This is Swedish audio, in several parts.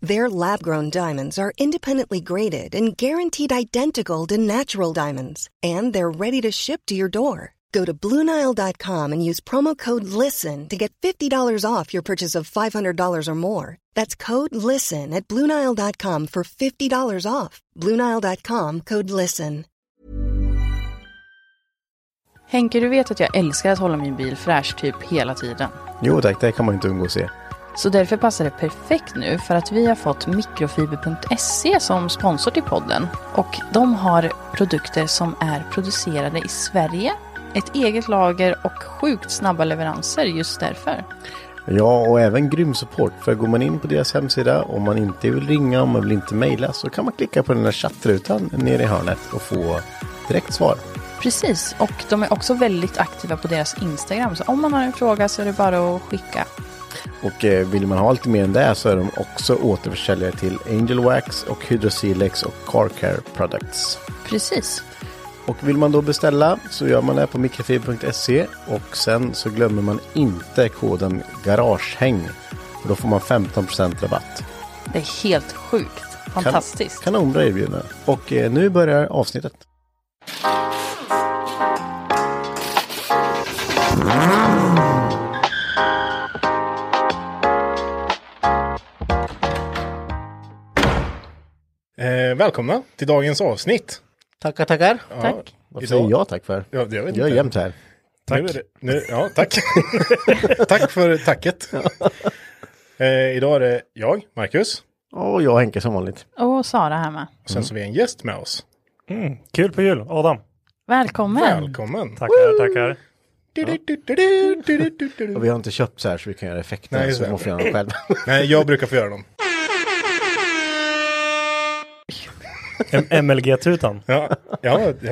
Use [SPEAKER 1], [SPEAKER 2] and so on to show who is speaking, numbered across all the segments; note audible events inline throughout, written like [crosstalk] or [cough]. [SPEAKER 1] Their lab grown diamonds are independently graded and guaranteed identical to natural diamonds, and they're ready to ship to your door. Go to BlueNile.com and use promo code LISTEN to get $50 off your purchase of $500 or more. That's code LISTEN at BlueNile.com for $50 off. BlueNile.com code LISTEN.
[SPEAKER 2] Henke, du vet att jag älskar att hålla min bil fräsch typ hela tiden.
[SPEAKER 3] Jo tack, det kan man inte undgå att se.
[SPEAKER 2] Så därför passar det perfekt nu för att vi har fått mikrofiber.se som sponsor till podden. Och de har produkter som är producerade i Sverige, ett eget lager och sjukt snabba leveranser just därför.
[SPEAKER 3] Ja, och även grym support. För går man in på deras hemsida, om man inte vill ringa, om man vill inte mejla, så kan man klicka på den här chattrutan nere i hörnet och få direkt svar.
[SPEAKER 2] Precis, och de är också väldigt aktiva på deras Instagram. Så om man har en fråga så är det bara att skicka.
[SPEAKER 3] Och eh, vill man ha lite mer än det så är de också återförsäljare till Angel Wax och Hydrosilex och Car Care Products.
[SPEAKER 2] Precis.
[SPEAKER 3] Och vill man då beställa så gör man det på mikrofiber.se och sen så glömmer man inte koden Garagehäng. För då får man 15% rabatt.
[SPEAKER 2] Det är helt sjukt.
[SPEAKER 3] Kan-
[SPEAKER 2] Fantastiskt.
[SPEAKER 3] Kanonbra erbjudande. Och eh, nu börjar avsnittet.
[SPEAKER 4] Eh, välkomna till dagens avsnitt.
[SPEAKER 3] Tackar, tackar.
[SPEAKER 2] Tack.
[SPEAKER 3] Vad
[SPEAKER 4] Idag-
[SPEAKER 3] säger jag tack för?
[SPEAKER 4] Ja, jag vet
[SPEAKER 3] Jag är
[SPEAKER 4] inte.
[SPEAKER 3] jämt här.
[SPEAKER 4] Tack. Nu är det, nu, ja, tack. [laughs] tack för tacket. Eh, idag är det jag, Marcus.
[SPEAKER 3] Och jag och Henke som vanligt.
[SPEAKER 2] Och Sara här med.
[SPEAKER 4] Och sen
[SPEAKER 3] Mm.
[SPEAKER 4] så har vi en gäst med oss.
[SPEAKER 5] Kul på jul, Adam.
[SPEAKER 2] Välkommen.
[SPEAKER 4] Välkommen.
[SPEAKER 5] Tackar, tackar.
[SPEAKER 4] Du, du, du, du, du, du, du, du,
[SPEAKER 3] Och
[SPEAKER 4] du.
[SPEAKER 3] vi har inte köpt så här så vi kan göra effekterna.
[SPEAKER 4] Nej,
[SPEAKER 3] Nej,
[SPEAKER 4] just
[SPEAKER 3] så vi
[SPEAKER 4] det.
[SPEAKER 3] måste göra dem
[SPEAKER 4] [laughs]
[SPEAKER 3] själv.
[SPEAKER 4] Nej, jag brukar få göra dem.
[SPEAKER 5] M- MLG-tutan.
[SPEAKER 4] Ja,
[SPEAKER 3] Mm.
[SPEAKER 4] ja han har till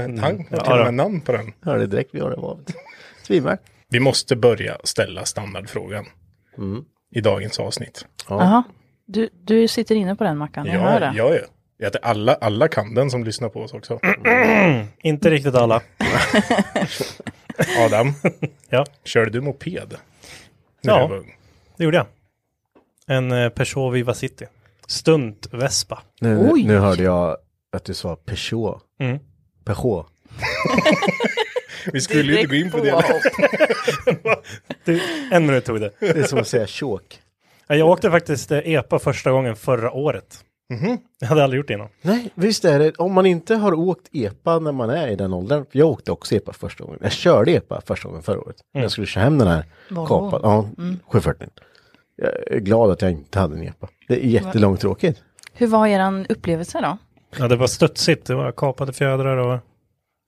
[SPEAKER 4] och
[SPEAKER 5] Ja,
[SPEAKER 4] med
[SPEAKER 5] då.
[SPEAKER 4] namn på den.
[SPEAKER 3] Hörde direkt vi har det var. Svimmar.
[SPEAKER 4] Vi måste börja ställa standardfrågan
[SPEAKER 3] Mm.
[SPEAKER 4] i dagens avsnitt.
[SPEAKER 2] Jaha. Du, du sitter inne på den Mackan, jag hör
[SPEAKER 4] Ja,
[SPEAKER 2] det.
[SPEAKER 4] jag är. Jag tror alla, alla kan den som lyssnar på oss också.
[SPEAKER 3] Mm.
[SPEAKER 5] Inte riktigt alla.
[SPEAKER 4] Adam,
[SPEAKER 5] Ja,
[SPEAKER 4] körde du moped? När
[SPEAKER 5] Ja.
[SPEAKER 4] du var ung?
[SPEAKER 5] det gjorde jag. En eh, Peugeot Viva City. Stunt-vespa.
[SPEAKER 3] Nu,
[SPEAKER 2] Oj.
[SPEAKER 3] nu hörde jag att du sa Peugeot.
[SPEAKER 5] Mm.
[SPEAKER 3] [laughs] Peugeot.
[SPEAKER 4] Vi skulle ju inte gå in på det.
[SPEAKER 5] Du, en minut tog det.
[SPEAKER 3] Det är som att säga tjåk.
[SPEAKER 5] Ja, Jag åkte faktiskt eh, EPA första gången förra året. Jag hade aldrig gjort det innan.
[SPEAKER 3] Nej, visst är det. Om man inte har åkt EPA när man är i den åldern. För jag åkte också EPA första gången. Jag körde EPA första gången förra året. Jag skulle köra hem den här
[SPEAKER 2] Volvo.
[SPEAKER 3] kapan. Ja, 740. Jag är glad att jag inte hade en EPA. Det är jättelångtråkigt.
[SPEAKER 2] Hur var er upplevelse då?
[SPEAKER 5] Ja, det var studsigt. Det var kapade fjädrar och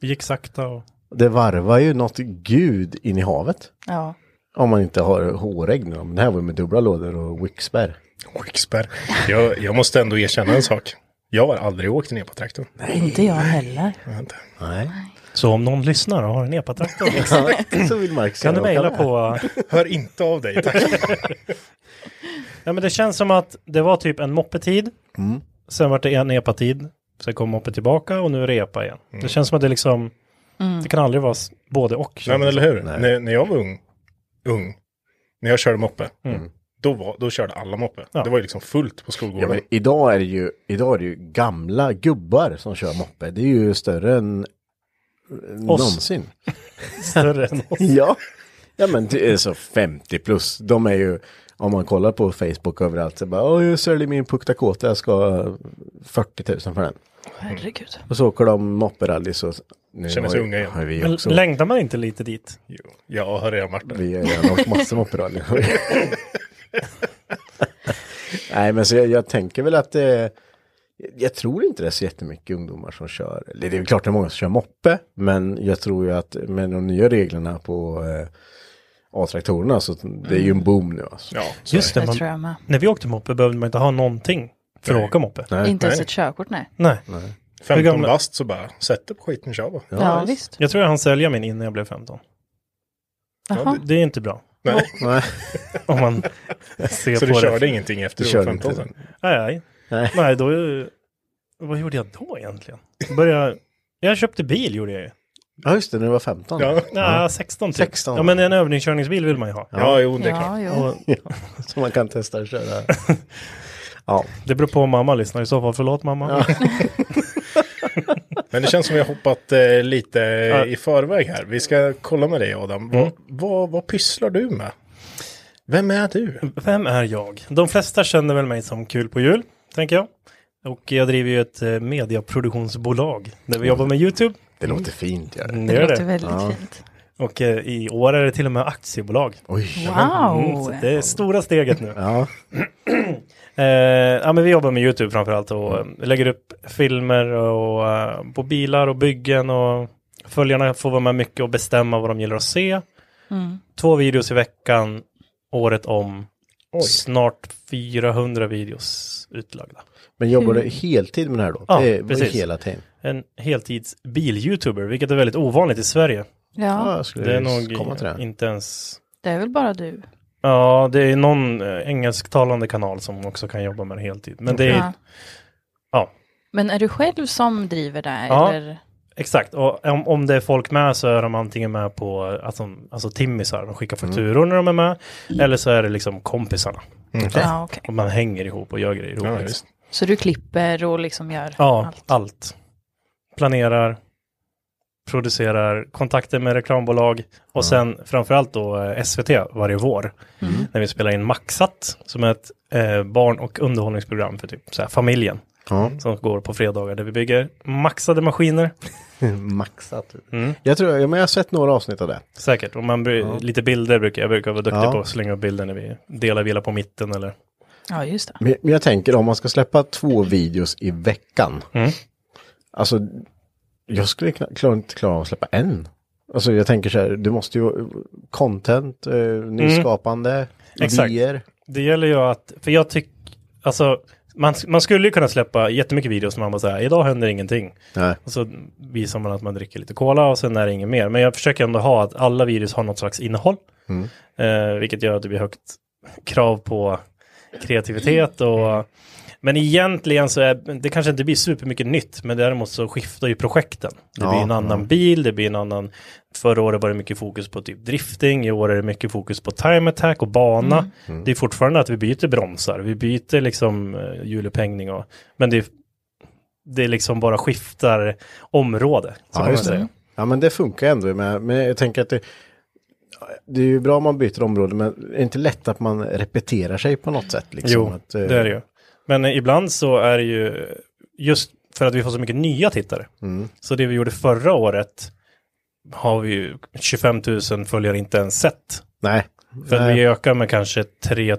[SPEAKER 5] det gick sakta. Och...
[SPEAKER 3] Det varvar ju något gud in i havet.
[SPEAKER 2] Ja.
[SPEAKER 3] Om man inte har hårägg nu. Men det här var ju med dubbla lådor och wickspärr.
[SPEAKER 4] Wicksberg. Jag, jag måste ändå erkänna en sak. Jag har aldrig åkt ner på traktorn.
[SPEAKER 2] Inte jag heller.
[SPEAKER 4] Jag har inte.
[SPEAKER 3] Nej.
[SPEAKER 5] Så om någon lyssnar och har en E EPA-traktor
[SPEAKER 3] [laughs] Så vill Mark säga
[SPEAKER 5] kan du
[SPEAKER 3] vad
[SPEAKER 5] mejla
[SPEAKER 3] det är.
[SPEAKER 5] på
[SPEAKER 4] Hör inte av dig, tack.
[SPEAKER 5] Ja men det känns som att det var typ en moppetid. Sen var det en epatid. Sen kom moppe tillbaka och nu är det epa igen.
[SPEAKER 4] Mm.
[SPEAKER 5] Det känns som att det liksom. Det kan aldrig vara s- både och.
[SPEAKER 4] Nej, men eller hur?
[SPEAKER 3] Nej.
[SPEAKER 4] När, när jag var ung, ung, när jag körde moppe, Då, var, då körde alla moppe.
[SPEAKER 5] Mm. Ja.
[SPEAKER 4] Det var ju liksom fullt på
[SPEAKER 3] Ja,
[SPEAKER 4] skolgården.
[SPEAKER 3] men idag, är det ju, idag är det ju gamla gubbar som kör moppe. Det är ju större än
[SPEAKER 4] [laughs]
[SPEAKER 3] någonsin.
[SPEAKER 5] Större än oss.
[SPEAKER 3] Ja. ja, men det är så 50 plus. De är ju, om man kollar på Facebook överallt, så bara, åh, jag säljer min Puck Dakota, jag ska ha 40 000 för den.
[SPEAKER 2] Herregud.
[SPEAKER 3] Och så åker de mopperally så... Nu
[SPEAKER 4] Känner
[SPEAKER 3] har
[SPEAKER 4] sig
[SPEAKER 3] ju-
[SPEAKER 4] unga igen.
[SPEAKER 3] Har vi
[SPEAKER 5] Men
[SPEAKER 3] också.
[SPEAKER 5] längtar man inte lite dit?
[SPEAKER 4] Jo, jag har redan varit där.
[SPEAKER 3] Vi har redan åkt massor med mopperally. Nej, men så jag, jag tänker väl att det... Jag tror inte det är så jättemycket ungdomar som kör. Eller Det är väl klart det är många som kör moppe. Men jag tror ju att med de nya reglerna på eh, A-traktorerna så det är ju en boom nu alltså.
[SPEAKER 4] Ja, så
[SPEAKER 5] Just
[SPEAKER 2] Det
[SPEAKER 5] det, man,
[SPEAKER 2] tror jag med.
[SPEAKER 5] när vi åkte moppe behövde man inte ha någonting för att
[SPEAKER 4] Nej.
[SPEAKER 5] åka moppe.
[SPEAKER 3] Nej.
[SPEAKER 2] Inte ens
[SPEAKER 4] Nej.
[SPEAKER 2] ett körkort, nej.
[SPEAKER 5] Nej.
[SPEAKER 4] är det.
[SPEAKER 5] Hur
[SPEAKER 4] 15
[SPEAKER 5] gamla-
[SPEAKER 4] bast så bara, sätt dig på skiten och kör bara.
[SPEAKER 2] Ja, visst.
[SPEAKER 5] Jag tror jag hann sälja min innan jag blev 15.
[SPEAKER 2] Jaha.
[SPEAKER 5] Det är
[SPEAKER 4] [laughs]
[SPEAKER 5] inte bra.
[SPEAKER 4] Nej.
[SPEAKER 3] Nej.
[SPEAKER 5] Om man ser
[SPEAKER 4] Så
[SPEAKER 5] på
[SPEAKER 4] du körde
[SPEAKER 5] det.
[SPEAKER 4] ingenting efter
[SPEAKER 3] Du
[SPEAKER 4] du var
[SPEAKER 3] körde inte.
[SPEAKER 4] 15 sen?
[SPEAKER 5] Nej, nej.
[SPEAKER 3] Nej.
[SPEAKER 5] Nej, då... Vad gjorde jag då egentligen? Började, jag köpte bil gjorde jag ju.
[SPEAKER 3] Ja just det, nu var 15.
[SPEAKER 4] Ja.
[SPEAKER 5] Nej, 16 typ.
[SPEAKER 3] 16.
[SPEAKER 5] Ja, men en övningskörningsbil vill man ju ha.
[SPEAKER 4] Ja, jo, det är klart.
[SPEAKER 2] Ja, jo.
[SPEAKER 5] Och
[SPEAKER 3] Så man kan testa att köra.
[SPEAKER 4] [laughs]
[SPEAKER 3] ja.
[SPEAKER 5] det beror på om mamma lyssnar i så fall. Förlåt mamma.
[SPEAKER 4] Men det känns som vi har hoppat eh, lite
[SPEAKER 5] Ja. Mm.
[SPEAKER 4] i förväg här. Vi ska kolla med dig Adam. Vad, vad, vad pysslar du med? Vem är du?
[SPEAKER 5] [laughs] Vem är jag? De flesta känner väl mig som kul på jul, tänker jag. Och jag driver ju ett eh, mediaproduktionsbolag där vi jobbar med YouTube.
[SPEAKER 3] Det låter fint. Gör det.
[SPEAKER 5] Mm,
[SPEAKER 2] Det
[SPEAKER 5] gör
[SPEAKER 2] låter väldigt fint.
[SPEAKER 5] Och eh, i år är det till och med aktiebolag.
[SPEAKER 3] Oj.
[SPEAKER 5] Mm, så
[SPEAKER 2] Wow!
[SPEAKER 5] det är stora steget nu. [clears throat]
[SPEAKER 3] Ja.
[SPEAKER 5] Eh, ja, men vi jobbar med YouTube framförallt och eh, lägger upp filmer och, eh, på bilar och byggen och följarna får vara med mycket och bestämma vad de gillar att se.
[SPEAKER 2] Mm.
[SPEAKER 5] Två videos i veckan, året om, snart 400 videos utlagda.
[SPEAKER 3] Men jobbar du heltid med det här då?
[SPEAKER 5] Hmm. Ja,
[SPEAKER 3] det är,
[SPEAKER 5] precis.
[SPEAKER 3] Hela tiden.
[SPEAKER 5] En heltids bil-youtuber, vilket är väldigt ovanligt i Sverige.
[SPEAKER 3] Ja,
[SPEAKER 2] Ja,
[SPEAKER 3] jag skulle
[SPEAKER 5] Det är nog
[SPEAKER 3] komma till det.
[SPEAKER 5] inte ens...
[SPEAKER 2] det är väl bara du.
[SPEAKER 5] Ja, det är någon eh, engelsktalande kanal som också kan jobba med det heltid. Men det är
[SPEAKER 2] Ja.
[SPEAKER 5] Ja.
[SPEAKER 2] Men är du själv som driver det?
[SPEAKER 5] Ja.
[SPEAKER 2] Eller?
[SPEAKER 5] Exakt, och om, om det är folk med så är de antingen med på att de, alltså timmisar, de skickar fakturor när de är med, eller så är det liksom kompisarna.
[SPEAKER 2] Ja, okej.
[SPEAKER 5] Och man hänger ihop och gör grejer ihop.
[SPEAKER 4] Mm, Ja, visst.
[SPEAKER 5] liksom.
[SPEAKER 2] Så du klipper och liksom gör
[SPEAKER 5] ja allt.
[SPEAKER 2] allt?
[SPEAKER 5] Planerar, producerar, kontakter med reklambolag och sen framförallt då eh, SVT varje vår.
[SPEAKER 2] Mm.
[SPEAKER 5] När vi spelar in Maxat, som är ett eh, barn och underhållningsprogram för typ så här, familjen. [laughs]
[SPEAKER 3] Ja.
[SPEAKER 5] Som går på fredagar där vi bygger maxade maskiner.
[SPEAKER 3] Maxat. Jag tror, ja, men jag har sett några avsnitt av det.
[SPEAKER 5] Säkert, och man bry- lite bilder brukar jag brukar vara duktig
[SPEAKER 3] Ja.
[SPEAKER 5] på att slänga upp bilder när vi delar vila på mitten eller
[SPEAKER 2] Ja, just det.
[SPEAKER 3] Men, men jag tänker om man ska släppa två videos i veckan.
[SPEAKER 5] Mm.
[SPEAKER 3] Alltså, jag skulle kna- klara, inte klara av att släppa en. Alltså jag tänker så här, du måste ju content, eh, nyskapande,
[SPEAKER 5] Mm. Exakt.
[SPEAKER 3] idéer.
[SPEAKER 5] Det gäller ju att, för jag tycker, alltså man, man skulle ju kunna släppa jättemycket videos när man bara säger idag händer ingenting.
[SPEAKER 3] Nej.
[SPEAKER 5] Och så visar man att man dricker lite cola och sen är det inget mer. Men jag försöker ändå ha att alla videos har något slags innehåll.
[SPEAKER 3] Mm.
[SPEAKER 5] Eh, vilket gör att det blir högt krav på kreativitet och men egentligen så är det kanske inte blir supermycket nytt, men däremot så skiftar ju projekten. Det
[SPEAKER 3] Ja,
[SPEAKER 5] blir en annan bil, det blir en annan. Förra året var det mycket fokus på typ drifting, i år är det mycket fokus på time attack och bana.
[SPEAKER 3] Mm.
[SPEAKER 5] Det är fortfarande att vi byter bromsar, vi byter liksom eh, hjulupphängning och, men det, det liksom bara skiftar område. Så
[SPEAKER 3] Ja,
[SPEAKER 5] kan man
[SPEAKER 3] just
[SPEAKER 5] säga.
[SPEAKER 3] det. Ja, men det funkar ändå. Men, men jag tänker att det, det är ju bra om man byter område, men är det inte lätt att man repeterar sig på något sätt? Liksom,
[SPEAKER 5] Jo,
[SPEAKER 3] att, eh,
[SPEAKER 5] det är det ju. Men eh, ibland så är det ju just för att vi får så mycket nya tittare.
[SPEAKER 3] mm.
[SPEAKER 5] Så det vi gjorde förra året har vi ju 25 000 följare inte ens sett.
[SPEAKER 3] Nej.
[SPEAKER 5] För att
[SPEAKER 3] Nej.
[SPEAKER 5] vi ökar med kanske 3,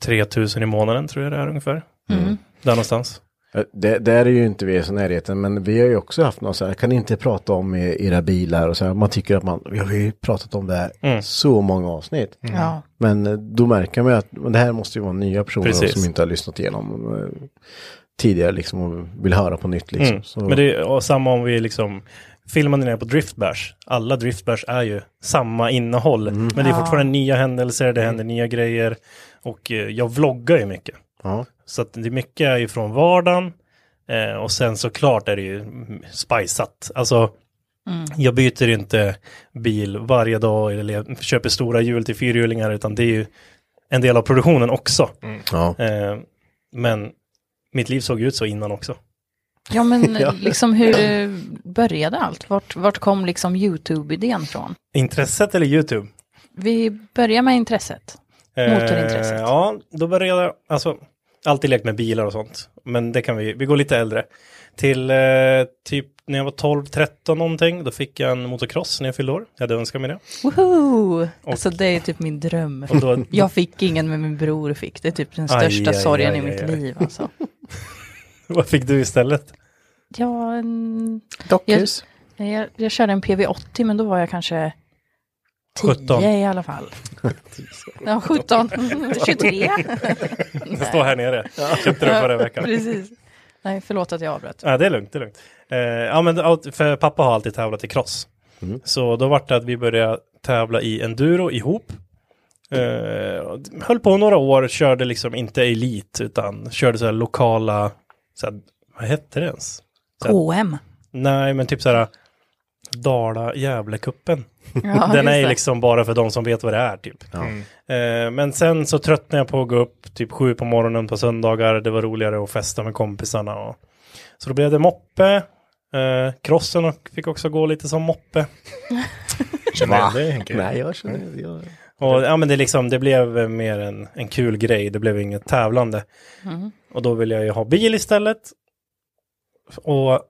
[SPEAKER 5] 3 000 i månaden tror jag det är ungefär.
[SPEAKER 3] Mm.
[SPEAKER 5] Där någonstans.
[SPEAKER 3] Eh, Det, där är ju inte vi så i närheten, men vi har ju också haft något så här, kan ni inte prata om e- era bilar och så här, man tycker att man, vi har ju pratat om det här
[SPEAKER 5] Mm.
[SPEAKER 3] så många avsnitt.
[SPEAKER 2] Ja.
[SPEAKER 3] Men eh, då märker man ju att men det här måste ju vara nya personer
[SPEAKER 5] Precis.
[SPEAKER 3] som inte har lyssnat igenom eh, tidigare liksom och vill höra på nytt liksom.
[SPEAKER 5] Mm.
[SPEAKER 3] Så,
[SPEAKER 5] Men det är och samma om vi liksom filmar ner på Driftbash. Alla Driftbash är ju samma innehåll.
[SPEAKER 3] Mm.
[SPEAKER 5] Men det är fortfarande nya händelser, det händer nya grejer. Och eh, jag vloggar ju mycket.
[SPEAKER 3] ja.
[SPEAKER 5] Så att det är mycket är ju från vardagen. Eh, och sen såklart är det ju mm, spiceat. Alltså, jag byter inte bil varje dag eller le- köper stora hjul till fyrhjulingar, utan det är ju en del av produktionen också.
[SPEAKER 3] Ja.
[SPEAKER 5] Eh, men mitt liv såg ju ut så innan också.
[SPEAKER 2] Ja,
[SPEAKER 5] [laughs]
[SPEAKER 2] men liksom hur eh, började allt? Vart, vart kom liksom YouTube-idén från?
[SPEAKER 5] Intresset eller YouTube?
[SPEAKER 2] Vi börjar med intresset. Motorintresset.
[SPEAKER 5] Eh, ja, då började jag, alltså, alltid lekt med bilar och sånt. Men det kan vi, vi går lite äldre. Till eh, typ när jag var 12-13 någonting, då fick jag en motocross när jag fyllde år. Jag hade önskat mig det.
[SPEAKER 2] Woho! Alltså det är typ min dröm.
[SPEAKER 5] Och då,
[SPEAKER 2] [laughs] Jag fick ingen men min bror fick. Det är typ den
[SPEAKER 5] Aj,
[SPEAKER 2] största
[SPEAKER 5] aj,
[SPEAKER 2] sorgen
[SPEAKER 5] aj,
[SPEAKER 2] i mitt
[SPEAKER 5] aj, aj.
[SPEAKER 2] liv alltså.
[SPEAKER 5] [laughs] vad fick du istället?
[SPEAKER 2] Ja, en...
[SPEAKER 3] Dockhus.
[SPEAKER 2] Jag, jag körde en PV80 men då var jag kanske 10
[SPEAKER 5] 17.
[SPEAKER 2] i alla fall. Ja, 17,
[SPEAKER 5] [laughs]
[SPEAKER 2] 23.
[SPEAKER 5] Jag står här nere. Köpte den förra veckan.
[SPEAKER 2] Precis. Nej, förlåt att jag avbröt.
[SPEAKER 5] Ja, det är lugnt, det är lugnt. Eh, ja, men allt- för pappa har alltid tävlat i cross. Så då var det att vi började tävla i enduro ihop. Eh, och höll på några år, körde liksom inte elit utan körde så här lokala, så här, vad hette det ens?
[SPEAKER 2] KM.
[SPEAKER 5] Nej, men typ så här Dala-Gävle-cupen.
[SPEAKER 2] Ja, just
[SPEAKER 5] Den är ju
[SPEAKER 2] det.
[SPEAKER 5] liksom bara för de som vet vad det är typ. Eh, men sen så tröttnade jag på att gå upp typ sju på morgonen på söndagar. Det var roligare att festa med kompisarna. Och... Så då blev det moppe. Eh, crossen och fick också gå lite som moppe.
[SPEAKER 4] Känner du igen dig Henke?
[SPEAKER 3] Nej, jag
[SPEAKER 5] Mm.
[SPEAKER 3] känner jag... [laughs]
[SPEAKER 5] Och ja, men det, liksom, det blev eh, mer en, en kul grej. Det blev inget tävlande.
[SPEAKER 2] Mm.
[SPEAKER 5] Och då ville jag ju ha bil istället. Och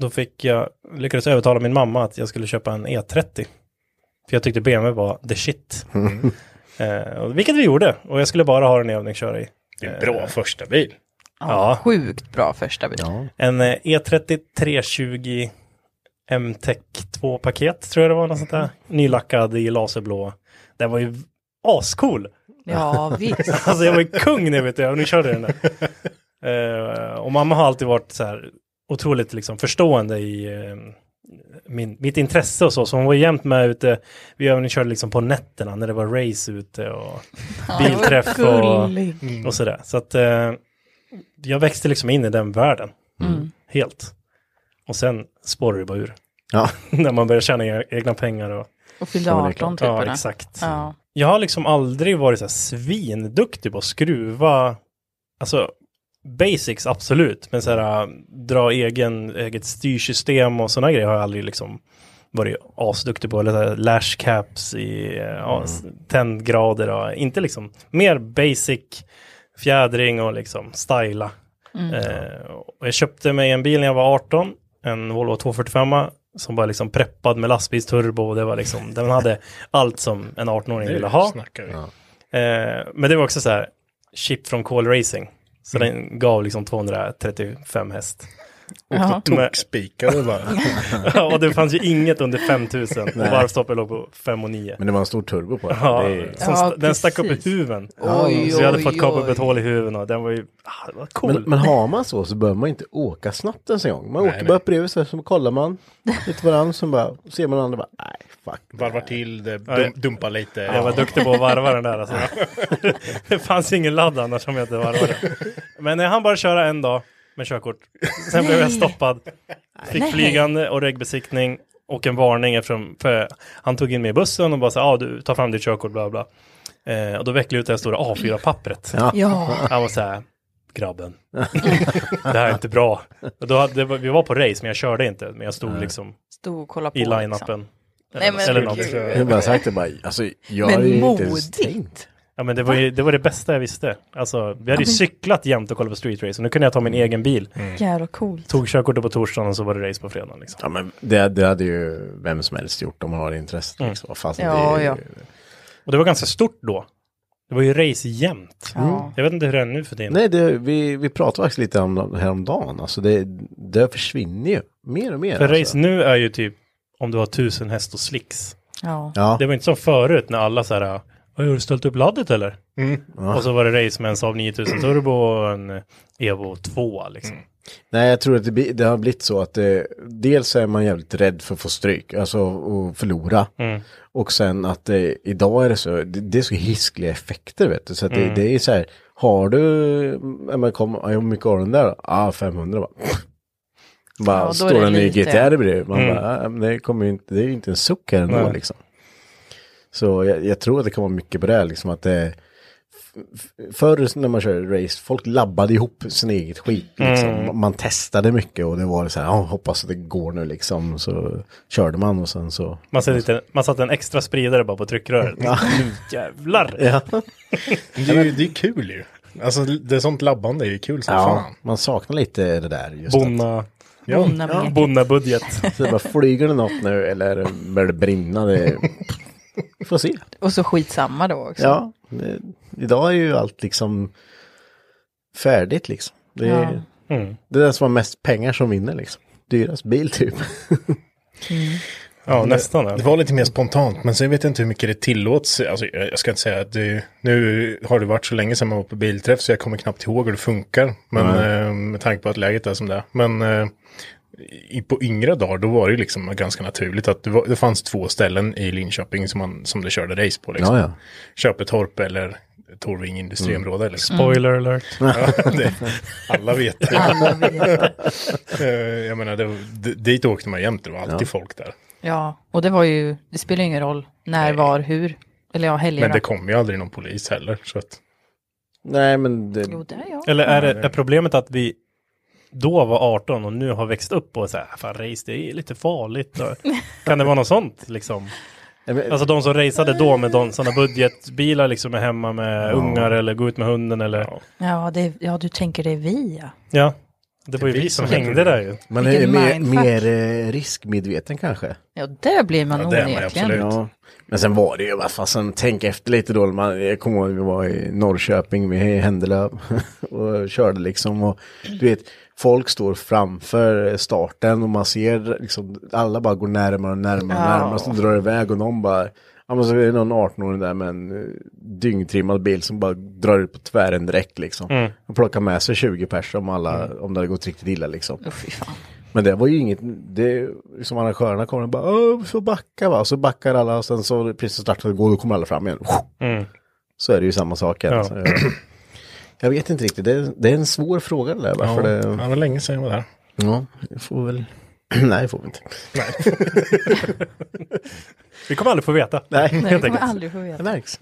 [SPEAKER 5] då fick jag, lyckades övertala min mamma att jag skulle köpa en E30. För jag tyckte BMW var the shit. Eh, och- vilket vi gjorde. Och jag skulle bara ha en övning att köra i. eh,
[SPEAKER 4] Det är en bra första bil.
[SPEAKER 5] Ja.
[SPEAKER 2] Sjukt bra första bil.
[SPEAKER 3] Ja.
[SPEAKER 5] En eh, E30 320 M-Tech 2-paket tror jag det var. Något sånt där. Nylackad i laserblå. Den var ju ascool.
[SPEAKER 2] Ja,
[SPEAKER 5] [laughs]
[SPEAKER 2] visst.
[SPEAKER 5] Alltså jag var ju kung när jag vet det, och nu körde [laughs] jag den där. Eh, och mamma har alltid varit så här otroligt liksom förstående i eh, min, mitt intresse och så. Så hon var ju jämt med ute, vi även körde liksom på nätterna när det var race ute och bilträff och,
[SPEAKER 2] Gullig.
[SPEAKER 5] Mm. och sådär. Så att eh, jag växte liksom in i den världen,
[SPEAKER 2] Mm.
[SPEAKER 5] helt. Och sen spårar det bara ur.
[SPEAKER 3] Ja.
[SPEAKER 5] [laughs] när man börjar tjäna e- egna pengar och
[SPEAKER 2] Och fyllde
[SPEAKER 3] Ja, det är
[SPEAKER 2] 18 typ.
[SPEAKER 5] ja,
[SPEAKER 2] eller?
[SPEAKER 5] exakt.
[SPEAKER 2] Ja.
[SPEAKER 5] Jag har liksom aldrig varit så här svinduktig på att skruva, alltså basics absolut, men så här äh, dra egen, eget styrsystem och sådana grejer har jag aldrig liksom varit asduktig på, eller så här lash caps i äh, ja, s- tändgrader och inte liksom mer basic fjädring och liksom styla.
[SPEAKER 2] Mm.
[SPEAKER 5] Eh, och jag köpte mig en bil när jag var 18, en Volvo 245 som var liksom preppad med lastbilsturbo och det var liksom,
[SPEAKER 2] [laughs]
[SPEAKER 5] den hade allt som en 18-åring ville ha.
[SPEAKER 4] Snackar vi.
[SPEAKER 5] Eh, men det var också så här, chip från Call Racing. Så
[SPEAKER 2] Mm.
[SPEAKER 5] den gav liksom 235 häst.
[SPEAKER 2] Jaha.
[SPEAKER 5] Men- [laughs]
[SPEAKER 4] Spikade bara.
[SPEAKER 5] och det fanns ju inget under 5000 och varvstoppet låg på 5 och 9.
[SPEAKER 3] Men det var en stor turbo på den.
[SPEAKER 5] [laughs] Ja,
[SPEAKER 3] Det är...
[SPEAKER 5] som
[SPEAKER 2] Ja,
[SPEAKER 5] sta- den stack upp i
[SPEAKER 2] precis.
[SPEAKER 5] huven.
[SPEAKER 2] Oj,
[SPEAKER 5] så jag hade
[SPEAKER 2] oj,
[SPEAKER 5] fått kapa upp
[SPEAKER 2] oj.
[SPEAKER 5] ett hål i huven och den var ju, ah, det var cool.
[SPEAKER 3] men, men har man så så behöver man inte åka snabbt ens en gång. Man åker
[SPEAKER 4] nej.
[SPEAKER 3] bara upp bredvid så, här, så kollar man lite varandra så bara ser man andra bara nej fuck.
[SPEAKER 4] Varvar till det, dum, dumpar lite.
[SPEAKER 5] Jag var duktig på att varva den där alltså. Det fanns ingen ladd annars om jag inte varvade. Men jag hann bara köra en dag med körkort. Sen blev jag stoppad. Fick
[SPEAKER 2] Nej.
[SPEAKER 5] flygande och regbesiktning och en varning eftersom för han tog in mig i bussen och bara sa ah, du tar fram ditt körkort bla bla. Eh, och då vecklade jag ut det här stora A4-pappret.
[SPEAKER 2] Ja.
[SPEAKER 5] Han var så här, grabben, det här är inte bra. Och då hade, det var- vi var på race men jag körde inte, men jag stod liksom
[SPEAKER 2] Stod och kollade på.
[SPEAKER 5] i
[SPEAKER 2] liksom.
[SPEAKER 5] line-upen.
[SPEAKER 2] Nej, men-
[SPEAKER 5] Eller något.
[SPEAKER 2] Gud.
[SPEAKER 3] Jag har bara sagt det bara alltså jag har
[SPEAKER 2] Men
[SPEAKER 3] ju inte ens
[SPEAKER 2] modigt.
[SPEAKER 3] tänkt.
[SPEAKER 5] Ja men det var ju det, var det bästa jag visste. Alltså, vi hade ju cyklat jämt och kollat på street race och nu kunde jag ta min
[SPEAKER 3] Mm.
[SPEAKER 5] egen bil.
[SPEAKER 2] Jävla coolt.
[SPEAKER 5] Tog körkortet på torsdagen och så var det race på fredagen. Liksom.
[SPEAKER 3] Ja men det, det hade ju vem som helst gjort om man har intresset liksom. Fast
[SPEAKER 2] Mm. Ja,
[SPEAKER 3] det är ju...
[SPEAKER 2] ja.
[SPEAKER 5] Och det var ganska stort då. Det var ju race jämt.
[SPEAKER 2] Ja.
[SPEAKER 5] Jag vet inte hur det är nu för tiden.
[SPEAKER 3] Nej, det, vi, vi pratade faktiskt lite om häromdagen. Alltså det, det försvinner ju mer och mer.
[SPEAKER 5] för
[SPEAKER 3] alltså.
[SPEAKER 5] race nu är ju typ om du har tusen häst och slicks.
[SPEAKER 2] Ja.
[SPEAKER 3] Ja,
[SPEAKER 5] Det var inte som förut när alla så här, "Oj, har du ställt upp laddet eller?
[SPEAKER 3] Mm.
[SPEAKER 5] Och så var det race med en Saab 9000 turbo och en eh, Evo 2 liksom.
[SPEAKER 3] Mm. nej jag tror att det, blir- det har blivit så att eh, dels är man jävligt rädd för att få stryk, alltså och förlora. Och sen att eh, idag är det så, det, det är så hiskliga effekter vet du. Så att det, det är så här, har du, ja, men kom, ja, hur mycket har den där då? Ja, ah, 500 bara. Bara
[SPEAKER 2] Ja, då är
[SPEAKER 3] står
[SPEAKER 2] det
[SPEAKER 3] den i
[SPEAKER 2] lite.
[SPEAKER 3] GTR bredvid. Man bara, "Ah, men det, kommer ju inte, det är ju inte en suck här ändå
[SPEAKER 5] Nej.
[SPEAKER 3] liksom. Så jag, jag tror att det kan vara mycket på det här, liksom att det f- förr när man körde race, folk labbade ihop sin eget skit. Liksom. Man testade mycket och det var så här, ja, hoppas att det går nu liksom. Så körde man och sen så.
[SPEAKER 5] Man, satte lite, man satte en extra spridare bara på tryckröret. Nu jävlar!
[SPEAKER 3] Ja,
[SPEAKER 4] Det är, ju- det är kul ju. Alltså det är sånt labbande är ju kul som
[SPEAKER 3] ja
[SPEAKER 4] fan.
[SPEAKER 3] man saknar lite det där. Just
[SPEAKER 5] Bonna,
[SPEAKER 4] Ja,
[SPEAKER 2] Bonnabeket.
[SPEAKER 5] bonnabudget.
[SPEAKER 3] att, så det bara, flyger det något nu eller börjar det brinna? Det, får se.
[SPEAKER 2] Och så skitsamma då också. [laughs]
[SPEAKER 3] Ja, det, idag är ju allt liksom färdigt liksom. Det är, det är den som har mest pengar som vinner liksom. Dyrast bil typ.
[SPEAKER 5] Ja, nästan.
[SPEAKER 4] Det
[SPEAKER 5] ja.
[SPEAKER 4] var lite mer spontant, men sen vet jag inte hur mycket det tillåts. Alltså, jag jag ska inte säga att det, nu har det varit så länge sedan man var på bilträff så jag kommer knappt ihåg hur det funkar. Men eh, med tanke på att läget är som det är. Men eh, i, på yngre dagar då var det ju liksom ganska naturligt att det, var, det fanns två ställen i Linköping som, man, som det körde race på. Liksom.
[SPEAKER 3] Ja, ja.
[SPEAKER 4] Köpetorp eller Torving industriområde.
[SPEAKER 3] Mm.
[SPEAKER 4] Liksom.
[SPEAKER 5] Spoiler alert.
[SPEAKER 4] Ja, [laughs] det,
[SPEAKER 3] [laughs]
[SPEAKER 4] alla vet det.
[SPEAKER 2] Alla vet.
[SPEAKER 4] Eh, jag menar, det, d- dit åkte man jämt, det var alltid folk där.
[SPEAKER 2] ja, och det var ju, det spelar ju ingen roll när, var, hur. Eller ja, helger
[SPEAKER 4] Men det
[SPEAKER 2] då.
[SPEAKER 4] kom ju aldrig någon polis heller. Så att,
[SPEAKER 3] Nej men det,
[SPEAKER 2] Jo, det är jag.
[SPEAKER 5] Eller är, det, är problemet att vi då var 18 och nu har växt upp och så här, fan race det är lite farligt. Och, kan det vara något sånt liksom?
[SPEAKER 3] Nej, men-
[SPEAKER 5] Alltså de som raceade då med de, sådana budgetbilar liksom är hemma med ungar eller går ut med hunden eller ja.
[SPEAKER 2] Ja, det, ja, du tänker det är vi ja.
[SPEAKER 5] Det var ju vi som hängde där ju.
[SPEAKER 3] man är
[SPEAKER 2] Vilken
[SPEAKER 3] mer,
[SPEAKER 2] mindfuck.
[SPEAKER 3] mer eh, riskmedveten kanske.
[SPEAKER 2] Ja, där blir man
[SPEAKER 4] Ja, det är man ju
[SPEAKER 2] onekligen.
[SPEAKER 4] absolut.
[SPEAKER 3] Ja. Men sen var det ju, vad fasen, tänk efter lite då. Man, jag kommer ihåg vi var i Norrköping med Händelöv [laughs] och körde liksom. Och, du vet, folk står framför starten och man ser liksom, alla bara går närmare och närmare och
[SPEAKER 2] Ja.
[SPEAKER 3] närmare. Och så drar det iväg och någon bara, ja men så är det någon 18-åring där med en eh, dyngtrimmad bil som bara drar ut på tvären direkt liksom. Och plockar med sig 20 personer om, alla, om det hade gått riktigt illa liksom.
[SPEAKER 2] Åh, fy fan.
[SPEAKER 3] Men det var ju inget, det som arrangörerna kommer och bara, "Åh, vi får backa va, och så backar alla och sen så precis när starten går, då kommer alla fram igen. Så är det ju samma sak här.
[SPEAKER 5] Ja.
[SPEAKER 3] Så jag- Jag vet inte riktigt, det är, det är en svår fråga det där
[SPEAKER 4] ja,
[SPEAKER 3] varför det,
[SPEAKER 4] det var länge sedan jag var där.
[SPEAKER 3] ja, jag får väl, [clears throat] nej det får vi inte.
[SPEAKER 5] Vi kommer aldrig få veta.
[SPEAKER 3] Nej,
[SPEAKER 2] Nej, det kommer
[SPEAKER 5] enkelt.
[SPEAKER 2] aldrig få
[SPEAKER 3] det
[SPEAKER 2] veta.
[SPEAKER 3] märks.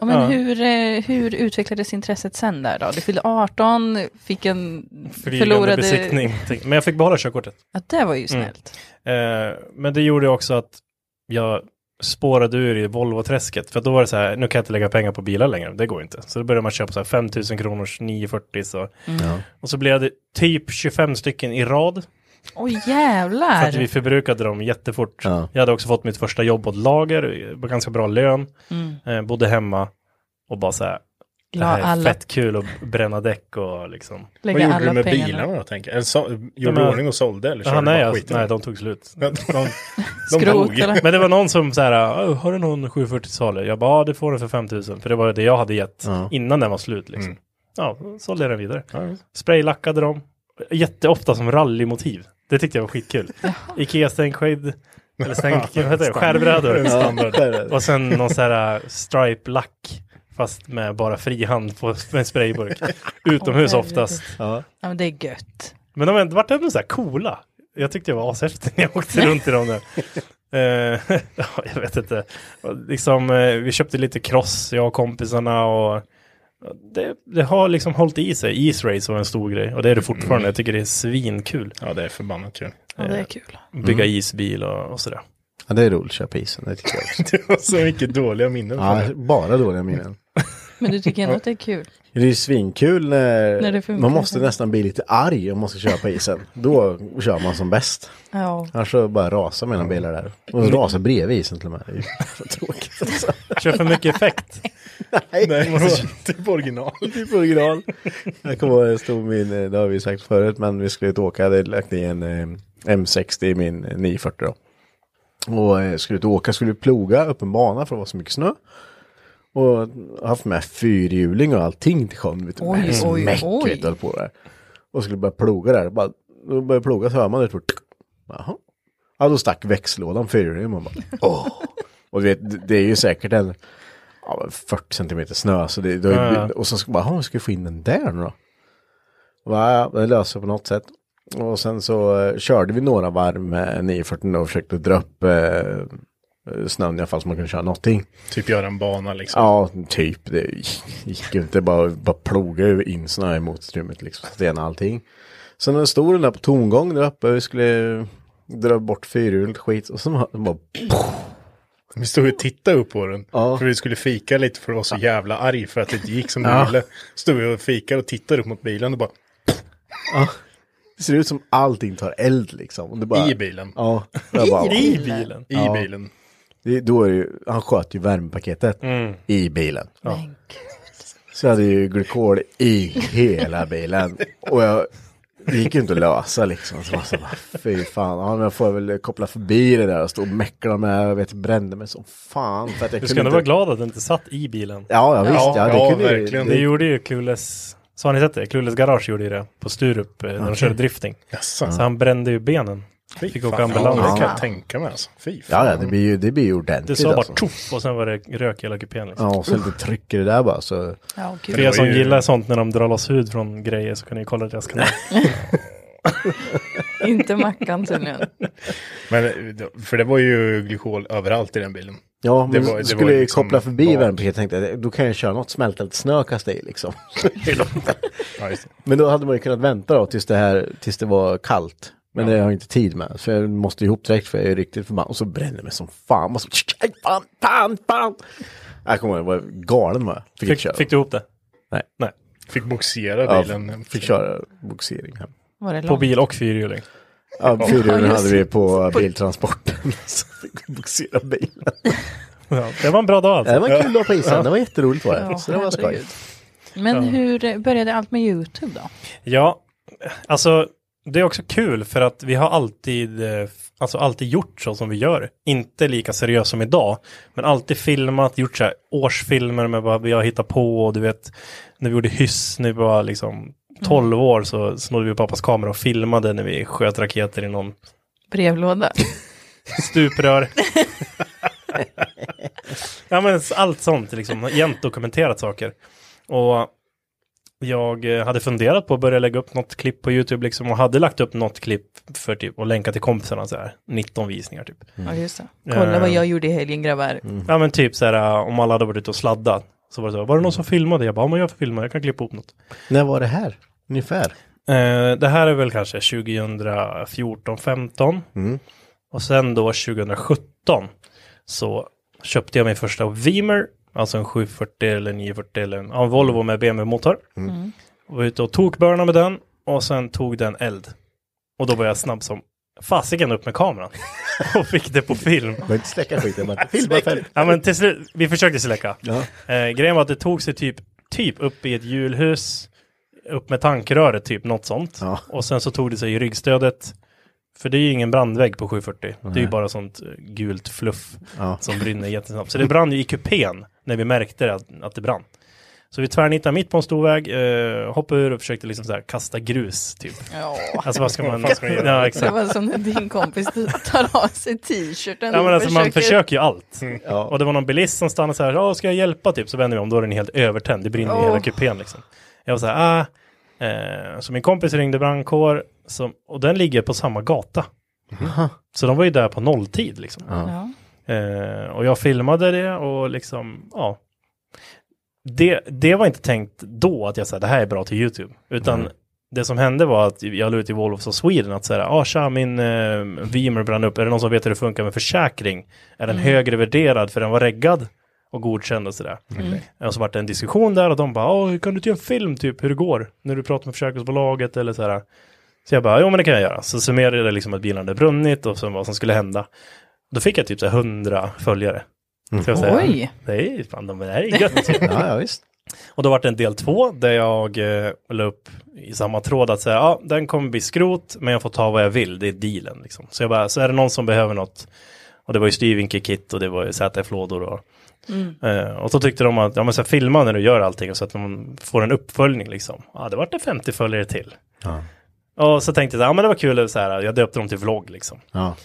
[SPEAKER 2] Ja, men hur, eh, hur utvecklades intresset sen där då? Du fyllde 18, fick en
[SPEAKER 5] Flygande
[SPEAKER 2] förlorade...
[SPEAKER 5] besiktning. Mm. Men jag fick behålla körkortet.
[SPEAKER 2] Ja, det var ju snällt.
[SPEAKER 5] Eh, men det gjorde också att jag spårade ur i Volvo-träsket. För då var det så här, nu kan jag inte lägga pengar på bilar längre, det går inte. Så då började man köpa så här 5000 kronors 940. Så.
[SPEAKER 2] Mm.
[SPEAKER 5] Och så blev det typ 25 stycken i rad.
[SPEAKER 2] Åh
[SPEAKER 5] För att vi
[SPEAKER 2] jävlar!
[SPEAKER 5] förbrukade dem jättefort.
[SPEAKER 3] Ja.
[SPEAKER 5] Jag hade också fått mitt första jobb på ett lager, på ganska bra lön. Eh, bodde hemma och bara så här, det
[SPEAKER 2] Mm. La
[SPEAKER 5] här är
[SPEAKER 2] alla,
[SPEAKER 5] fett kul att bränna däck och liksom.
[SPEAKER 2] lägga
[SPEAKER 4] Vad gjorde
[SPEAKER 2] alla
[SPEAKER 4] du med
[SPEAKER 2] pengarna.
[SPEAKER 4] bilarna då? Tänker? jag? Eller så, gjorde
[SPEAKER 5] men-
[SPEAKER 4] du ordning och sålde? Eller körde
[SPEAKER 5] Ja,
[SPEAKER 4] du bara
[SPEAKER 5] nej, jag,
[SPEAKER 4] skiten? [laughs]
[SPEAKER 5] nej, de tog slut.
[SPEAKER 4] de, de,
[SPEAKER 2] Skrot
[SPEAKER 4] dog.
[SPEAKER 2] eller?
[SPEAKER 5] Men det var någon som så här, "Åh, har du någon 740 salu? Jag bara, ja det får du för 5000. För det var det jag hade gett
[SPEAKER 3] Ja.
[SPEAKER 5] innan den var slut. Liksom.
[SPEAKER 4] Mm.
[SPEAKER 5] Ja, då sålde jag den vidare. Spraylackade dem. Jätteofta som rallymotiv. Det tyckte jag var skitkul. Ikea stänkskydd. Eller stänk, vad heter det? Skärbrädor. Och sen någon så här äh, stripe-lack. Fast med bara frihand på med en sprayburk. Utomhus
[SPEAKER 2] Åh,
[SPEAKER 5] oftast.
[SPEAKER 2] Ja, men det är gött.
[SPEAKER 5] Men de har ändå- vart ändå så här coola. Jag tyckte jag var ashäftig när jag [laughs] åkte runt i dem där. Eh, [laughs] ja, jag vet inte. Och Liksom, eh, vi köpte lite cross, jag och kompisarna. Och det, det har liksom hållit i sig. Israce var en stor grej. Och det är det fortfarande. Jag tycker det är svinkul.
[SPEAKER 4] Mm. Ja, det Mm. är förbannat kul.
[SPEAKER 2] Ja, det är kul.
[SPEAKER 5] Bygga isbil och, och sådär.
[SPEAKER 3] Ja, det är roligt att köpa isen, det tycker jag
[SPEAKER 5] [laughs]
[SPEAKER 3] också.
[SPEAKER 4] [laughs] Det var så mycket dåliga minnen. från
[SPEAKER 3] Ja,
[SPEAKER 4] det.
[SPEAKER 3] bara dåliga minnen.
[SPEAKER 2] Men du tycker ändå att det är kul?
[SPEAKER 3] Det är ju svinkul när,
[SPEAKER 2] När det funkar.
[SPEAKER 3] man måste nästan bli lite arg om man ska köpa isen. Då kör man som bäst.
[SPEAKER 2] Ja.
[SPEAKER 3] Annars så bara rasar mina bilar där. Och de rasar bredvid isen till och med. Det är ju [laughs] så tråkigt alltså.
[SPEAKER 5] Kör för mycket
[SPEAKER 4] [laughs]
[SPEAKER 5] effekt.
[SPEAKER 4] Nej, det var typ original.
[SPEAKER 3] [laughs] Typ original. Jag kommer ihåg, jag stod min, eh, det har vi sagt förut, men vi skulle ut och åka, jag hade lagt i en eh, M60 i min eh, 940 då. Och eh, skulle ut och åka, skulle ploga upp en bana för det var så mycket snö. Och haft med fyrhjuling och allting till sjön. Vet du,
[SPEAKER 2] Oj,
[SPEAKER 3] med
[SPEAKER 2] oj,
[SPEAKER 3] smäck,
[SPEAKER 2] oj.
[SPEAKER 3] Vet, du, höll på där. Och skulle börja ploga där. Bara, då började jag ploga så hör man det. typ, tsk. Jaha. Ja, då stack växellådan fyrhjulingen. Man bara, åh. Och du vet, det- det är ju säkert en ja, 40 centimeter snö. Så det, då,
[SPEAKER 5] Ja, ja.
[SPEAKER 3] Och så ska bara, jaha, ska vi få in den där nu då? Och bara, ja, det löser vi på något sätt. Och sen så eh, körde vi några varv med 940 och försökte dra upp eh, eh, snön i alla fall så man kunde köra någonting.
[SPEAKER 4] Typ göra en bana liksom.
[SPEAKER 3] Ja, typ. Det gick ju inte bara, bara ploga in snö i motorrummet liksom. Stena allting. Sen när det stod den där på tomgång där uppe vi skulle dra bort fyrhjulet skit och så bara, bara
[SPEAKER 4] Vi stod och tittade upp på den.
[SPEAKER 3] Ja.
[SPEAKER 4] För vi skulle fika lite för att vara så jävla arg för att det inte gick som vi ville. Stod vi och fikade och tittade upp mot bilen och bara
[SPEAKER 3] det ser ut som allting tar eld liksom. Och det bara,
[SPEAKER 4] i bilen.
[SPEAKER 3] Ja. I, bara,
[SPEAKER 5] I bilen.
[SPEAKER 4] I bilen.
[SPEAKER 3] det, då är det ju, han sköt ju värmepaketet i bilen. Så jag hade ju glykol i hela bilen. Och jag, det gick ju inte att lösa liksom. Så jag så bara, fy fan, ja, men jag får väl koppla förbi det där och stå och mäckla med, jag vet, brände mig som fan. För att jag
[SPEAKER 5] Du
[SPEAKER 3] kunde
[SPEAKER 5] ska ändå
[SPEAKER 3] inte-
[SPEAKER 5] vara glad att du inte satt i bilen.
[SPEAKER 3] Ja, ja visst. Ja,
[SPEAKER 4] Ja,
[SPEAKER 3] det
[SPEAKER 4] ja,
[SPEAKER 3] kunde ju-
[SPEAKER 4] verkligen.
[SPEAKER 5] Det gjorde ju Kules, så har ni sett det? Kules garage gjorde ju det på Sturup eh, när de körde drifting.
[SPEAKER 4] Jaså.
[SPEAKER 5] Så han brände ju benen.
[SPEAKER 4] Fy
[SPEAKER 5] Fick åka
[SPEAKER 4] fan.
[SPEAKER 5] ambulans.
[SPEAKER 4] Ja, det kan jag tänka mig alltså. Fy fan.
[SPEAKER 3] Ja, ja, det blir ju, det blir ju ordentligt.
[SPEAKER 5] Du sa bara
[SPEAKER 3] alltså.
[SPEAKER 5] tjoff och sen var det rök i hela kupén. Liksom.
[SPEAKER 3] Ja, och så lite tryck i det där bara. Så,
[SPEAKER 2] Ja,
[SPEAKER 5] För
[SPEAKER 2] gud.
[SPEAKER 5] er som
[SPEAKER 4] ju-
[SPEAKER 5] gillar sånt när de drar loss hud från grejer så kan ni kolla deras kanal.
[SPEAKER 2] Inte Mackan tydligen.
[SPEAKER 4] Men, eh, för det var ju glykol överallt i den bilen.
[SPEAKER 3] ja,
[SPEAKER 4] Det
[SPEAKER 3] men
[SPEAKER 4] var-
[SPEAKER 3] så
[SPEAKER 4] det
[SPEAKER 3] skulle
[SPEAKER 4] var
[SPEAKER 3] jag ju
[SPEAKER 4] liksom
[SPEAKER 3] koppla förbi
[SPEAKER 4] bak.
[SPEAKER 3] värmepaketet. Tänkte jag, då kan jag köra något, smälta lite snö och kasta i liksom.
[SPEAKER 4] [laughs] Ja, just det.
[SPEAKER 3] Men då hade man ju kunnat vänta då tills det här, tills det var kallt. Men det har jag inte tid med, för jag måste ihop direkt för jag är riktigt förbannad. Och så bränner jag mig som fan. Och så, aj, fan, fan, fan. Jag kommer ihåg, jag var galen med. Fick, inte köra.
[SPEAKER 5] Fick, fick du ihop det?
[SPEAKER 3] Nej.
[SPEAKER 5] Nej.
[SPEAKER 4] Fick boxera
[SPEAKER 3] ja,
[SPEAKER 4] bilen. Ja,
[SPEAKER 3] fick köra boxering hem.
[SPEAKER 2] Var det
[SPEAKER 5] På
[SPEAKER 2] långt?
[SPEAKER 5] bil och fyrhjuling.
[SPEAKER 3] Ja, fyrhjulen
[SPEAKER 2] Ja, just
[SPEAKER 3] hade vi på biltransporten. [laughs] Så fick vi boxera bilen.
[SPEAKER 5] Ja, det var en bra dag
[SPEAKER 3] Det
[SPEAKER 5] alltså.
[SPEAKER 3] var kul att vara på isen, det var jätteroligt var det.
[SPEAKER 2] Ja,
[SPEAKER 3] så det var skoj.
[SPEAKER 2] herregud. Men hur eh, började allt med YouTube då?
[SPEAKER 5] Ja, alltså det är också kul för att vi har alltid, eh, f- alltså alltid gjort så som vi gör. Inte lika seriöst som idag, men alltid filmat, gjort så här årsfilmer med vad vi har hittat på och du vet, när vi gjorde hyss, när vi var liksom 12 år så snodde vi pappas kamera och filmade när vi sköt raketer i någon
[SPEAKER 2] Brevlåda?
[SPEAKER 5] stuprör. ja men s- allt sånt liksom, jämt dokumenterat saker. Och jag eh, hade funderat på att börja lägga upp något klipp på YouTube liksom och hade lagt upp något klipp för typ och länka till kompisarna så här, 19 visningar typ. Eh,
[SPEAKER 2] Ja, just det. Kolla vad jag gjorde i helgen grabbar.
[SPEAKER 5] Ja men typ så här eh, om alla hade varit ute och sladdat så var det så, här, var det någon som filmade? Jag bara, ja men jag filmar, jag kan klippa ihop något.
[SPEAKER 3] När var det här? Ungefär?
[SPEAKER 5] Eh, det här är väl kanske 2014, 15.
[SPEAKER 3] Mm.
[SPEAKER 5] Och sen då 2017 så köpte jag min första Veemer, alltså en 740 eller 940 eller en, ja, en Volvo med BMW-motor. Och var ute och tokbörna med den och sen tog den eld. Och då var jag snabb som fasiken upp med kameran [laughs] och fick det på film.
[SPEAKER 3] Jag inte släcka skiten, [laughs] men filma själv.
[SPEAKER 5] Ja men till slut, vi försökte släcka.
[SPEAKER 3] Ja.
[SPEAKER 5] Eh, grejen var att det tog sig typ, typ upp i ett hjulhus, upp med tankröret typ, något sånt.
[SPEAKER 3] Ja.
[SPEAKER 5] Och sen så tog det sig i ryggstödet. För det är ju ingen brandvägg på 740. Det är ju bara sånt eh, gult fluff
[SPEAKER 3] Ja.
[SPEAKER 5] som brinner jättesnabbt. Så det brann ju i kupén när vi märkte att, att det brann. Så vi tvärnitade mitt på en stor väg, eh, hoppade ur och försökte liksom så här kasta grus typ.
[SPEAKER 2] Ja.
[SPEAKER 5] Alltså vad ska man...
[SPEAKER 4] Vad ska man göra?
[SPEAKER 5] ja,
[SPEAKER 2] Det
[SPEAKER 5] exakt.
[SPEAKER 2] var som när din kompis tar av sig t-shirten
[SPEAKER 5] Ja, men
[SPEAKER 2] och
[SPEAKER 5] alltså, man försöker ju allt.
[SPEAKER 3] Ja.
[SPEAKER 5] Och det var någon bilist som stannade så här, ja ska jag hjälpa typ? Så vänder vi om, då är den helt övertänd, det brinner i hela kupén liksom. Jag var så här, ah. eh, Så min kompis ringde brandkår, som, och den ligger på samma gata. Så de var ju där på nolltid liksom.
[SPEAKER 2] Ja.
[SPEAKER 5] Eh, och jag filmade det och liksom, ja. Det, det var inte tänkt då att jag sa det här är bra till YouTube. Utan det som hände var att jag la ut i Wolves of Sweden att säga, ah tja min eh, Veeamer brann upp, är det någon som vet hur det funkar med försäkring? Är den högre värderad för den var reggad och godkänd och sådär.
[SPEAKER 2] Mm.
[SPEAKER 5] Och så vart det en diskussion där och de bara, "Ah, hur kan du inte göra en film typ hur det går? När du pratar med försäkringsbolaget eller sådär. Så jag bara, jo men det kan jag göra. Så summerade jag liksom att bilen hade brunnit och sen vad som skulle hända. Då fick jag typ så här 100 följare. Så jag säger,
[SPEAKER 2] Oj.
[SPEAKER 5] Det är ju fan, de det här är gött.
[SPEAKER 3] Ja, ja, visst.
[SPEAKER 5] och då var det en del två där jag eh, la upp i samma tråd att säga, ja den kommer bli skrot men jag får ta vad jag vill, det är dealen liksom. Så jag bara, så är det någon som behöver något, och det var ju styrvinkelkit och det var ju ZF-lådor och Eh, och så tyckte de att, ja men så här, filma när du gör allting så att man får en uppföljning liksom. Ja, det vart det 50 följare till. Och så tänkte jag, ja men det var kul, så här, jag döpte dem till vlogg liksom.
[SPEAKER 3] Ja.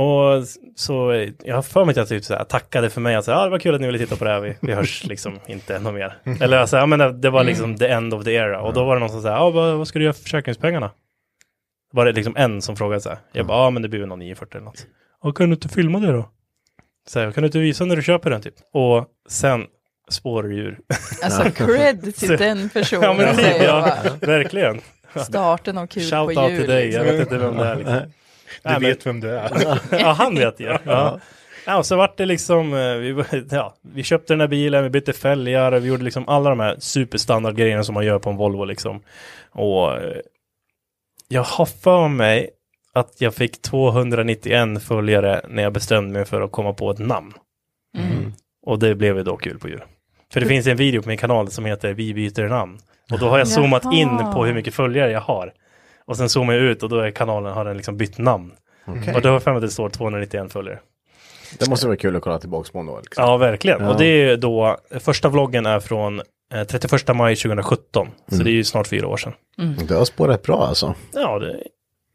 [SPEAKER 5] Och så, eh, jag har för mig att jag typ så här, tackade för mig, att säga, ah, det var kul att ni ville titta på det här, vi, vi [laughs] hörs liksom inte ännu mer. Eller alltså, ja, men det, det var liksom the end of the era. Och då var det någon som sa, ah, vad, vad ska du göra för försäkringspengarna? Var det liksom en som frågade så här. Jag bara, ja ah, men det blir väl någon 940 eller något. Och kunde du inte filma det då? Så här, kan du inte visa när du köper den typ? Och sen spårdjur.
[SPEAKER 2] Alltså cred
[SPEAKER 5] Så-
[SPEAKER 2] till den personen
[SPEAKER 5] [laughs] ja, men, typ,
[SPEAKER 2] säger jag
[SPEAKER 5] [laughs] ja,
[SPEAKER 2] bara.
[SPEAKER 5] verkligen.
[SPEAKER 2] Starten av kul
[SPEAKER 5] Shout
[SPEAKER 2] på
[SPEAKER 5] out
[SPEAKER 2] jul.
[SPEAKER 5] till dig, jag
[SPEAKER 2] liksom.
[SPEAKER 5] vet inte vem det är. Liksom.
[SPEAKER 4] Du
[SPEAKER 5] Nej, men-
[SPEAKER 4] vet vem det är.
[SPEAKER 5] Ja, han vet ju. Ja. Ja, och så vart det liksom, eh, vi, var- [laughs] ja, vi köpte den här bilen, vi bytte fälgar, vi gjorde liksom alla de här superstandardgrejerna som man gör på en Volvo liksom. Och eh, jag har för mig att jag fick 291 följare när jag bestämde mig för att komma på ett namn.
[SPEAKER 2] Mm.
[SPEAKER 5] Och det blev ju då kul på jul. För det finns en video på min kanal som heter Vi byter namn. Och då har jag zoomat
[SPEAKER 2] Jaha.
[SPEAKER 5] in på hur mycket följare jag har. Och sen zoomar jag ut och då är kanalen, har den liksom bytt namn. Och då har jag för mig att det står 291 följare.
[SPEAKER 3] Det måste vara kul att kolla tillbaka på då. Liksom.
[SPEAKER 5] Ja, verkligen.
[SPEAKER 3] Ja.
[SPEAKER 5] Och det är ju då, första vloggen är från eh, 31 maj 2017. Så det är ju snart fyra år sedan.
[SPEAKER 3] Det har spårat bra alltså.
[SPEAKER 5] Mm. Ja, det,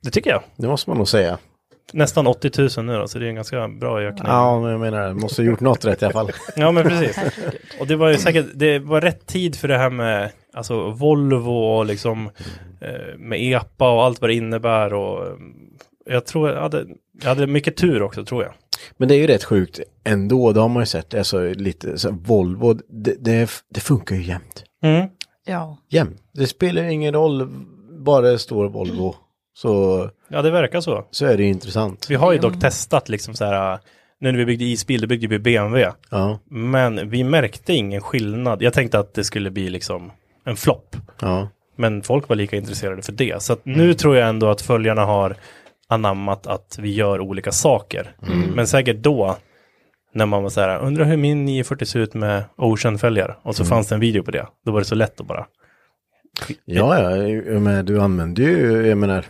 [SPEAKER 5] det tycker jag.
[SPEAKER 3] Det måste man nog säga.
[SPEAKER 5] Nästan 80 000 nu då, så det är en ganska bra ökning.
[SPEAKER 3] Ja, men jag menar, det måste ha gjort något rätt i alla fall.
[SPEAKER 5] Ja, men [laughs] precis. Och det var ju säkert, det var rätt tid för det här med alltså Volvo och liksom eh, med EPA och allt vad det innebär och eh, jag tror jag hade, jag hade mycket tur också tror jag.
[SPEAKER 3] [laughs] Men det är ju rätt sjukt ändå. Det har man ju sett. Alltså lite så här, Volvo. Det, det, det funkar ju jämt.
[SPEAKER 5] Mm.
[SPEAKER 2] Ja.
[SPEAKER 3] Jämt. Det spelar ju ingen roll. Bara det står Volvo. Så,
[SPEAKER 5] Ja, det verkar så.
[SPEAKER 3] så är det ju intressant.
[SPEAKER 5] Vi har ju dock testat liksom så här, nu när vi byggde isbil, då byggde vi BMW.
[SPEAKER 3] Ja,
[SPEAKER 5] Men vi märkte ingen skillnad. Jag tänkte att det skulle bli liksom en flopp.
[SPEAKER 3] ja.
[SPEAKER 5] Men folk var lika intresserade för det. Så att nu tror jag ändå att följarna har anammat att vi gör olika saker.
[SPEAKER 3] Mm.
[SPEAKER 5] Men säkert då, när man var så här, undrar hur min 940 ser ut med Ocean-följare. Och
[SPEAKER 3] Mm.
[SPEAKER 5] så fanns det en video på det. Då var det så lätt att bara.
[SPEAKER 3] Ja, ja, jag menar, du använder ju, jag menar,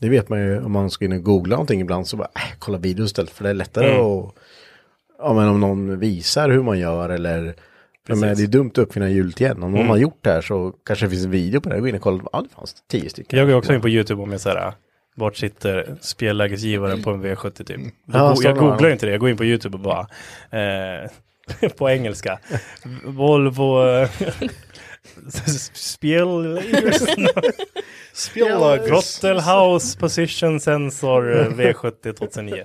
[SPEAKER 3] det vet man ju om man ska in och googla någonting ibland så bara, äh, kolla video istället för det är lättare
[SPEAKER 5] Mm.
[SPEAKER 3] att, ja men om någon visar hur man gör eller, jag
[SPEAKER 5] Precis.
[SPEAKER 3] menar, det är dumt att uppfinna hjulet igen, om någon har gjort det här så kanske det finns en video på det, gå in och kolla, ja det fanns tio stycken.
[SPEAKER 5] Jag går också in på YouTube och med så här, äh, vart sitter spellägesgivaren på en V70 typ?
[SPEAKER 4] Mm.
[SPEAKER 5] Då
[SPEAKER 3] Ja,
[SPEAKER 5] go- jag
[SPEAKER 3] sådana.
[SPEAKER 5] googlar inte det, jag går in på YouTube och bara, eh, [laughs] på engelska, Volvo, eh, [laughs] spel... Grottelhaus Position Sensor eh, V70
[SPEAKER 4] [laughs]
[SPEAKER 5] 2009.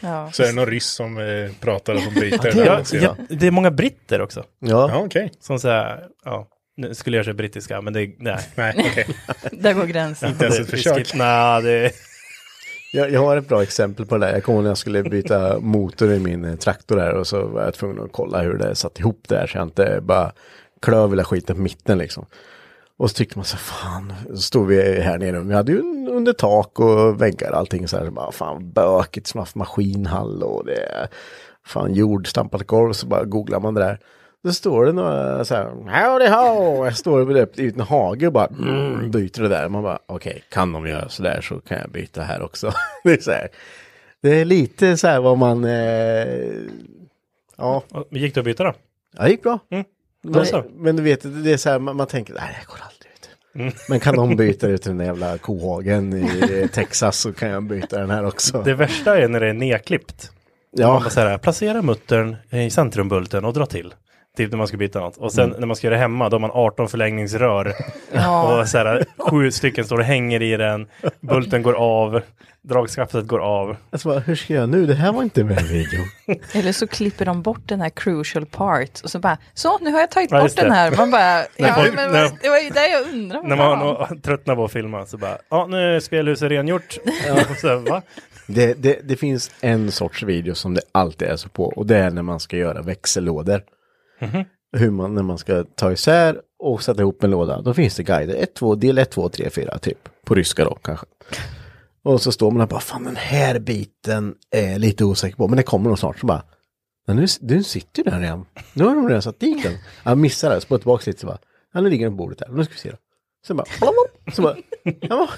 [SPEAKER 2] ja.
[SPEAKER 4] Så är det någon ryss som eh, pratar och som byter.
[SPEAKER 5] Ja,
[SPEAKER 4] där, ser jag.
[SPEAKER 5] ja, det är många britter också.
[SPEAKER 3] Ja,
[SPEAKER 4] Ja, okej.
[SPEAKER 5] Som säger, ja, nu skulle jag säga brittiska, men det, nej.
[SPEAKER 4] Nej, okej.
[SPEAKER 2] Där går gränsen.
[SPEAKER 4] Inte ens
[SPEAKER 5] Det-
[SPEAKER 4] ett
[SPEAKER 5] vi
[SPEAKER 4] försök.
[SPEAKER 5] skip- Nej, det...
[SPEAKER 3] jag, jag har ett bra exempel på det där, jag kommer ihåg när jag skulle byta motor i min eh, traktor där och så var jag tvungen att kolla hur det satt ihop där så jag inte bara klöv hela skiten på mitten liksom. Och så tyckte man så här, fan, så stod vi här nere, vi hade ju en- under tak och väggar och allting så här, så bara fan bökigt som haft maskinhall och det är fan jordstampat golv, så bara googlar man det där. Då står det några så här, howdy ho, jag står och löper ut en hage och bara mm, byter det där. Man bara, okej, kan de göra så där så kan jag byta här också. [laughs] det, är så här, det är lite så här vad man, eh, ja,
[SPEAKER 5] Och Gick det att byta då?
[SPEAKER 3] ja, det gick bra.
[SPEAKER 5] Då så.
[SPEAKER 3] Mm. Men, men du vet, det är så här, man, man tänker, nej det går aldrig ut. Men kan [laughs] de byta ut den där jävla kohagen i Texas så kan jag byta den här också.
[SPEAKER 5] Det värsta är när det är nedklippt.
[SPEAKER 3] ja,
[SPEAKER 5] Man så här, placera muttern i centrumbulten och dra till. Typ när man ska byta något. Och sen när man ska göra det hemma, då har man 18 förlängningsrör. [laughs] Och så här, sju stycken står och hänger i den. Bulten går av. Dragskaftet går av.
[SPEAKER 3] alltså, bara, hur ska jag nu? Det här var inte med i videon.
[SPEAKER 2] Eller så klipper de bort den här crucial part och så bara, så nu har jag tagit
[SPEAKER 5] Ja,
[SPEAKER 2] bort
[SPEAKER 5] just
[SPEAKER 2] den
[SPEAKER 5] det.
[SPEAKER 2] här. Man bara, ja,
[SPEAKER 5] folk-
[SPEAKER 2] men
[SPEAKER 5] [laughs] när-
[SPEAKER 2] det var ju det jag undrade.
[SPEAKER 5] När man har- tröttnar på att filma så bara, ja nu är spelhuset rengjort. [laughs] Och så, här, va?
[SPEAKER 3] Det, det, det finns en sorts video som det alltid är så på och det är när man ska göra växellådor.
[SPEAKER 5] Mhm.
[SPEAKER 3] Hur man, när man ska ta isär och sätta ihop en låda. Då finns det guider, 1, 2, del 1, 2, 3, 4 typ. På ryska då kanske. Och så står man där och bara, fan den här biten är jag lite osäker på, men det kommer nog snart. Så bara, men nu, den sitter ju där redan. Nu har de redan satt dit den. Jag missar det, så på tillbaka dit så bara, ja nu ligger den på bordet där, nu ska vi se då. Sen bara, så
[SPEAKER 5] [laughs]
[SPEAKER 3] bara, ja.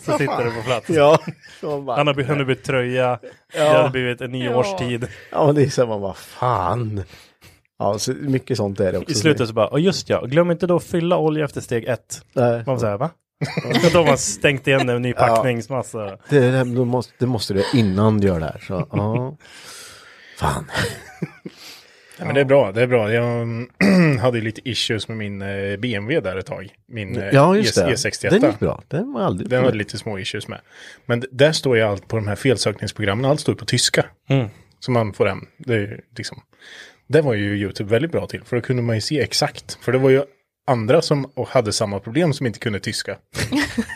[SPEAKER 5] så sitter det på plats.
[SPEAKER 3] ja. Så man bara,
[SPEAKER 5] Han har by- han har bytt tröja. Det hade blivit en ny
[SPEAKER 2] Ja.
[SPEAKER 5] årstid.
[SPEAKER 3] Ja, men det är så här, man bara fan. Ja, så mycket sånt är det också.
[SPEAKER 5] I slutet så bara, "Ja, just ja, glöm inte då att fylla olja efter steg ett.
[SPEAKER 3] Nej.
[SPEAKER 5] Man säger va? Och då har man stängt igen en ny packningsmassa.
[SPEAKER 3] Det, är det, här, då måste, det måste du göra innan du gör det här. Så, ja. Fan.
[SPEAKER 4] Ja, men det är bra, det är bra. Jag [clears throat] mm, hade ju lite issues med min eh, BMW där ett tag. Min eh,
[SPEAKER 3] [laughs] Ja, just
[SPEAKER 4] E-
[SPEAKER 3] det.
[SPEAKER 4] E61.
[SPEAKER 3] Den gick bra. Den var aldrig...
[SPEAKER 2] Mm. Mm.
[SPEAKER 4] Den hade lite små issues med. Men d- där står ju allt på de här felsökningsprogrammen, allt står ju på tyska. som man får hem. Det, är ju liksom, det var ju YouTube väldigt bra till, för då kunde man ju se exakt. För det var ju andra som och hade samma problem som inte
[SPEAKER 2] [laughs]
[SPEAKER 4] kunde tyska.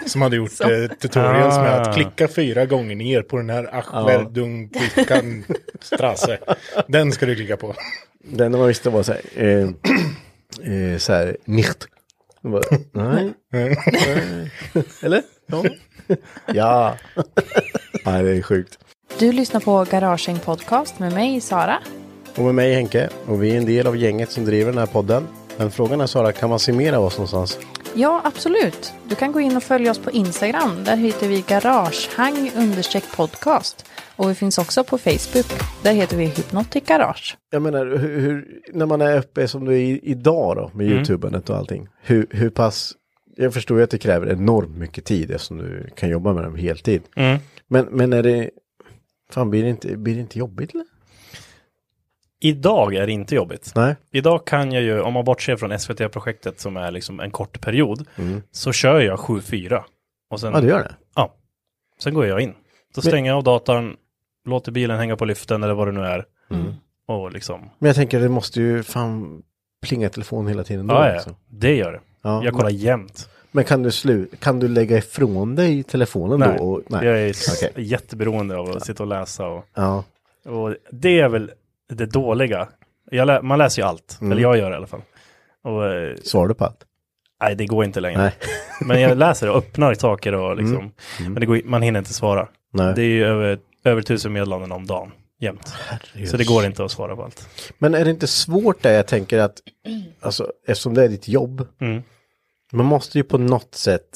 [SPEAKER 4] som hade gjort eh, tutorials med
[SPEAKER 5] Ah.
[SPEAKER 4] att klicka fyra gånger ner på den här Achverdung Pickan Strasse. Den ska du
[SPEAKER 2] [laughs]
[SPEAKER 4] klicka på.
[SPEAKER 3] Det enda man visste var så här, eh, [clears throat] eh, så här, nicht. Jag Bara, [laughs] nej. nej. Eller? Ja. ja. [laughs] Nej, det är sjukt.
[SPEAKER 2] Du lyssnar på Garaging Podcast med mig, Sara.
[SPEAKER 3] Och med mig Henke, och vi är en del av gänget som driver den här podden. Men frågan är Sara, kan man summera oss någonstans?
[SPEAKER 2] Ja, absolut. Du kan gå in och följa oss på Instagram. Där heter vi garagehang understreck podcast. Och vi finns också på Facebook. Där heter vi Hypnotic Garage.
[SPEAKER 3] Jag menar, hur, hur, när man är uppe som du är i- idag då,
[SPEAKER 5] Mm.
[SPEAKER 3] med YouTubandet och allting. Hur, hur pass, jag förstår ju att det kräver enormt mycket tid eftersom du kan jobba med dem heltid.
[SPEAKER 5] Mm.
[SPEAKER 3] Men, men är det, fan blir det inte, blir det inte jobbigt eller?
[SPEAKER 5] Idag är det inte jobbigt.
[SPEAKER 3] Nej.
[SPEAKER 5] Idag kan jag ju, om man bortser från SVT-projektet som är liksom en kort period, så kör jag 7-4. Och sen,
[SPEAKER 3] Mm. Ja, du gör det.
[SPEAKER 5] ja, sen går jag in. Då stänger jag av datorn, låter bilen hänga på lyften eller vad det nu är.
[SPEAKER 3] Mm.
[SPEAKER 5] Och liksom,
[SPEAKER 3] Men jag tänker det måste ju fan plinga telefon hela tiden. Då,
[SPEAKER 5] ja, ja,
[SPEAKER 3] liksom.
[SPEAKER 5] det gör det.
[SPEAKER 3] Ja.
[SPEAKER 5] jag kollar jämt.
[SPEAKER 3] Men kan du, slu, kan du lägga ifrån dig telefonen
[SPEAKER 5] Nej,
[SPEAKER 3] då? Och,
[SPEAKER 5] jag är s-
[SPEAKER 3] Okej.
[SPEAKER 5] jätteberoende av att sitta och läsa. Och,
[SPEAKER 3] Ja.
[SPEAKER 5] och det är väl det dåliga. Jag lä, man läser ju allt,
[SPEAKER 3] Mm.
[SPEAKER 5] eller jag gör det i alla fall. Och, eh,
[SPEAKER 3] Svarar du på allt?
[SPEAKER 5] nej, det går inte längre.
[SPEAKER 3] Nej. [laughs]
[SPEAKER 5] Men jag läser och öppnar saker och liksom. Men det går, man hinner inte svara.
[SPEAKER 3] Nej.
[SPEAKER 5] Det är ju över, över tusen meddelanden om dagen jämt. Så det går inte att svara på allt.
[SPEAKER 3] Men är det inte svårt där jag tänker att, alltså eftersom det är ditt jobb, man måste ju på något sätt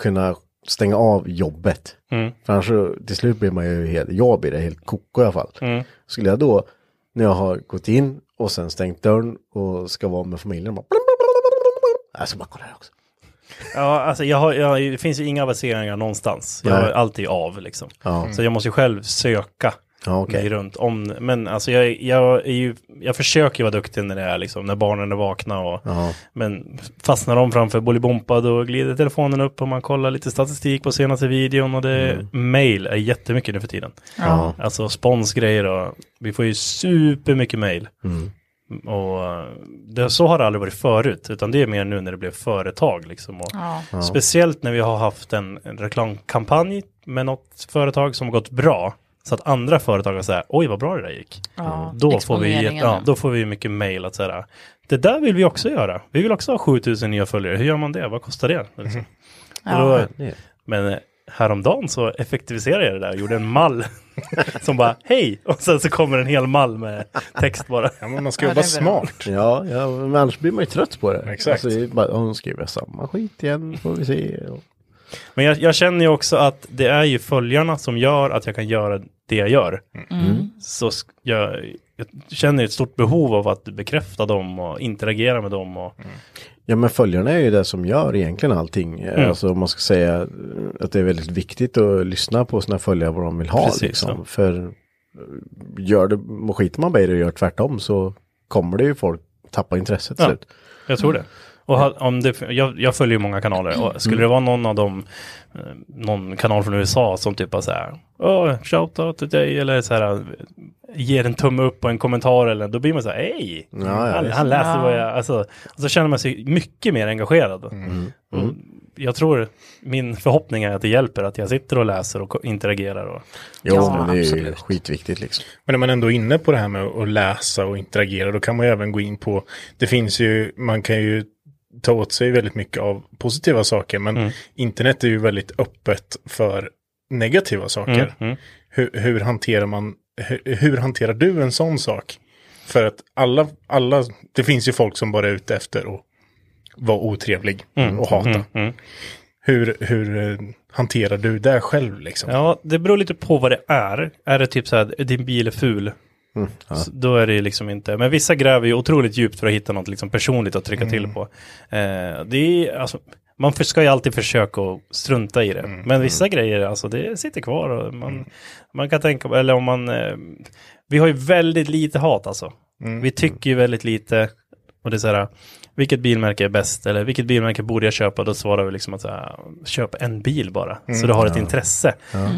[SPEAKER 3] kunna stänga av jobbet. För annars så, till slut blir man ju helt, jag blir det helt koko i alla fall. Skulle jag då, när jag har gått in och sen stängt dörren och ska vara med familjen, bara, alltså bara kolla här också.
[SPEAKER 5] [laughs] Ja, alltså jag har, jag, det finns ju inga avanceringar någonstans. Jag har
[SPEAKER 3] Nej.
[SPEAKER 5] alltid av liksom.
[SPEAKER 3] Ja.
[SPEAKER 5] Så jag måste ju själv söka
[SPEAKER 3] Ja, okej.
[SPEAKER 5] mig runt om. Men alltså jag, jag, är ju, jag försöker ju vara duktig när det är liksom, när barnen är vakna och
[SPEAKER 3] Ja.
[SPEAKER 5] Men fastnar de framför Bolibompa då glider telefonen upp och man kollar lite statistik på senaste videon och det mail är jättemycket nu för tiden.
[SPEAKER 3] Mm. Ja.
[SPEAKER 5] Alltså sponsgrejer och vi får ju supermycket mail. Och eh, det, så har det aldrig varit förut utan det är mer nu när det blev företag liksom. Och Speciellt när vi har haft en, en reklamkampanj med något företag som har gått bra. Så att andra företag har sagt, oj vad bra det där gick. Då får, vi,
[SPEAKER 2] Exponeringen.
[SPEAKER 5] jätte- ja, då får vi mycket mejl att säga, det där vill vi också göra. Vi vill också ha 7000 nya följare. Hur gör man det? Vad kostar det? Liksom. Och Då,
[SPEAKER 3] det är-
[SPEAKER 5] men eh, häromdagen så effektiviserade jag det där och gjorde en mall [laughs] som bara hej och sen så kommer en hel mall med text bara.
[SPEAKER 4] Ja, men man ska
[SPEAKER 2] Ja,
[SPEAKER 4] jobba
[SPEAKER 2] det är bra.
[SPEAKER 4] smart.
[SPEAKER 3] Ja, ja, men annars blir man ju trött på det.
[SPEAKER 4] Exakt.
[SPEAKER 3] Alltså, det är bara, hon skriver samma skit igen, får vi se. Och-
[SPEAKER 5] Men jag, jag känner ju också att det är ju följarna som gör att jag kan göra det jag gör. Så sk- jag, jag känner ju ett stort behov av att bekräfta dem och interagera med dem. Och,
[SPEAKER 3] Ja men följarna är ju det som gör egentligen allting.
[SPEAKER 4] Mm.
[SPEAKER 3] Alltså om man ska säga eh, att det är väldigt viktigt att lyssna på sina följare vad de vill ha.
[SPEAKER 5] Precis,
[SPEAKER 3] liksom.
[SPEAKER 5] ja.
[SPEAKER 3] För eh, gör det, och skiter man bara i det och gör tvärtom så kommer det ju folk tappa intresset till
[SPEAKER 5] Ja.
[SPEAKER 3] slut.
[SPEAKER 5] Jag tror det. Och ha- om det jag, jag följer ju många kanaler
[SPEAKER 3] Mm.
[SPEAKER 5] och skulle det vara någon av dem, eh, någon kanal från USA som typ bara så här, oh, shoutout till dig eller så här, ger en tumme upp och en kommentar eller då blir man så här, hej,
[SPEAKER 3] ja,
[SPEAKER 5] han,
[SPEAKER 3] visst.
[SPEAKER 5] han läser vad jag, alltså, och så känner man sig mycket mer engagerad.
[SPEAKER 3] Mm.
[SPEAKER 5] Och jag tror, min förhoppning är att det hjälper att jag sitter och läser och ko- interagerar. Och,
[SPEAKER 3] Jo,
[SPEAKER 2] Ja,
[SPEAKER 3] men det är ju
[SPEAKER 2] absolut.
[SPEAKER 3] skitviktigt liksom.
[SPEAKER 4] Men när man ändå är inne på det här med att läsa och interagera, då kan man ju även gå in på, det finns ju, man kan ju ta åt sig väldigt mycket av positiva saker, men
[SPEAKER 5] Mm.
[SPEAKER 4] internet är ju väldigt öppet för negativa saker.
[SPEAKER 5] Mm,
[SPEAKER 4] Hur, hur hanterar man, hur, hur hanterar du en sån sak? För att alla, alla, det finns ju folk som bara är ute efter att vara otrevlig
[SPEAKER 2] Mm.
[SPEAKER 4] och hata. Hur, hur eh, hanterar du det själv liksom?
[SPEAKER 5] Ja, det beror lite på vad det är. Är det typ så här, din bil är ful? Så Då är det ju liksom inte, men vissa gräver ju otroligt djupt för att hitta något liksom personligt att trycka till på. Eh, det är, alltså, man för- ska ju alltid försöka att strunta i det, men vissa grejer alltså, det sitter kvar. Och man, man kan tänka, på- eller om man, eh, vi har ju väldigt lite hat alltså. Vi tycker ju väldigt lite, och det är så här, vilket bilmärke är bäst eller vilket bilmärke borde jag köpa? Då
[SPEAKER 4] Mm.
[SPEAKER 5] svarar vi liksom att så här, köp en bil bara, så du har ett intresse.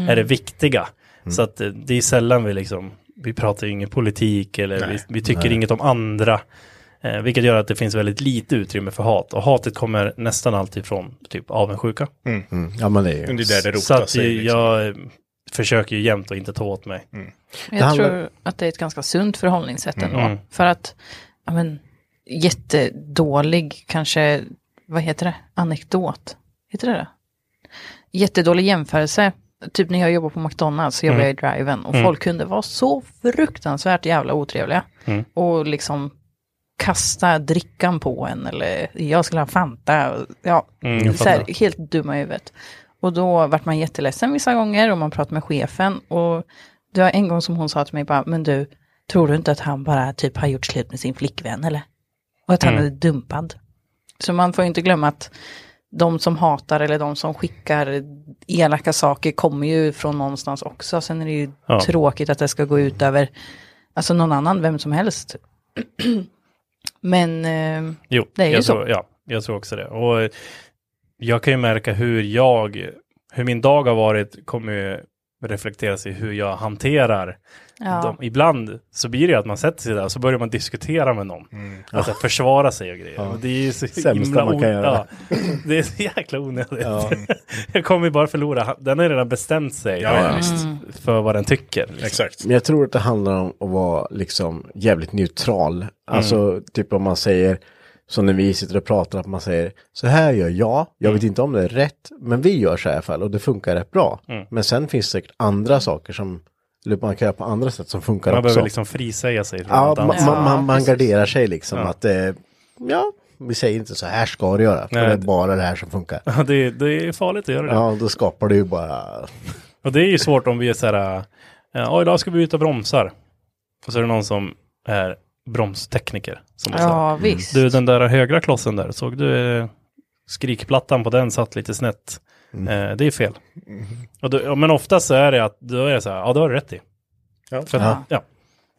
[SPEAKER 5] Är det viktiga? Så att eh, det är sällan vi liksom, vi pratar ju ingen politik eller
[SPEAKER 4] Nej.
[SPEAKER 5] vi, vi tycker inget om andra. Eh, vilket gör att det finns väldigt lite utrymme för hat. Och hatet kommer nästan alltid från typ avundsjuka.
[SPEAKER 3] Mm. Ja, men det är
[SPEAKER 4] Det är
[SPEAKER 3] ju.
[SPEAKER 4] där det rotar
[SPEAKER 5] Så att
[SPEAKER 4] sig.
[SPEAKER 5] ju-
[SPEAKER 4] Liksom.
[SPEAKER 5] jag eh, försöker ju jämt att inte ta åt mig.
[SPEAKER 2] Jag
[SPEAKER 3] Det handlar-
[SPEAKER 2] tror att det är ett ganska sunt förhållningssätt ändå.
[SPEAKER 5] Mm.
[SPEAKER 2] För att, ja men, jättedålig kanske, vad heter det, anekdot? Heter det det? Jättedålig jämförelse. Typ när jag jobbade på McDonalds så jobbade jag i driven och folk kunde vara så fruktansvärt jävla otrevliga. Och liksom kasta drickan på en eller jag skulle ha Fanta. och- Ja, så här, helt dumma i huvudet. Och då vart man jätteledsen vissa gånger och man pratade med chefen. Och det var en gång som hon sa till mig bara, men du, tror du inte att han bara typ har gjort slut med sin flickvän eller? Och att han
[SPEAKER 5] Mm.
[SPEAKER 2] är dumpad. Så man får ju inte glömma att de som hatar eller de som skickar elaka saker kommer ju från någonstans också. Sen är det ju
[SPEAKER 5] Ja.
[SPEAKER 2] tråkigt att det ska gå ut över alltså någon annan, vem som helst. [clears throat] Men eh,
[SPEAKER 5] Jo,
[SPEAKER 2] Det är ju
[SPEAKER 5] jag,
[SPEAKER 2] så.
[SPEAKER 5] Tror, ja, jag tror också det. Och eh, jag kan ju märka hur jag, hur min dag har varit kommer ju reflekteras i hur jag hanterar
[SPEAKER 2] ja.
[SPEAKER 5] dem. Ibland så blir det ju att man sätter sig där och så börjar man diskutera med någon. Alltså försvara sig och grejer. Och det är ju så
[SPEAKER 3] Mm. Sämsta
[SPEAKER 5] himla
[SPEAKER 3] man kan
[SPEAKER 5] o-
[SPEAKER 3] göra.
[SPEAKER 5] Ja, det är så jäkla onödigt. [laughs] jag kommer ju bara förlora. Han- Den har ju redan bestämt sig
[SPEAKER 4] Ja, ja,
[SPEAKER 2] Mm.
[SPEAKER 5] för vad den tycker. liksom.
[SPEAKER 4] Exakt.
[SPEAKER 3] Men jag tror att det handlar om att vara liksom jävligt neutral.
[SPEAKER 5] Mm.
[SPEAKER 3] Alltså typ om man säger, som när vi sitter och pratar, att man säger så här gör jag,
[SPEAKER 5] Mm.
[SPEAKER 3] jag vet inte om det är rätt, men vi gör så här i alla fall och det funkar rätt bra.
[SPEAKER 5] Mm.
[SPEAKER 3] Men sen finns det säkert andra saker som, eller man kan göra på andra sätt som funkar
[SPEAKER 5] Man
[SPEAKER 3] också.
[SPEAKER 5] behöver liksom frisäga sig från
[SPEAKER 3] ja,
[SPEAKER 5] allt
[SPEAKER 3] man,
[SPEAKER 5] annat. [laughs]
[SPEAKER 3] man, man, man
[SPEAKER 2] precis.
[SPEAKER 3] garderar sig liksom att, eh, ja, vi säger inte så här ska du göra, för
[SPEAKER 5] Nej.
[SPEAKER 3] det är bara det här som funkar.
[SPEAKER 5] Ja, det, är- det är farligt att göra det.
[SPEAKER 3] Ja, då skapar du ju bara,
[SPEAKER 5] Och det är ju svårt om vi är så här, äh, ja idag ska vi ut och bromsar. Och så är det någon som är bromstekniker. Som bara så här,
[SPEAKER 2] ja, visst.
[SPEAKER 5] du den där högra klossen där, såg du eh, skrikplattan på den satt lite snett? Eh, det är fel. Och då, ja, men oftast så är det att då är det så här, ja det har du rätt i.
[SPEAKER 4] Ja.
[SPEAKER 5] För, att- ja.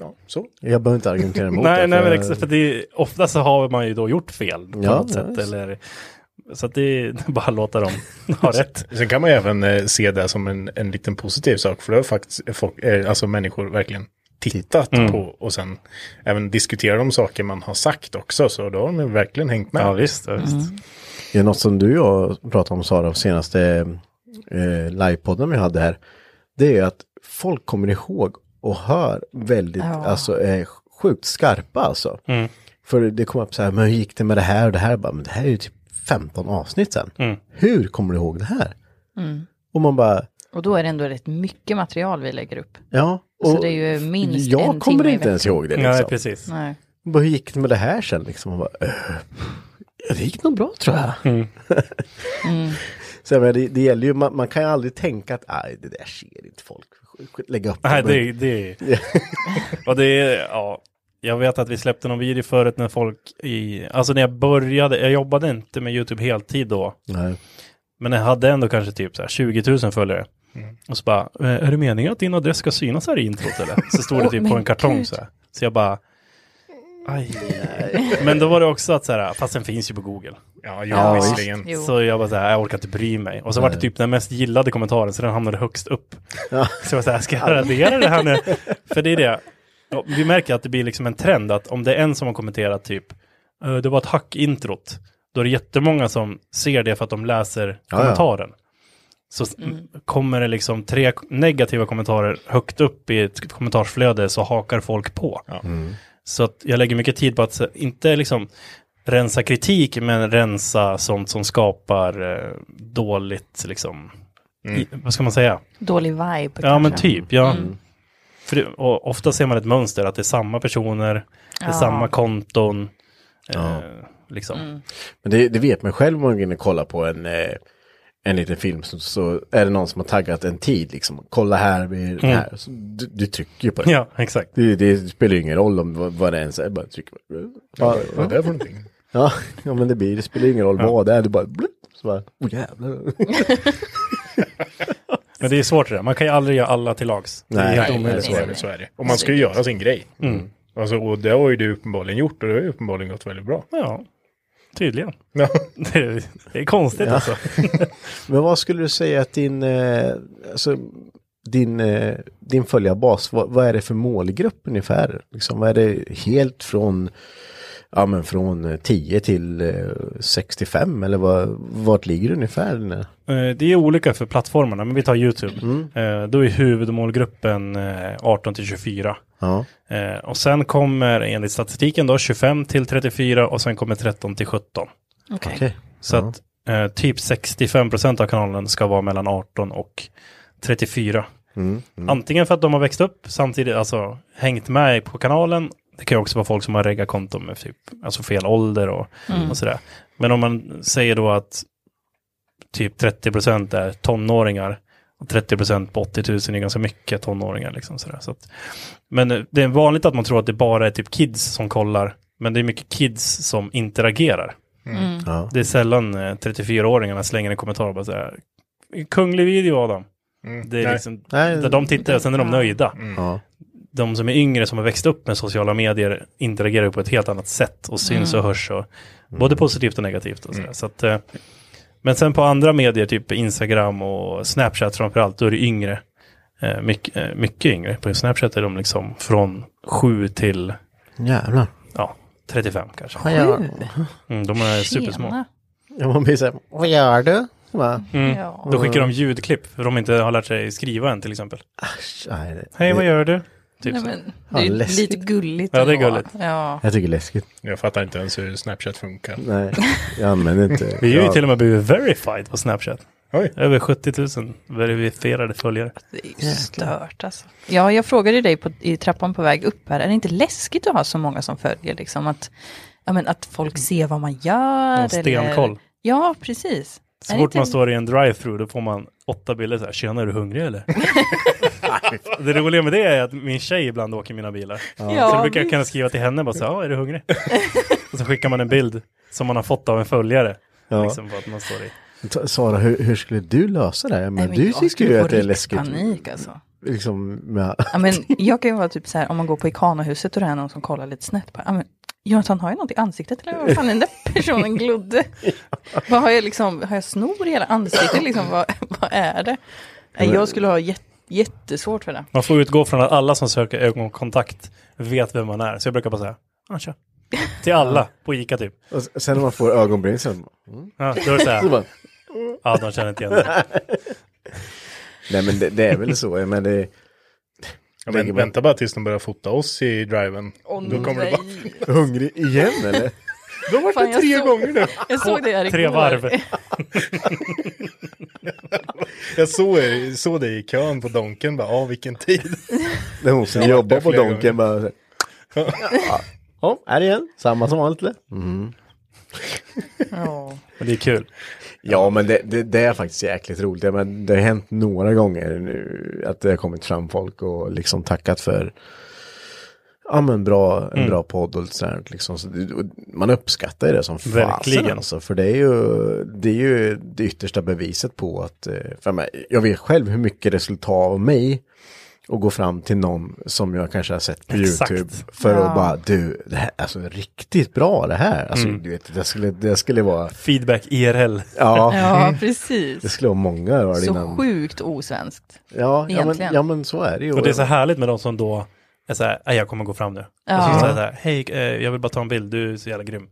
[SPEAKER 4] Ja, så.
[SPEAKER 3] jag behöver inte argumentera emot det.
[SPEAKER 5] Nej, nej men
[SPEAKER 3] jag-
[SPEAKER 5] exa- för det är, ofta så har man ju då gjort fel på
[SPEAKER 3] Ja,
[SPEAKER 5] något
[SPEAKER 3] ja,
[SPEAKER 5] sätt.
[SPEAKER 3] visst.
[SPEAKER 5] Eller, så att det är [laughs] bara att låta dem ha rätt.
[SPEAKER 4] Sen kan man ju även eh, se det som en, en liten positiv sak, för det har faktiskt folk, eh, alltså människor verkligen tittat
[SPEAKER 5] Mm.
[SPEAKER 4] på och sen även diskuterar de saker man har sagt också, så då har de ju verkligen hängt med.
[SPEAKER 5] Ja visst, ja, visst.
[SPEAKER 3] Det är något som du och jag pratade om Sara, senaste eh, livepodden vi hade här. Det är att folk kommer ihåg och hör väldigt, alltså är sjukt skarpa alltså. För det kom upp så här, men hur gick det med det här och det här? Jag Bara, men det här är ju typ 15 avsnitt sen. Hur kommer du ihåg det här?
[SPEAKER 2] Mm.
[SPEAKER 3] Och man bara,
[SPEAKER 2] Och då är det ändå rätt mycket material vi lägger upp.
[SPEAKER 3] ja.
[SPEAKER 2] Så
[SPEAKER 3] Och
[SPEAKER 2] Alltså, det är ju minst
[SPEAKER 3] jag
[SPEAKER 2] en
[SPEAKER 3] kommer
[SPEAKER 2] timme i
[SPEAKER 3] inte ens ihåg det liksom.
[SPEAKER 5] Nej, precis.
[SPEAKER 2] Nej.
[SPEAKER 3] Bara, hur gick det med det här sen liksom? Och bara, eh, ja, det gick nog bra tror jag.
[SPEAKER 5] Mm.
[SPEAKER 3] så jag menar, det, det gäller ju, man, man kan ju aldrig tänka att nej, det där ser inte folk. Lägga upp
[SPEAKER 5] Nej,
[SPEAKER 3] men-
[SPEAKER 5] det, det
[SPEAKER 2] [laughs]
[SPEAKER 5] Och det är, ja. Jag vet att vi släppte någon video förut när folk i, alltså när jag började, jag jobbade inte med YouTube heltid då,
[SPEAKER 3] Nej.
[SPEAKER 5] men jag hade ändå kanske typ så här 20 000 följare.
[SPEAKER 2] Mm.
[SPEAKER 5] Och så bara, "Eh, är det meningen att din adress ska synas här i introt eller? Så stod
[SPEAKER 2] [laughs]
[SPEAKER 5] det
[SPEAKER 2] Åh,
[SPEAKER 5] typ på
[SPEAKER 2] men
[SPEAKER 5] en kartong
[SPEAKER 2] gud.
[SPEAKER 5] så här. Så jag bara, aj. Men då var det också att så här, fast den finns ju på Google.
[SPEAKER 4] Ja, jo,
[SPEAKER 2] Ja,
[SPEAKER 4] visserligen.
[SPEAKER 2] visst. Jo.
[SPEAKER 5] Så jag bara så här, jag orkar inte bry mig. Och så var det typ den mest gillade kommentaren, så den hamnade högst upp. Så jag var så här, ska jag radera det
[SPEAKER 3] [laughs]
[SPEAKER 5] här nu? För det är det, Ja, vi märker att det blir liksom en trend att om det är en som har kommenterat typ, "Eh, det var ett hack i introt, då är det jättemånga som ser det för att de läser
[SPEAKER 3] ja.
[SPEAKER 5] kommentaren. Så s- kommer det liksom tre k- negativa kommentarer högt upp i ett kommentarsflöde så hakar folk på.
[SPEAKER 3] Mm.
[SPEAKER 5] Så att jag lägger mycket tid på att se- inte liksom rensa kritik, men rensa sånt som skapar eh, dåligt, liksom, i, vad ska man säga?
[SPEAKER 2] Dålig vibe
[SPEAKER 5] Ja,
[SPEAKER 2] kanske.
[SPEAKER 5] men typ. Ja. För det, och ofta ser man ett mönster, att det är samma personer, det är
[SPEAKER 2] Ja.
[SPEAKER 5] samma konton. Eh, liksom.
[SPEAKER 3] Men det, det vet man själv om man går in och kollar på en, eh, en liten film så, så är det någon som har taggat en tid liksom. Kolla här, vi är här. Så du, du trycker ju på det.
[SPEAKER 5] [laughs] Mm. Ja, exakt.
[SPEAKER 3] Det, det spelar ju ingen roll om vad, vad det ens är. Bara trycker på det. Ja,
[SPEAKER 4] Vad är det för någonting?
[SPEAKER 3] ja, ja, men det, blir, det spelar ju ingen roll vad det är. Du bara, blup, så bara, oh jävlar.
[SPEAKER 5] Men det är svårt det där. Man kan ju aldrig göra alla till lags. Det är
[SPEAKER 3] Nej,
[SPEAKER 5] helt
[SPEAKER 4] Nej,
[SPEAKER 5] omöjligt.
[SPEAKER 4] så är det. Så är det. Och man ska ju göra sin grej.
[SPEAKER 5] Mm.
[SPEAKER 4] Alltså, och det har ju du uppenbarligen gjort och det har ju uppenbarligen gått väldigt bra.
[SPEAKER 5] Ja, tydligen.
[SPEAKER 4] Ja.
[SPEAKER 5] [laughs] Det är, det är konstigt alltså.
[SPEAKER 3] Men vad skulle du säga att din, eh, alltså, din, eh, din följarbas, vad, vad är det för målgrupp ungefär? Liksom, vad är det helt från, ja, men från eh, 10 till eh, 65 eller vad, vart ligger det ungefär? den här?
[SPEAKER 5] Eh, Det är olika för plattformarna, men vi tar YouTube. Eh, Då är huvudmålgruppen eh, 18 till 24.
[SPEAKER 3] Ja.
[SPEAKER 5] Eh, Och sen kommer enligt statistiken då 25 till 34 och sen kommer 13 till 17.
[SPEAKER 2] Okej.
[SPEAKER 5] Så att eh, typ 65 procent av kanalen ska vara mellan 18 och 34.
[SPEAKER 3] Mm,
[SPEAKER 5] Antingen för att de har växt upp samtidigt, alltså hängt med på kanalen. Det kan ju också vara folk som har reggat konton med typ, alltså fel ålder och,
[SPEAKER 2] Mm.
[SPEAKER 5] och sådär. Men om man säger då att typ 30 procent är tonåringar och 30 procent på 80 000 är ganska mycket tonåringar. Liksom sådär. Så att, men eh, det är vanligt att man tror att det bara är typ kids som kollar, men det är mycket kids som interagerar.
[SPEAKER 4] Mm.
[SPEAKER 2] Mm.
[SPEAKER 5] Mm.
[SPEAKER 3] Ja.
[SPEAKER 5] Det är sällan eh, 34-åringarna slänger en kommentar och bara så här, Kunglig video Adam. Det är
[SPEAKER 4] Mm. nej. Mm.
[SPEAKER 5] liksom,
[SPEAKER 3] Nej.
[SPEAKER 5] där de tittar och sen är de nöjda.
[SPEAKER 3] Ja.
[SPEAKER 5] De som är yngre som har växt upp med sociala medier interagerar ju på ett helt annat sätt och syns
[SPEAKER 2] Mm.
[SPEAKER 5] och hörs. Och, både positivt och negativt. Och så där. så att, eh, men sen på andra medier, typ Instagram och Snapchat framförallt, då är det yngre. Eh, mycket, eh, mycket yngre. På Snapchat är de liksom från 7 till
[SPEAKER 3] Jävlar.
[SPEAKER 5] ja, 35 kanske.
[SPEAKER 3] Vad gör,
[SPEAKER 5] Mm, de är supersmå.
[SPEAKER 2] Tjena.
[SPEAKER 3] ja, man blir så här, vad gör du? Va?
[SPEAKER 5] Mm.
[SPEAKER 2] Ja.
[SPEAKER 5] Då skickar de ljudklipp för de inte har lärt sig skriva än till exempel.
[SPEAKER 3] Nej, det-
[SPEAKER 5] Hej, vad gör du? Typ
[SPEAKER 2] Nej,
[SPEAKER 5] så.
[SPEAKER 2] men, det är ju
[SPEAKER 3] Ja, läskigt.
[SPEAKER 2] lite gulligt.
[SPEAKER 5] Ja, det är
[SPEAKER 2] ändå.
[SPEAKER 5] gulligt.
[SPEAKER 2] Ja.
[SPEAKER 3] Jag tycker det är läskigt.
[SPEAKER 4] Jag fattar inte ens hur Snapchat funkar.
[SPEAKER 3] Nej, jag använder inte.
[SPEAKER 5] Vi har ju
[SPEAKER 3] Ja.
[SPEAKER 5] till och med blivit verified på Snapchat.
[SPEAKER 4] Oj.
[SPEAKER 5] Över 70 000 verifierade följare.
[SPEAKER 2] Det är ju stört alltså. Ja, jag frågade ju dig på, i trappan på väg upp här, är det inte läskigt att ha så många som följer liksom? Att, ja, men att folk ser vad man gör.
[SPEAKER 5] Någon stenkoll.
[SPEAKER 2] Eller... Ja, precis.
[SPEAKER 5] Så
[SPEAKER 2] Är det
[SPEAKER 5] fort
[SPEAKER 2] inte-
[SPEAKER 5] man står i en drive-through då får man åtta bilder så här. Tjena, är du hungrig eller? [laughs] det roliga med det är att min tjej ibland åker mina bilar.
[SPEAKER 2] Ja,
[SPEAKER 5] så då brukar jag
[SPEAKER 2] visst.
[SPEAKER 5] kunna skriva till henne bara så här, "Ja, är
[SPEAKER 2] [laughs]
[SPEAKER 5] du hungrig? och så skickar man en bild som man har fått av en följare.
[SPEAKER 3] Ja.
[SPEAKER 5] Liksom, för att man står i.
[SPEAKER 3] Ta- Sara, hur, hur skulle du lösa det här? Men,
[SPEAKER 2] Nej,
[SPEAKER 3] du
[SPEAKER 2] jag
[SPEAKER 3] tycker
[SPEAKER 2] skulle
[SPEAKER 3] ju
[SPEAKER 2] få
[SPEAKER 3] att det är
[SPEAKER 2] riktig
[SPEAKER 3] läskigt.
[SPEAKER 2] panik alltså.
[SPEAKER 3] Liksom, med,
[SPEAKER 2] Ja, men jag kan ju vara typ så här, om man går på Ikana-huset och det är någon som kollar lite snett på ja, men Jonathan, har jag något i ansiktet eller vad fan är den
[SPEAKER 5] [laughs]
[SPEAKER 2] där personen glodde? vad har jag liksom, har jag snor i hela ansiktet liksom, vad, vad är det? Nej, Jag skulle ha jät- jättesvårt för det.
[SPEAKER 5] Man får utgå från att alla som söker ögonkontakt vet vem man är. Så jag brukar bara säga, ja tja. Till alla på Ica typ.
[SPEAKER 3] och s- sen när man får ögonbryn så
[SPEAKER 5] Ja, då är det så
[SPEAKER 2] [laughs]
[SPEAKER 3] så
[SPEAKER 5] här,
[SPEAKER 3] bara,
[SPEAKER 5] ja de känner inte igen mig.
[SPEAKER 3] Nej men det, det är väl så. Men det,
[SPEAKER 4] Ja, men, vänta bara tills de börjar fota oss i driven. Då kommer det bara,
[SPEAKER 3] hungrig igen eller?
[SPEAKER 4] de
[SPEAKER 2] Fan,
[SPEAKER 4] har varit det
[SPEAKER 2] jag
[SPEAKER 4] tre
[SPEAKER 2] såg-
[SPEAKER 4] gånger nu.
[SPEAKER 2] Jag såg det här igår.
[SPEAKER 5] Tre varv.
[SPEAKER 4] Jag såg, er- såg dig i kön på Donken, bara, ah, vilken tid.
[SPEAKER 3] När hon som
[SPEAKER 4] Jag har varit
[SPEAKER 3] jobbar
[SPEAKER 4] där
[SPEAKER 3] på
[SPEAKER 4] flera
[SPEAKER 3] Donken bara. så här, Ja, oh, är det igen? Samma som vanligt eller?
[SPEAKER 2] Ja.
[SPEAKER 5] Men det är kul.
[SPEAKER 3] Ja men det, det, det är faktiskt jäkligt roligt. Ja, Men det har hänt några gånger nu att det har kommit fram folk och liksom tackat för Ja men bra, en
[SPEAKER 5] Mm.
[SPEAKER 3] bra podd och lite sånt liksom. Så det, och man uppskattar ju det som fasen
[SPEAKER 5] Verkligen.
[SPEAKER 3] alltså. För det är ju det, är ju det yttersta beviset på att, eh, för jag, menar, jag vet själv hur mycket det skulle ta av mig och gå fram till någon som jag kanske har sett på
[SPEAKER 5] Exakt.
[SPEAKER 3] YouTube för att bara du, det här, alltså riktigt bra det här. Alltså
[SPEAKER 5] Mm.
[SPEAKER 3] du vet, det skulle, det skulle
[SPEAKER 5] [laughs]
[SPEAKER 3] vara,
[SPEAKER 5] Feedback IRL.
[SPEAKER 3] ja.
[SPEAKER 2] ja,
[SPEAKER 3] Mm. Det
[SPEAKER 2] precis.
[SPEAKER 3] skulle vara många öl
[SPEAKER 2] Så
[SPEAKER 3] innan.
[SPEAKER 2] sjukt osvenskt.
[SPEAKER 3] ja, ja, men,
[SPEAKER 2] egentligen.
[SPEAKER 3] ja, men så är det ju.
[SPEAKER 5] Och det är så härligt med de som då är så här, "Nej, jag kommer gå fram nu. Och så
[SPEAKER 2] Ja.
[SPEAKER 5] säger jag så här, hej, eh, jag vill bara ta en bild, du är så jävla grym.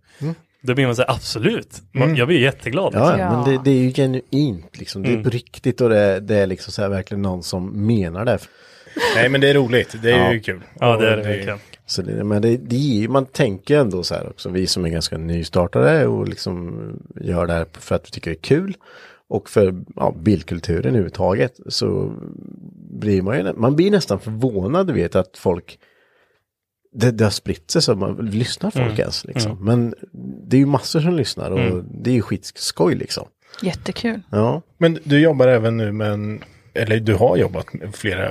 [SPEAKER 5] Då blir man så här, absolut. Man, Jag blir jätteglad. liksom."
[SPEAKER 3] Ja,
[SPEAKER 2] Ja.
[SPEAKER 3] men det, det är ju genuint liksom.
[SPEAKER 5] Mm.
[SPEAKER 3] Det är på riktigt och det, det är liksom så här verkligen någon som menar det.
[SPEAKER 4] Nej, men det är roligt. Det är
[SPEAKER 3] Ja.
[SPEAKER 4] ju kul.
[SPEAKER 5] Ja, det är
[SPEAKER 4] Och
[SPEAKER 5] det verkligen.
[SPEAKER 3] Så det, men det, det är ju, man tänker ändå så här också, vi som är ganska nystartade och liksom gör det här för att vi tycker det är kul och för ja, bildkulturen överhuvudtaget så blir man ju, man blir nästan förvånad du vet att folk det, det har spritt sig så man lyssnar folk ens liksom. Men det är ju massor som lyssnar och det är ju skitskoj liksom.
[SPEAKER 2] Jättekul.
[SPEAKER 3] Ja,
[SPEAKER 4] Men du jobbar även nu med en, eller du har jobbat med flera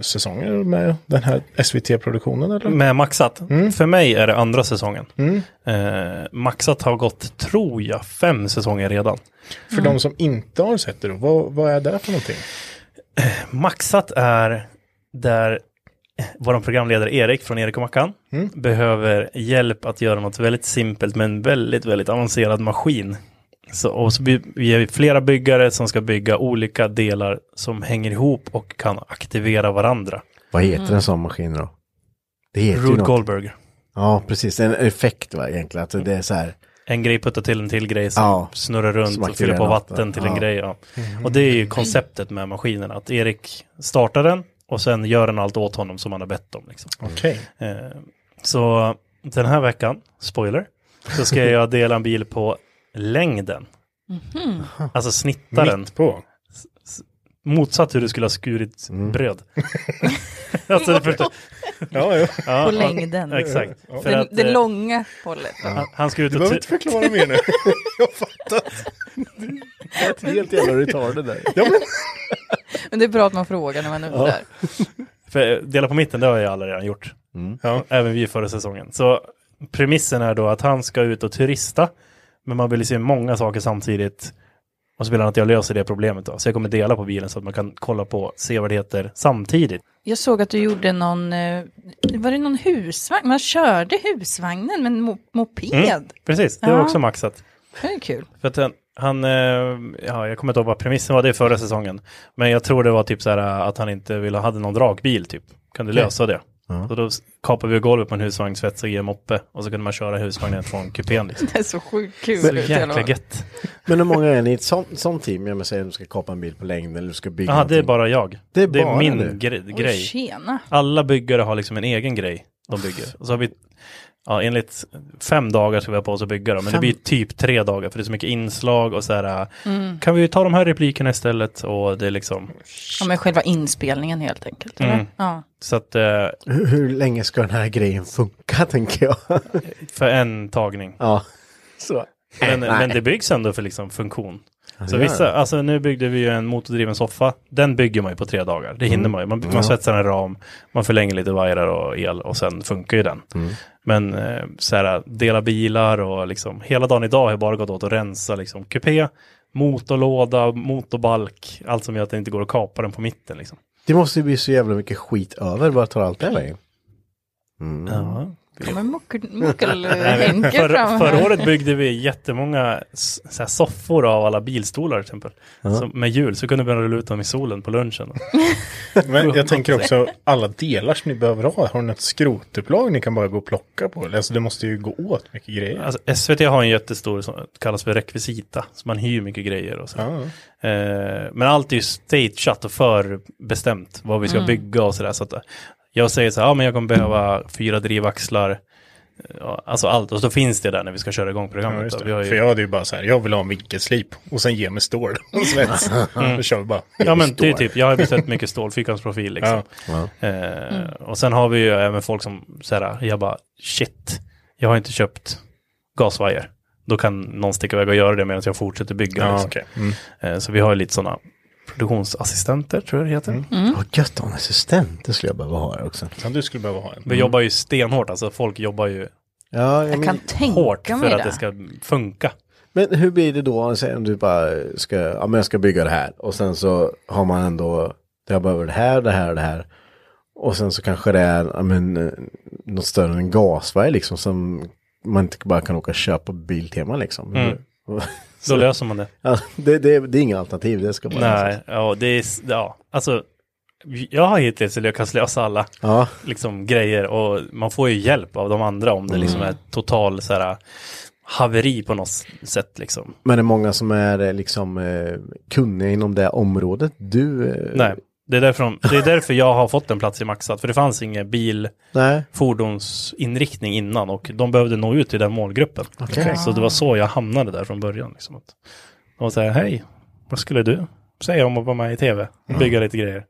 [SPEAKER 4] säsonger med den här SVT-produktionen eller?
[SPEAKER 5] Med Maxat. För mig är det andra säsongen. Eh, Maxat har gått, tror jag, fem säsonger redan.
[SPEAKER 4] För de som inte har sett det då, vad, vad är det för någonting?
[SPEAKER 5] Maxat är där vår programledare Erik från Erik och Mackan
[SPEAKER 3] Mm.
[SPEAKER 5] behöver hjälp att göra något väldigt simpelt med en väldigt, väldigt avancerad maskin Så, och så vi, vi är flera byggare som ska bygga olika delar som hänger ihop och kan aktivera varandra.
[SPEAKER 3] Vad heter en sån maskin då? Det heter ju
[SPEAKER 5] Rude
[SPEAKER 3] något.
[SPEAKER 5] Goldberg.
[SPEAKER 3] Ja, precis. En effekt va, egentligen. Att det är så här.
[SPEAKER 5] En grej puttar till en till grej som
[SPEAKER 3] Ja.
[SPEAKER 5] snurrar runt
[SPEAKER 3] Som
[SPEAKER 5] och fyller på
[SPEAKER 3] aktiverar något,
[SPEAKER 5] vatten till en
[SPEAKER 3] ja. Mm.
[SPEAKER 5] grej. Ja. Och det är ju konceptet med maskinen, att Erik startar den och sen gör den allt åt honom som han har bett om. Liksom.
[SPEAKER 4] Okej.
[SPEAKER 5] Eh, Så den här veckan, spoiler, så ska
[SPEAKER 4] [laughs]
[SPEAKER 5] jag dela en bil på längden. Alltså snitta den.
[SPEAKER 4] Mhm. Mitt på.
[SPEAKER 5] Motsatt hur du skulle ha skurit
[SPEAKER 4] Mm. [laughs]
[SPEAKER 5] bröd. alltså, du förstår.
[SPEAKER 4] Ja, ja.
[SPEAKER 5] Ja,
[SPEAKER 2] På
[SPEAKER 5] ja,
[SPEAKER 2] längden.
[SPEAKER 5] Exakt. För
[SPEAKER 2] Det,
[SPEAKER 5] att,
[SPEAKER 2] det
[SPEAKER 5] eh,
[SPEAKER 2] långa hållet.
[SPEAKER 5] han, han ska ut
[SPEAKER 4] Du
[SPEAKER 5] och...
[SPEAKER 4] behöver
[SPEAKER 5] tu-
[SPEAKER 4] inte förklara mer nu. [laughs] Jag fattar.
[SPEAKER 3] Helt jävla retarded där.
[SPEAKER 4] Ja, men,
[SPEAKER 2] Men det är bra att man frågar när man undrar.
[SPEAKER 5] För eh, dela på mitten, det har jag alla redan gjort.
[SPEAKER 4] ja.
[SPEAKER 5] Även vi förra säsongen. Så premissen är då att han ska ut och turista. Men man vill ju se många saker samtidigt. Och så vill han att jag löser det problemet då. Så jag kommer dela på bilen så att man kan kolla på sevärdheter samtidigt.
[SPEAKER 2] Jag såg att du gjorde någon, eh, var det någon husvagn? Man körde husvagnen med en mo- moped.
[SPEAKER 5] Mm. Precis, det var
[SPEAKER 2] Ja.
[SPEAKER 5] också maxat.
[SPEAKER 2] Det är kul.
[SPEAKER 5] För att han, han eh, ja, jag kommer inte ihåg vad premissen var, det är förra säsongen. Men jag tror det var typ så här eh, att han inte ville, hade någon dragbil typ. Kan du lösa det? Så då s- kapade vi golvet på en husvagn, svetsade i en moppe och så kunde man köra husvagnen från kupén. Liksom.
[SPEAKER 2] Det är så sjukt kul.
[SPEAKER 5] Så
[SPEAKER 2] ut i alla
[SPEAKER 5] jäkla
[SPEAKER 2] fall.
[SPEAKER 5] gött.
[SPEAKER 3] Men hur många är ni i ett sånt, sånt team? Jag menar, säger att du ska kapa en bil på längden eller du ska bygga
[SPEAKER 5] Jaha, det är
[SPEAKER 3] någonting.
[SPEAKER 5] bara jag.
[SPEAKER 3] Det är bara
[SPEAKER 5] min
[SPEAKER 3] du.
[SPEAKER 5] gre-
[SPEAKER 2] Oj,
[SPEAKER 5] grej.
[SPEAKER 2] tjena.
[SPEAKER 5] Alla byggare har liksom en egen grej de bygger. Och så har vi, ja, enligt fem dagar ska vi ha på oss att bygga dem, men det
[SPEAKER 3] Fem.
[SPEAKER 5] blir typ tre dagar för det är så mycket inslag och så här, äh, kan vi ta de här replikerna istället? Och det är liksom,
[SPEAKER 2] Ja, men själva inspelningen helt enkelt.
[SPEAKER 5] Mm.
[SPEAKER 2] eller? Ja.
[SPEAKER 5] så att eh,
[SPEAKER 3] Hur, hur länge ska den här grejen funka, [laughs] tänker jag?
[SPEAKER 5] för en tagning.
[SPEAKER 3] ja. Så.
[SPEAKER 5] Men,
[SPEAKER 3] Nej.
[SPEAKER 5] men det byggs ändå för liksom funktion. Så
[SPEAKER 3] det gör
[SPEAKER 5] vissa,
[SPEAKER 3] det.
[SPEAKER 5] alltså nu byggde vi ju en motordriven soffa, den bygger man ju på tre dagar, det
[SPEAKER 3] Mm.
[SPEAKER 5] hinner man ju. Man, man svetsar en ram, man förlänger lite vajrar och el och sen funkar ju den.
[SPEAKER 3] Mm.
[SPEAKER 5] Men eh, så här, dela bilar och liksom, hela dagen idag har jag bara gått åt att rensa liksom kupé, motorlåda, motorbalk, allt som gör att det inte går att kapa den på mitten liksom.
[SPEAKER 3] Det måste ju bli så jävla mycket skit över bara tar allt det här vägen.
[SPEAKER 5] Ja.
[SPEAKER 2] Kommer Muckel-Henke
[SPEAKER 5] För,
[SPEAKER 2] fram
[SPEAKER 5] förra
[SPEAKER 2] här.
[SPEAKER 5] året byggde vi jättemånga s- så här, soffor av alla bilstolar till exempel. Som, med hjul, så kunde man rulla ut dem i solen på lunchen.
[SPEAKER 4] men jag [laughs] tänker också alla delar som ni behöver ha. Har ni ett skrotupplag ni kan bara gå och plocka på? Eller, Alltså det måste ju gå åt mycket grejer.
[SPEAKER 5] Alltså, SVT har en jättestor som kallas för rekvisita, så man hyr mycket grejer och så. Eh, men allt är ju stageat och förbestämt vad vi ska bygga och sådär. Så att, eh, jag säger så här, ja men jag kommer behöva fyra drivaxlar, eh, ja, alltså allt. Och så finns det där när vi ska köra igång
[SPEAKER 4] Ja,
[SPEAKER 5] programmet.
[SPEAKER 4] just
[SPEAKER 5] då. vi har
[SPEAKER 4] det.
[SPEAKER 5] ju,
[SPEAKER 4] För jag hade ju bara så här, jag vill ha en vinkelslip och sen ge mig stål
[SPEAKER 3] [laughs]
[SPEAKER 4] och svets.
[SPEAKER 3] Mm.
[SPEAKER 4] Då kör vi bara.
[SPEAKER 5] ja men det är typ, jag har ju beställt mycket stål, fyrkantsprofil liksom. Eh,
[SPEAKER 3] Mm.
[SPEAKER 5] Och sen har vi ju även folk som säger, jag bara shit, jag har inte köpt gasvajer. Då kan någon sticka iväg och göra det medan jag fortsätter bygga.
[SPEAKER 4] Ja,
[SPEAKER 5] liksom.
[SPEAKER 4] okej. Mm.
[SPEAKER 5] Eh, Så vi har ju lite sådana produktionsassistenter, tror jag det heter.
[SPEAKER 4] Mm.
[SPEAKER 3] Vad gött att ha en assistent, det skulle jag behöva ha här också.
[SPEAKER 4] Ja, du skulle behöva ha en.
[SPEAKER 5] Vi jobbar ju stenhårt, alltså folk jobbar ju
[SPEAKER 3] Ja, jag
[SPEAKER 2] Jag kan
[SPEAKER 3] men,
[SPEAKER 5] hårt
[SPEAKER 2] tänka mig
[SPEAKER 5] för att
[SPEAKER 2] det.
[SPEAKER 5] det ska funka.
[SPEAKER 3] men hur blir det då om säg om du bara ska, ja men jag ska bygga det här och sen så har man ändå, jag behöver det här, det här och det här. Och sen så kanske det är, ja men, eh, något större än en gasvajr liksom som man inte bara kan åka och köpa Biltema liksom.
[SPEAKER 5] Mm. Då löser man det.
[SPEAKER 3] [laughs] Ja, det, det, det är inga alternativ, det ska bara
[SPEAKER 5] Nej, ja, det är, s- ja, alltså jag har hittills lyckats lösa alla
[SPEAKER 3] Ja,
[SPEAKER 5] liksom, grejer och man får ju hjälp av de andra om det liksom är total så här, haveri på något sätt liksom.
[SPEAKER 3] men det är många som är eh, liksom eh, kunniga inom det området. Du... eh,
[SPEAKER 5] Nej, det är, därför de, det är därför jag har fått en plats i Maxat, för det fanns ingen bil
[SPEAKER 3] Nej.
[SPEAKER 5] fordonsinriktning innan och de behövde nå ut till den målgruppen.
[SPEAKER 3] Okej.
[SPEAKER 5] Så det var så jag hamnade där från början. Liksom. Att de var så här, hej, vad skulle du säga om att vara med i tv? Bygga lite grejer.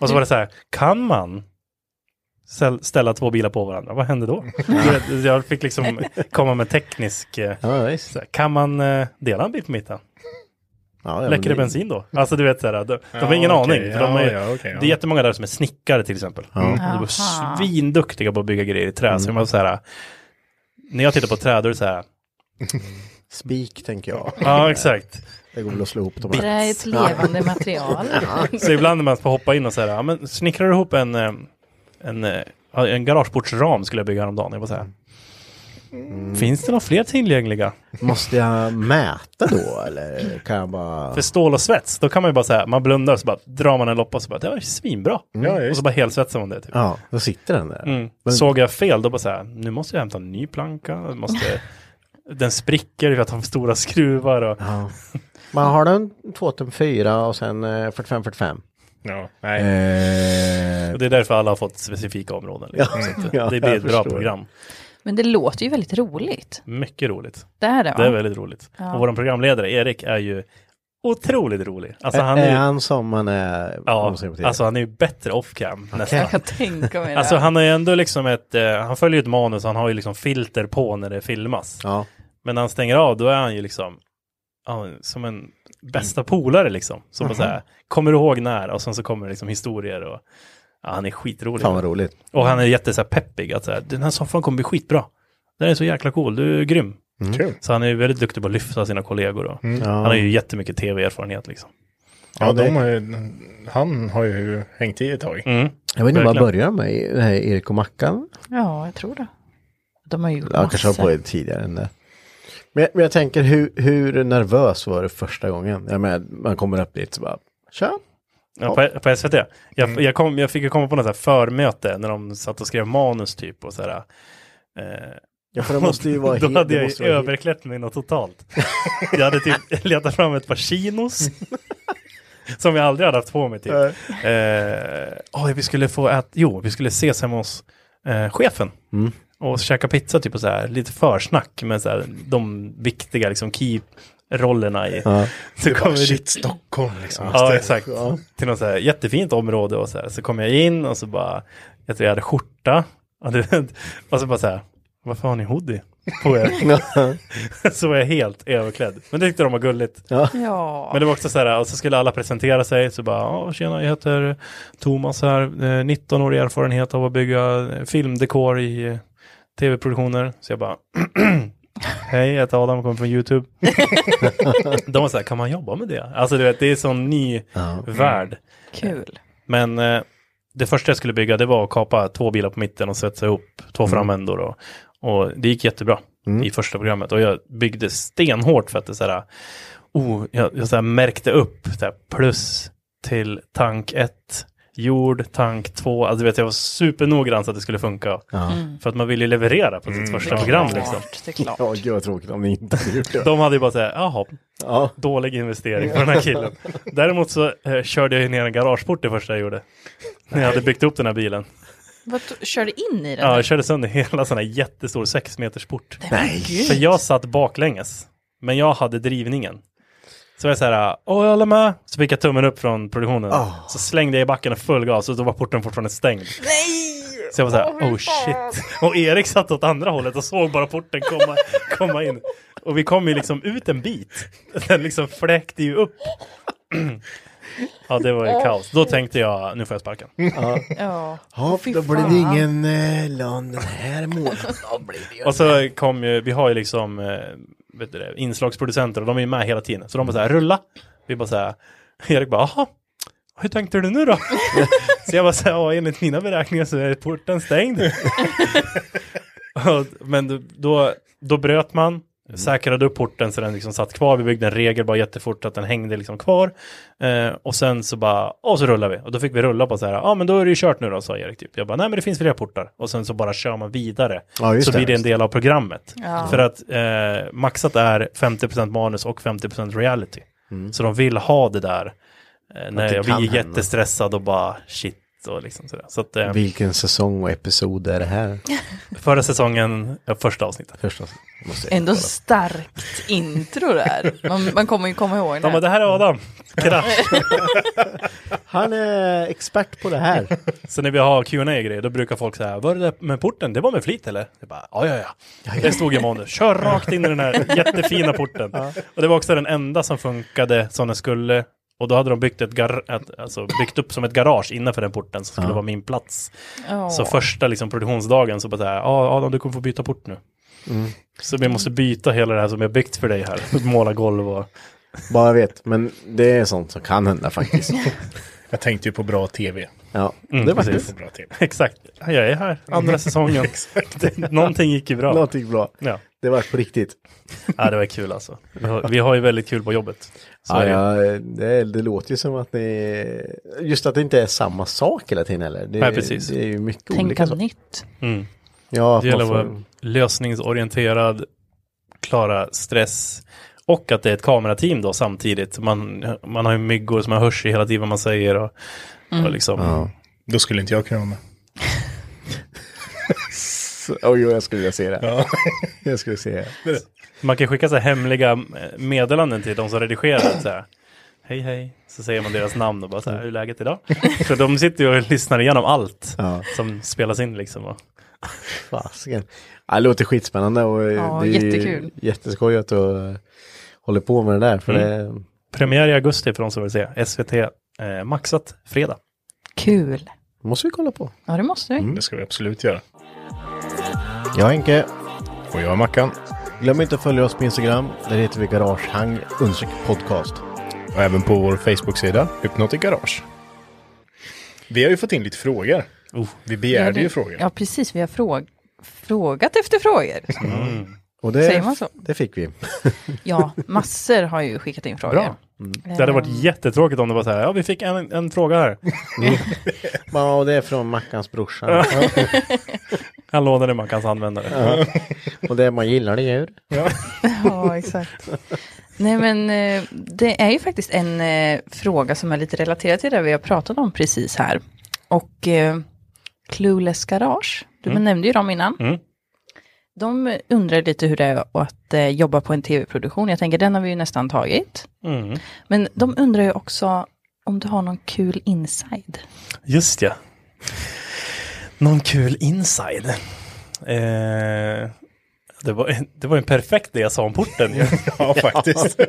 [SPEAKER 5] Och så var det så här, kan man säl- ställa två bilar på varandra? Vad händer då? Jag- jag fick liksom komma med teknisk... eh,
[SPEAKER 3] Ja, visst.
[SPEAKER 5] Så här, kan man eh, dela en bil på mitten?
[SPEAKER 3] Ja, ja,
[SPEAKER 5] Läcker
[SPEAKER 3] men
[SPEAKER 5] det bensin då? Alltså du vet så här, de, de har
[SPEAKER 4] Ja,
[SPEAKER 5] ingen
[SPEAKER 4] okej.
[SPEAKER 5] aning. För de
[SPEAKER 4] Ja,
[SPEAKER 5] är,
[SPEAKER 4] ja, okej, ja.
[SPEAKER 5] Det är jättemånga där som är snickare till exempel. Mm. De var
[SPEAKER 2] Aha.
[SPEAKER 5] svinduktiga på att bygga grejer i trä. Så man så här, när jag tittar på träd då är det så här,
[SPEAKER 3] Spik tänker jag. [laughs]
[SPEAKER 5] ja exakt.
[SPEAKER 3] Det går väl att slå ihop dem
[SPEAKER 2] Trä
[SPEAKER 3] här.
[SPEAKER 2] är ett levande material.
[SPEAKER 5] Så ibland när man får hoppa in och så här, ja, men snickrar du ihop en, eh, en, eh, en garageportsram skulle jag bygga häromdagen. Jag bara så här,
[SPEAKER 4] Mm.
[SPEAKER 5] Finns det några fler tillgängliga?
[SPEAKER 3] Måste jag mäta då eller kan jag bara?
[SPEAKER 5] För stål och svets, då kan man ju bara säga, man blundar och så bara drar man en loppa och så bara, det var ju svinbra.
[SPEAKER 4] Ja,
[SPEAKER 5] Och
[SPEAKER 4] just.
[SPEAKER 5] så bara helsvetsar man det. Typ.
[SPEAKER 3] Ja, då sitter den där.
[SPEAKER 5] Mm. Såg jag fel, då bara så här, nu måste jag hämta en ny planka, jag måste,
[SPEAKER 3] [laughs]
[SPEAKER 5] den spricker för att jag har för stora skruvar. Och,
[SPEAKER 3] Ja. Man har den 2 tum 4 och sen eh, 45-45.
[SPEAKER 4] Ja, nej.
[SPEAKER 3] Eh,
[SPEAKER 5] och det är därför alla har fått specifika områden. Liksom. Så att
[SPEAKER 3] [laughs]
[SPEAKER 5] det-
[SPEAKER 3] ja,
[SPEAKER 5] det blir
[SPEAKER 3] jag
[SPEAKER 5] ett bra
[SPEAKER 3] förstår.
[SPEAKER 5] program.
[SPEAKER 2] Men det låter ju väldigt roligt.
[SPEAKER 5] Mycket roligt.
[SPEAKER 2] Det är det va?
[SPEAKER 5] Det är väldigt roligt.
[SPEAKER 2] Ja.
[SPEAKER 5] Och vår programledare Erik är ju otroligt rolig. Alltså
[SPEAKER 3] är,
[SPEAKER 5] han
[SPEAKER 3] är
[SPEAKER 5] är ju,
[SPEAKER 3] han som han är?
[SPEAKER 5] ja,
[SPEAKER 3] man ser på TV?
[SPEAKER 5] alltså han är ju bättre off-cam nästan.
[SPEAKER 2] Jag kan tänka mig det.
[SPEAKER 5] Alltså han har ju ändå liksom ett, eh, han följer ju ett manus, han har ju liksom filter på när det filmas.
[SPEAKER 3] ja.
[SPEAKER 5] Men när han stänger av då är han ju liksom ja, som en bästa polare liksom. Så bara så här, kommer du ihåg när? Och sen så kommer det liksom historier och ja, han är skitrolig.
[SPEAKER 3] Fan vad roligt.
[SPEAKER 5] Och han är jätte så här, peppig att så här, den här soffan kommer bli skitbra. Den är så jäkla cool, du är grym.
[SPEAKER 4] Kul.
[SPEAKER 5] Så han är ju väldigt duktig på att lyfta sina kollegor. Och Mm. Han har ju jättemycket tv-erfarenhet liksom.
[SPEAKER 4] Ja,
[SPEAKER 3] Ja, det-
[SPEAKER 4] de har ju, han har ju hängt i ett tag.
[SPEAKER 3] Jag vet inte vad
[SPEAKER 5] Verkligen.
[SPEAKER 3] börjar med, det här Erik och Mackan?
[SPEAKER 2] Ja, jag tror det. De har ju gjort
[SPEAKER 3] Ja, kanske
[SPEAKER 2] massor.
[SPEAKER 5] Alltså.
[SPEAKER 3] var på det tidigare än det. Men jag, men jag tänker, hur, hur nervös var du första gången? Jag menar, man kommer upp dit så bara, tja.
[SPEAKER 5] Ja, på, på SVT. Jag,
[SPEAKER 3] Mm.
[SPEAKER 5] jag, kom, jag fick ju komma på något så här förmöte när de satt och skrev manus typ och sådär. Eh,
[SPEAKER 3] Ja, för det måste
[SPEAKER 5] [laughs]
[SPEAKER 3] ju vara
[SPEAKER 5] Då
[SPEAKER 3] helt-
[SPEAKER 5] hade
[SPEAKER 3] det
[SPEAKER 5] jag
[SPEAKER 3] måste
[SPEAKER 5] ju
[SPEAKER 3] vara helt-
[SPEAKER 5] överklätt mig något totalt. jag hade typ [laughs] letat fram ett par chinos. [laughs] som jag aldrig hade haft på mig typ. Eh, oj, vi skulle få ät, jo, vi skulle ses hemma hos eh, chefen.
[SPEAKER 3] Mm.
[SPEAKER 5] Och käka pizza typ och så här, lite försnack med så här, de viktiga liksom key rollerna i. [laughs]
[SPEAKER 3] Ja.
[SPEAKER 5] Så
[SPEAKER 4] Det
[SPEAKER 5] kommer
[SPEAKER 4] var
[SPEAKER 5] dit-
[SPEAKER 4] shit, Stockholm liksom.
[SPEAKER 5] Ja, exakt. Till något så här jättefint område och så här. Så kom jag in och så bara, jag tror jag hade skjorta. Och, det, och så bara så här, varför har ni hoodie på
[SPEAKER 3] [laughs]
[SPEAKER 5] er? [laughs] så var jag helt överklädd. Men det tyckte de var gulligt.
[SPEAKER 2] Ja.
[SPEAKER 5] Men det var också så här, och så skulle alla presentera sig, så bara, ja tjena, jag heter Thomas här, eh, 19 år i erfarenhet av att bygga eh, filmdekor i eh, tv-produktioner. Så jag bara, [clears throat] hej, jag heter Adam, kommer från YouTube. De var så här, kan man jobba med det? Alltså du vet, det är sån ny
[SPEAKER 3] Mm.
[SPEAKER 5] värld.
[SPEAKER 2] Kul.
[SPEAKER 5] Men eh, det första jag skulle bygga, det var att kapa två bilar på mitten och sätta ihop två framändor. Och, och det gick jättebra i första programmet. Och jag byggde stenhårt för att det så här, oh, jag, jag så här märkte upp så här, plus till tank 1, jord, tank 2. Alltså du vet, jag var supernoggrann så att det skulle funka.
[SPEAKER 3] Mm.
[SPEAKER 5] För att man vill ju leverera på sitt första program liksom.
[SPEAKER 2] Klart, det är klart.
[SPEAKER 3] Ja, gud vad tråkigt om ni inte hade gjort det.
[SPEAKER 5] De hade ju bara såhär, jaha,
[SPEAKER 3] Ja.
[SPEAKER 5] dålig investering för den här killen. Däremot så eh, körde jag ju ner en garageport det första jag gjorde. När jag hade byggt upp den här bilen.
[SPEAKER 2] Vad, körde in i den?
[SPEAKER 5] Ja, jag körde sönder hela sån här jättestor sexmetersport.
[SPEAKER 3] Nej.
[SPEAKER 5] För jag satt baklänges, men jag hade drivningen. Så var jag så här, åh alla med? Så fick jag tummen upp från produktionen. Så slängde jag i backen och full gas och då var porten fortfarande stängd.
[SPEAKER 2] Nej!
[SPEAKER 5] Så jag var så här, oh, shit. Och Erik satt åt andra hållet och såg bara porten komma, komma in. Och vi kom ju liksom ut en bit. Den liksom fläkte ju upp. [clears throat] Ja, det var ju kaos. Då tänkte jag, nu får jag sparken.
[SPEAKER 2] Ja.
[SPEAKER 3] Ja,
[SPEAKER 2] Fy
[SPEAKER 3] då blir
[SPEAKER 2] fan.
[SPEAKER 3] det ingen eh, lön den här
[SPEAKER 5] [laughs]
[SPEAKER 3] månaden. Då blir det ju-
[SPEAKER 5] Och så kom ju, vi har ju liksom eh, vet du det, inslagsproducenter och de är ju med hela tiden. Så de bara så här, rulla. Vi bara så här, [laughs] Erik bara, aha, hur tänkte du nu då? [laughs] så jag bara så här, ja enligt mina beräkningar så är porten stängd. Och- Men då- då, då bröt man,
[SPEAKER 3] Mhm.
[SPEAKER 5] säkrade upp porten så den liksom satt kvar. Vi byggde en regel bara jättefort att den hängde liksom kvar. Eh, och sen så bara, och så rullar vi. Och då fick vi rulla på så här, ja ah, men då är det ju kört nu då, sa Erik typ. Jag bara, nej men det finns flera portar. Och sen så bara kör man vidare.
[SPEAKER 3] Ja, just
[SPEAKER 5] så
[SPEAKER 3] det,
[SPEAKER 5] blir det en
[SPEAKER 3] just
[SPEAKER 5] del av programmet.
[SPEAKER 2] Ja.
[SPEAKER 5] För att eh, maxat är 50% manus och 50% reality. Så de vill ha det där. Eh, när
[SPEAKER 3] Mm. det
[SPEAKER 5] jag
[SPEAKER 3] kan
[SPEAKER 5] blir
[SPEAKER 3] hända.
[SPEAKER 5] jättestressad och bara shit. Och liksom sådär. Så att, eh,
[SPEAKER 3] Vilken säsong och episod är det här?
[SPEAKER 5] förra säsongen, ja, första avsnittet.
[SPEAKER 3] Första måste jag
[SPEAKER 2] Ändå
[SPEAKER 3] kolla.
[SPEAKER 2] starkt intro där. Man, man kommer ju komma ihåg
[SPEAKER 5] De bara,
[SPEAKER 2] det.
[SPEAKER 5] det här är Adam. Krasch.
[SPEAKER 3] Han är expert på det [laughs] här.
[SPEAKER 5] Så när vi har Q&A grejer då brukar folk säga, var det där med porten, det var med flit eller? Jag bara, ja, ja, ja. Det stod i manus, kör rakt in i den här jättefina porten. Och det var också den enda som funkade som den skulle. Och då hade de byggt, ett gar- ett, alltså byggt upp som ett garage innanför den porten som skulle vara min plats.
[SPEAKER 2] Ja.
[SPEAKER 5] Så första liksom, produktionsdagen så bara så här, ja Adam du kommer få byta port nu. Så vi måste byta hela det här som jag byggt för dig här, måla golv och... [laughs]
[SPEAKER 3] [laughs] Bara jag vet, men det är sånt som kan hända faktiskt.
[SPEAKER 4] Jag tänkte ju på bra tv.
[SPEAKER 3] Ja,
[SPEAKER 5] Mm,
[SPEAKER 3] det var
[SPEAKER 5] precis.
[SPEAKER 3] kul.
[SPEAKER 4] Bra till.
[SPEAKER 5] Exakt, jag är här, andra säsongen. Någonting gick ju bra.
[SPEAKER 3] Någonting bra.
[SPEAKER 5] Ja.
[SPEAKER 3] Det var på riktigt.
[SPEAKER 5] ja, det var kul alltså. Vi har, vi har ju väldigt kul på jobbet. Så
[SPEAKER 3] Ja,
[SPEAKER 5] är det ju.
[SPEAKER 3] ja, det, det låter ju som att ni... Just att det inte är samma sak hela tiden heller. Det,
[SPEAKER 5] Nej, precis.
[SPEAKER 3] det är ju mycket olika
[SPEAKER 2] Tänka
[SPEAKER 3] saker.
[SPEAKER 2] nytt.
[SPEAKER 5] Mm.
[SPEAKER 3] Ja,
[SPEAKER 5] Det
[SPEAKER 3] att
[SPEAKER 5] gäller
[SPEAKER 3] man
[SPEAKER 5] att
[SPEAKER 3] får...
[SPEAKER 5] vara lösningsorienterad, klara stress och att det är ett kamerateam då samtidigt. Man, man har ju myggor som man hörs i hela tiden vad man säger och, och liksom.
[SPEAKER 3] Ja.
[SPEAKER 4] Då skulle inte jag kunna vara med.
[SPEAKER 3] Så- [laughs] Oj, oj, jag skulle vilja se det.
[SPEAKER 4] Ja.
[SPEAKER 3] [laughs] Jag skulle se det.
[SPEAKER 5] Man kan skicka så här hemliga eh, meddelanden till de som redigerar. Så här. Hej hej, så säger man deras namn och bara så här, hur är läget idag? För de sitter ju och lyssnar igenom allt
[SPEAKER 3] Ja.
[SPEAKER 5] som spelas in liksom. Och,
[SPEAKER 3] Fasiken. Ja, det låter skitspännande och eh,
[SPEAKER 2] Ja,
[SPEAKER 3] det är
[SPEAKER 2] jättekul.
[SPEAKER 3] ju jätteskoj att du eh, håller på med det där.
[SPEAKER 5] Mm.
[SPEAKER 3] För det,
[SPEAKER 5] premiär i augusti för de som vill se. SVT eh, maxat fredag.
[SPEAKER 2] Kul.
[SPEAKER 3] måste vi kolla på.
[SPEAKER 2] Ja, det måste vi.
[SPEAKER 3] Mm.
[SPEAKER 4] Det ska vi absolut göra.
[SPEAKER 3] Jag Henke.
[SPEAKER 4] Och jag är Mackan.
[SPEAKER 3] Glöm inte att följa oss på Instagram. Där heter vi Garagehang understreck podcast.
[SPEAKER 4] Och även på vår Facebook-sida Hypnotic Garage. Vi har ju fått in lite frågor. Vi begärde ju frågor.
[SPEAKER 2] Oh. Ja, precis. Vi har fråg- frågat efter
[SPEAKER 3] [laughs]
[SPEAKER 2] frågor.
[SPEAKER 3] Och det,
[SPEAKER 2] Säger man så?
[SPEAKER 3] det fick vi.
[SPEAKER 2] Ja, massor har ju skickat in frågor. Eh,
[SPEAKER 5] Bra. Det hade
[SPEAKER 2] Ehm.
[SPEAKER 5] varit jättetråkigt om det var så här, ja vi fick en, en fråga här.
[SPEAKER 3] Ja, och det är från Mackans
[SPEAKER 5] [laughs]
[SPEAKER 3] brorsa.
[SPEAKER 5] Han lånade Mackans användare.
[SPEAKER 3] och det är man gillar det djur.
[SPEAKER 2] [laughs] Ja, exakt. Nej, men eh, det är ju faktiskt en eh, fråga som är lite relaterad till det vi har pratat om precis här. Och eh, Clueless Garage, du nämnde ju dem innan.
[SPEAKER 5] Mm.
[SPEAKER 2] De undrar lite hur det är att eh, jobba på en tv-produktion. Jag tänker den har vi ju nästan tagit.
[SPEAKER 5] Mm.
[SPEAKER 2] Men de undrar ju också om du har någon kul inside.
[SPEAKER 5] Just ja. Någon kul inside. Eh, det, var, det var en perfekt det jag sa om porten. ju.
[SPEAKER 4] [laughs] Ja, faktiskt.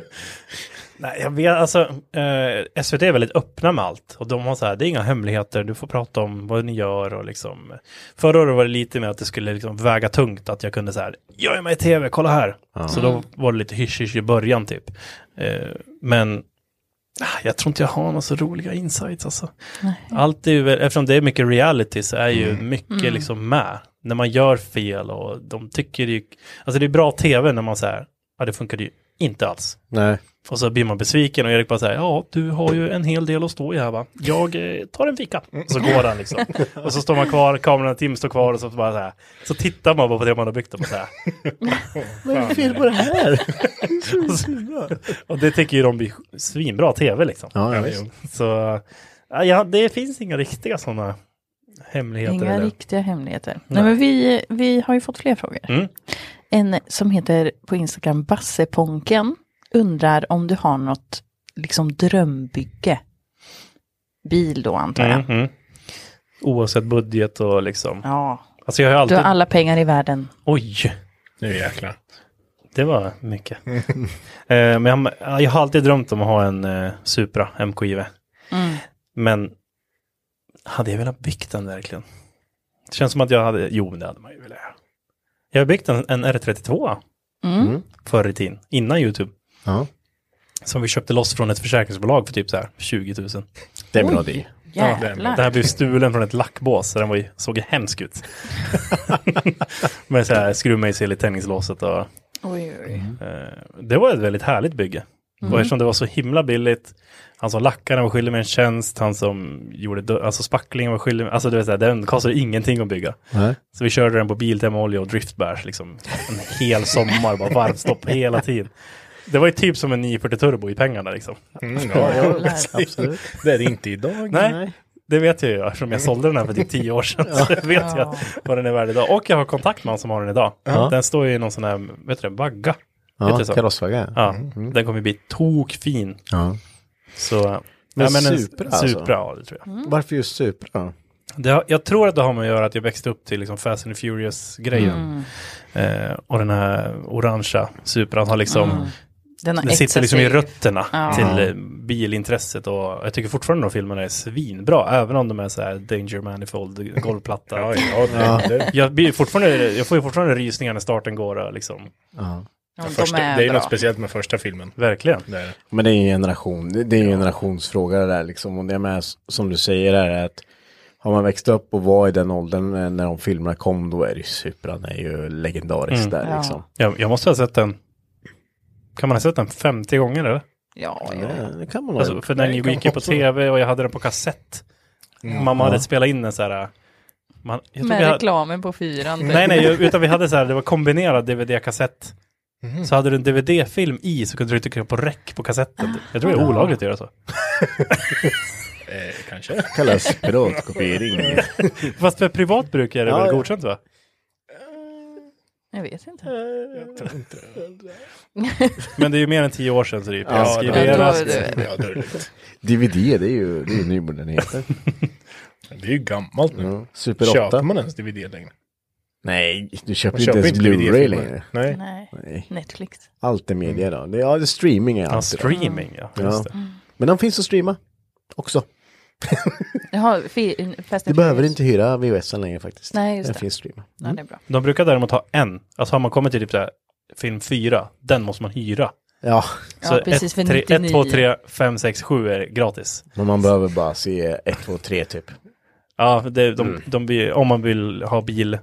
[SPEAKER 5] Nej, jag vet, alltså, eh, SVT är väldigt öppna med allt och de har så här, det är inga hemligheter, du får prata om vad ni gör och liksom. Förra året var det lite mer att det skulle liksom väga tungt, att jag kunde så här, jag är med i tv, kolla här. Så då var det lite hysch-hysch i början typ. Eh, men ah, jag tror inte jag har några så roliga insights alltså. Allt är ju, väl- eftersom det är mycket reality så är ju mycket liksom med. När man gör fel och de tycker det är, alltså det är bra tv när man säger, ja det funkade ju inte alls.
[SPEAKER 3] Nej.
[SPEAKER 5] Och så blir man besviken och Erik bara säger ja, du har ju en hel del att stå i här va. Jag eh, tar en fika. Och så går han liksom. Och så står man kvar, kameran en timme står kvar och så bara så här. Så tittar man bara på det man har byggt och bara så här.
[SPEAKER 3] [laughs] Vad är det fel på det här?
[SPEAKER 5] [laughs] Och, så, och det tycker ju de blir svinbra tv liksom.
[SPEAKER 3] Ja, ja,
[SPEAKER 4] Ja,
[SPEAKER 3] visst.
[SPEAKER 4] jo.
[SPEAKER 5] [laughs] Så ja, ja, det finns inga riktiga sådana hemligheter.
[SPEAKER 2] Inga
[SPEAKER 5] eller-
[SPEAKER 2] riktiga hemligheter. Nej. men vi, vi har ju fått fler frågor.
[SPEAKER 5] Mm.
[SPEAKER 2] En som heter på Instagram Basseponken undrar om du har något liksom drömbygge. Bil då antar jag.
[SPEAKER 5] Mm, mm. Oavsett budget och liksom.
[SPEAKER 2] Ja,
[SPEAKER 5] Alltså jag har ju
[SPEAKER 2] du
[SPEAKER 5] alltid...
[SPEAKER 2] har alla pengar i världen.
[SPEAKER 5] Oj!
[SPEAKER 4] Nu jäklar.
[SPEAKER 5] Det var mycket. Eh, men jag, jag har alltid drömt om att ha en eh, Supra MKIV.
[SPEAKER 2] Mm.
[SPEAKER 5] Men hade jag velat byggt den verkligen? Det känns som att jag hade, jo men det hade man ju velat göra. Jag har byggt en, en R32
[SPEAKER 2] Mm.
[SPEAKER 5] förr i tiden, innan YouTube.
[SPEAKER 3] Ja.
[SPEAKER 5] Som vi köpte loss från ett försäkringsbolag för typ så här 20 000.
[SPEAKER 3] Det är bra
[SPEAKER 2] Oj.
[SPEAKER 3] det.
[SPEAKER 5] Den
[SPEAKER 2] Jävlar.
[SPEAKER 5] här blev stulen från ett lackbås, så den var ju, såg hemsk ut. Med så här skruvmejsel i tändningslåset och
[SPEAKER 2] Oj, oj.
[SPEAKER 5] Eh, Det var ett väldigt härligt bygge. Och eftersom det var så himla billigt, han som lackade var skyldig med en tjänst, han som gjorde dö- alltså spacklingen var skyldig med, alltså du vet, så här, den kostade ingenting att bygga.
[SPEAKER 3] Nej.
[SPEAKER 5] Så vi körde den på Biltemoolja och driftbärs liksom en hel sommar, bara varvstopp hela tiden. Det var ju typ som en 940 turbo i pengarna liksom.
[SPEAKER 4] Mm, ja, ja.
[SPEAKER 3] Absolut.
[SPEAKER 4] [laughs] Det är det inte idag.
[SPEAKER 5] Nej, det vet jag ju eftersom jag sålde den här för typ 10 år sedan. Så vet jag vad den är värd idag. Och jag har kontakt med han som har den idag. Den står ju i någon sån här, vet du det, vagga. Heter
[SPEAKER 3] Ja,
[SPEAKER 5] det så?
[SPEAKER 3] karossvagga.
[SPEAKER 5] Ja,
[SPEAKER 2] Mm.
[SPEAKER 5] den kommer bli tokfin.
[SPEAKER 3] Ja.
[SPEAKER 5] Så, ja,
[SPEAKER 3] Men
[SPEAKER 5] en
[SPEAKER 3] Supra alltså?
[SPEAKER 5] Supra, ja, det tror jag.
[SPEAKER 3] Varför just Supra?
[SPEAKER 5] Det, har- jag tror att det har med att göra att jag växte upp till liksom Fast and Furious-grejen.
[SPEAKER 2] Mm.
[SPEAKER 5] Eh, och den här orangea Supran har liksom,
[SPEAKER 2] Den, har
[SPEAKER 5] den sitter
[SPEAKER 2] etsat
[SPEAKER 5] liksom
[SPEAKER 2] sig.
[SPEAKER 5] i rötterna
[SPEAKER 2] Ja.
[SPEAKER 5] till eh, bilintresset. Och jag tycker fortfarande de filmerna är svinbra, även om de är så här Danger Manifold, golvplatta.
[SPEAKER 4] Ja, ja, det, det,
[SPEAKER 5] Jag, blir fortfarande, jag får ju fortfarande rysningar när starten går, och liksom.
[SPEAKER 3] Ja.
[SPEAKER 2] Ja, de
[SPEAKER 4] första,
[SPEAKER 2] är
[SPEAKER 4] det är ju
[SPEAKER 2] bra.
[SPEAKER 4] något speciellt med första filmen.
[SPEAKER 5] Verkligen.
[SPEAKER 4] Det är det.
[SPEAKER 3] Men det är ju en generation, det, det är ju en generationsfråga det där liksom. Och det med, s- som du säger är att har man växt upp och var i den åldern eh, när de filmerna kom då är det ju Supran är ju legendariskt
[SPEAKER 5] Mm.
[SPEAKER 3] där
[SPEAKER 2] Ja.
[SPEAKER 3] liksom.
[SPEAKER 5] Jag, jag måste ha sett den. Kan man ha sett den 50 gånger eller?
[SPEAKER 2] Ja, ja.
[SPEAKER 3] Ja, det kan man
[SPEAKER 5] Alltså,
[SPEAKER 3] nog.
[SPEAKER 5] för den
[SPEAKER 3] Det kan
[SPEAKER 5] gick ju
[SPEAKER 3] man
[SPEAKER 5] på
[SPEAKER 3] också.
[SPEAKER 5] tv och jag hade den på kassett. Mamma hade spelat in den så här. Man, jag tror vi
[SPEAKER 2] Med
[SPEAKER 5] hade-
[SPEAKER 2] reklamen på fyran. typ.
[SPEAKER 5] Nej, nej, utan vi hade så här, det var kombinerad DVD-kassett. Så hade du en DVD-film i så kunde du trycka på rec på kassetten. Jag tror det är olagligt att göra så.
[SPEAKER 4] Eh, kanske.
[SPEAKER 3] Kallas piratkopiering.
[SPEAKER 5] Fast för privat bruk är det
[SPEAKER 3] Ja,
[SPEAKER 5] väl
[SPEAKER 3] ja.
[SPEAKER 5] godkänt va?
[SPEAKER 2] Jag vet inte.
[SPEAKER 5] Men det är ju mer än tio år sedan så det är ju
[SPEAKER 3] Ja,
[SPEAKER 2] Ja, då
[SPEAKER 5] preskriberat.
[SPEAKER 2] är det-
[SPEAKER 4] Ja, det är lugnt.
[SPEAKER 3] DVD det är ju, det är ju nymodernheter.
[SPEAKER 4] Det är ju gammalt nu.
[SPEAKER 3] Ja. Super 8.
[SPEAKER 4] Köper man ens DVD längre?
[SPEAKER 3] Nej, du köper
[SPEAKER 4] Man
[SPEAKER 3] ju inte
[SPEAKER 4] köper
[SPEAKER 3] ens
[SPEAKER 4] inte
[SPEAKER 3] Blu-ray
[SPEAKER 4] DVD-filmer.
[SPEAKER 3] längre.
[SPEAKER 4] Nej.
[SPEAKER 2] Nej.
[SPEAKER 3] Nej.
[SPEAKER 2] Netflix.
[SPEAKER 3] Allt är media då. Det, ja, det är streaming är
[SPEAKER 5] Mm. Ja,
[SPEAKER 3] allt. idag.
[SPEAKER 5] streaming ja.
[SPEAKER 3] Ja.
[SPEAKER 5] Just det.
[SPEAKER 3] Men de finns att streama också.
[SPEAKER 2] Jaha, fi- Fast
[SPEAKER 3] Du
[SPEAKER 2] and
[SPEAKER 3] behöver
[SPEAKER 2] Furious.
[SPEAKER 3] inte hyra VHSen längre faktiskt.
[SPEAKER 2] Nej, just
[SPEAKER 3] Den
[SPEAKER 2] det.
[SPEAKER 3] finns att streama. Mm.
[SPEAKER 2] Nej, det är bra.
[SPEAKER 5] De brukar däremot ha en. Alltså har man kommit till typ så här, film fyra, den måste man hyra.
[SPEAKER 3] Ja,
[SPEAKER 2] Ja, precis. För
[SPEAKER 5] 1,
[SPEAKER 2] 99.
[SPEAKER 5] 2, 3, 5, 6, 7 är gratis.
[SPEAKER 3] men man behöver bara se 1, 2, 3 typ.
[SPEAKER 5] Ja, det, de, de, blir- om man vill ha bil.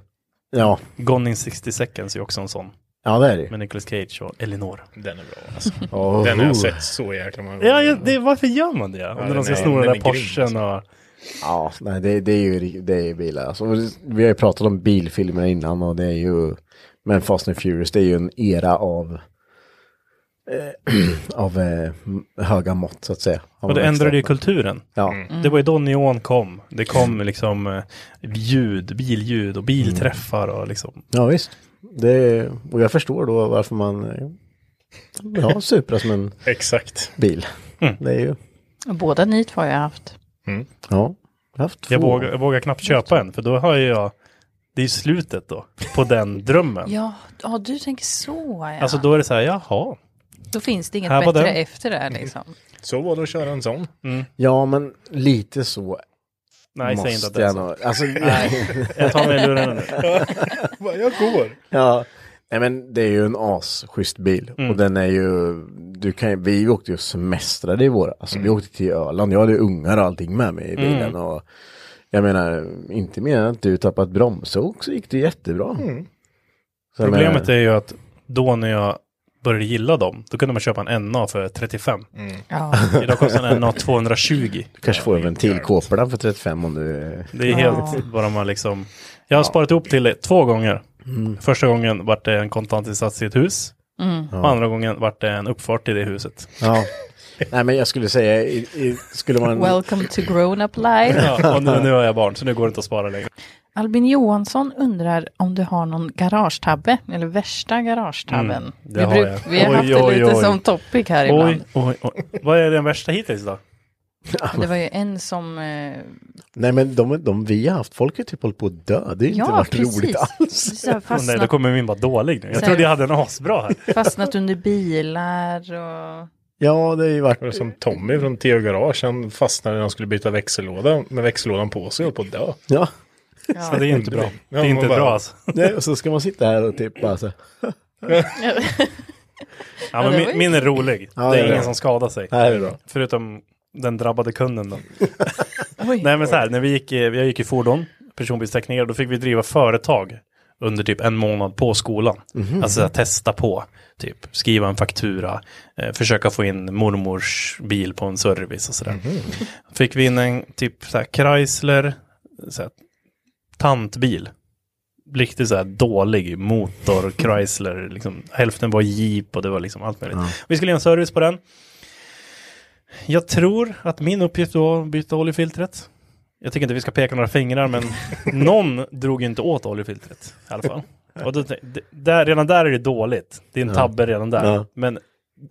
[SPEAKER 3] Ja,
[SPEAKER 5] Gone in 60 seconds är ju också en sån.
[SPEAKER 3] ja det är det ju.
[SPEAKER 5] Med Nicolas Cage och Elinor.
[SPEAKER 4] Den är bra alltså.
[SPEAKER 3] Åh,
[SPEAKER 4] Den har jag
[SPEAKER 3] oh.
[SPEAKER 4] sett så jäkla många
[SPEAKER 5] Ja, ja det, varför gör man det? Om
[SPEAKER 4] den
[SPEAKER 5] de ska
[SPEAKER 4] är-
[SPEAKER 5] sno
[SPEAKER 4] den
[SPEAKER 5] den
[SPEAKER 4] är
[SPEAKER 5] där
[SPEAKER 4] grym,
[SPEAKER 5] Porschen
[SPEAKER 4] alltså.
[SPEAKER 5] och...
[SPEAKER 3] Ja, nej, det, det är ju ri- det är ju bilar. Alltså, Och det- vi har ju pratat om bilfilmer innan och det är ju, men Fast and Furious det är ju en era av eh, [clears throat] av eh, m- höga mått så att säga. Har
[SPEAKER 5] Och
[SPEAKER 3] man
[SPEAKER 5] det
[SPEAKER 3] växt
[SPEAKER 5] ändrade ju
[SPEAKER 3] upp med.
[SPEAKER 5] kulturen.
[SPEAKER 3] Ja,
[SPEAKER 2] Mm.
[SPEAKER 5] Det var ju då neon kom. Det kom liksom eh, ljud, billjud och bilträffar och liksom.
[SPEAKER 3] ja visst. Det, och jag förstår då varför man eh, vill ha en Supra som en
[SPEAKER 4] Exakt.
[SPEAKER 3] bil.
[SPEAKER 5] Mm.
[SPEAKER 3] Det är ju,
[SPEAKER 2] Och Båda ni två har jag haft.
[SPEAKER 3] ja. Jag har haft två.
[SPEAKER 5] Jag vågar, jag vågar knappt köpa en för då har ju jag... Det är ju slutet då på den drömmen.
[SPEAKER 2] Ja, ja du tänker så ja.
[SPEAKER 5] Alltså då är det så här, jaha.
[SPEAKER 2] Då finns det inget
[SPEAKER 5] Här var
[SPEAKER 2] bättre
[SPEAKER 5] den.
[SPEAKER 2] efter det här
[SPEAKER 5] [laughs]
[SPEAKER 2] liksom.
[SPEAKER 4] Så var det att köra en sån.
[SPEAKER 3] Ja, men lite så
[SPEAKER 5] Nej, säg inte att
[SPEAKER 3] måste
[SPEAKER 5] det är
[SPEAKER 3] jag
[SPEAKER 5] så.
[SPEAKER 3] nog.
[SPEAKER 5] [laughs]
[SPEAKER 3] Alltså,
[SPEAKER 5] Jag tar mig luren nu.
[SPEAKER 4] Bara, Jag går.
[SPEAKER 3] [laughs] Ja, nej men det är ju en asschysst bil
[SPEAKER 5] Mm.
[SPEAKER 3] och den är ju, du kan ju, vi åkte ju och semestrade i våras, alltså
[SPEAKER 5] Mm.
[SPEAKER 3] vi åkte till Öland, jag hade ungar och allting med mig i bilen och jag menar, inte mer än att du tappat bromsok så gick det jättebra. Så jag
[SPEAKER 5] Mm. Problemet
[SPEAKER 3] menar,
[SPEAKER 5] är ju att då när jag började gilla dem, då kunde man köpa en NA för 35.
[SPEAKER 2] Ja.
[SPEAKER 5] Idag kostar en NA 220.
[SPEAKER 3] du kanske får en ventilkåpla för 35 om du,
[SPEAKER 5] Det är helt bara man liksom... Jag har sparat ihop till det två gånger. Första gången vart det en kontantinsats i ett hus. Och andra gången vart det en uppfart i det huset.
[SPEAKER 3] ja. [laughs] nej men jag skulle säga, i, i, skulle man...
[SPEAKER 2] Welcome to grown-up life.
[SPEAKER 5] Ja, och nu, nu har jag barn, så nu går det inte att spara längre.
[SPEAKER 2] Albin Johansson undrar om du har någon garagetabbe, eller värsta garagetabben.
[SPEAKER 5] Mm, det
[SPEAKER 2] vi,
[SPEAKER 5] har
[SPEAKER 2] bruk-
[SPEAKER 5] jag.
[SPEAKER 2] vi har
[SPEAKER 5] Oj,
[SPEAKER 2] haft det
[SPEAKER 5] oj,
[SPEAKER 2] lite
[SPEAKER 5] oj.
[SPEAKER 2] som topic här
[SPEAKER 5] Oj, [laughs]
[SPEAKER 2] ibland.
[SPEAKER 5] oj, oj. Vad är den värsta hittills då?
[SPEAKER 2] Det var ju en som... Eh,
[SPEAKER 3] Nej men de, de vi har haft, folk har typ hållit på att dö, det är ju inte
[SPEAKER 2] ja,
[SPEAKER 3] varit
[SPEAKER 2] precis.
[SPEAKER 3] roligt alls.
[SPEAKER 2] Så här
[SPEAKER 5] Åh nej, då
[SPEAKER 2] Fastnat,
[SPEAKER 5] kommer min vara dålig nu. Jag trodde jag hade en asbra här. [laughs]
[SPEAKER 2] fastnat under bilar och...
[SPEAKER 3] Ja, det har ju varit...
[SPEAKER 4] Det var som Tommy från TV Garage. Han fastnade när han skulle byta växellåda med växellådan på sig och höll på att dö.
[SPEAKER 3] Ja.
[SPEAKER 5] Men det är inte bra. Det är inte bra alltså.
[SPEAKER 3] Nej, och så ska man sitta här och typ bara så här,
[SPEAKER 5] Ja, men
[SPEAKER 2] det var
[SPEAKER 5] min,
[SPEAKER 2] ju-
[SPEAKER 5] min är rolig.
[SPEAKER 3] det
[SPEAKER 5] det
[SPEAKER 3] är
[SPEAKER 5] är ingen
[SPEAKER 3] det.
[SPEAKER 5] som skadar sig.
[SPEAKER 3] här är det bra.
[SPEAKER 5] Förutom den drabbade kunden då.
[SPEAKER 2] [laughs] Oj.
[SPEAKER 5] Nej men så här, när vi gick, i- jag gick i fordon, personbilstekniker, då fick vi driva företag under typ en månad på skolan.
[SPEAKER 3] Mhm. Mm.
[SPEAKER 5] Alltså så här, testa på, typ skriva en faktura, eh, försöka få in mormors bil på en service och sådär. Fick vi in en typ så här Chrysler, så här, tantbil. Riktigt så här dålig motor, Chrysler, liksom, hälften var jeep och det var liksom allt möjligt. Vi skulle göra en service på den. Jag tror att min uppgift då var att byta oljefiltret. Jag tycker inte vi ska peka några fingrar, men någon drog ju inte åt oljefiltret i alla fall. Och då, tänkte- det- där, redan där är det dåligt. Det är en tabbe redan där.
[SPEAKER 3] Ja.
[SPEAKER 5] Men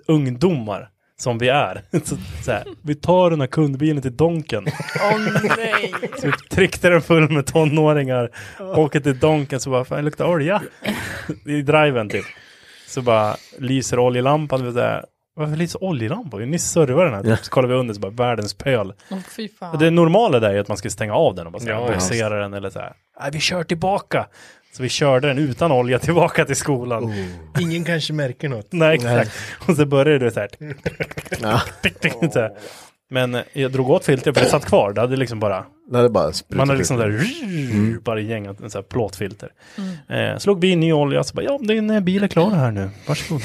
[SPEAKER 5] ungdomar som vi är, [laughs] så, så här, vi tar den här kundbilen till Donken.
[SPEAKER 2] Åh
[SPEAKER 5] [laughs]
[SPEAKER 2] nej!
[SPEAKER 5] Typ tryckte den full med tonåringar. Åker till Donken så bara, fan det luktar
[SPEAKER 2] [laughs]
[SPEAKER 5] olja. I driven typ. Så bara lyser oljelampan. vet du där. Varför lyser oljelampan? Vi har nyss servat den här. Typ. Så kollar vi under så bara världens pöl.
[SPEAKER 2] Åh fy fan.
[SPEAKER 5] Och Det normala där är att man ska stänga av den och bara så här,
[SPEAKER 4] Ja,
[SPEAKER 5] bogsera den eller så här. Nej, vi kör tillbaka. Så vi körde den utan olja tillbaka till skolan.
[SPEAKER 4] Ingen kanske märker något.
[SPEAKER 5] Nej, exakt. Och [laughs] så började det så här.
[SPEAKER 3] Ja.
[SPEAKER 5] Så här. Men eh, jag drog åt filtret för det satt kvar. Det hade liksom bara,
[SPEAKER 3] Det hade bara sprutit
[SPEAKER 5] man hade
[SPEAKER 3] ut.
[SPEAKER 5] liksom sådär, bara gängat en sån här plåtfilter. Eh, slog bi ny olja, så bara, ja din eh, bil är klar här nu, varsågod.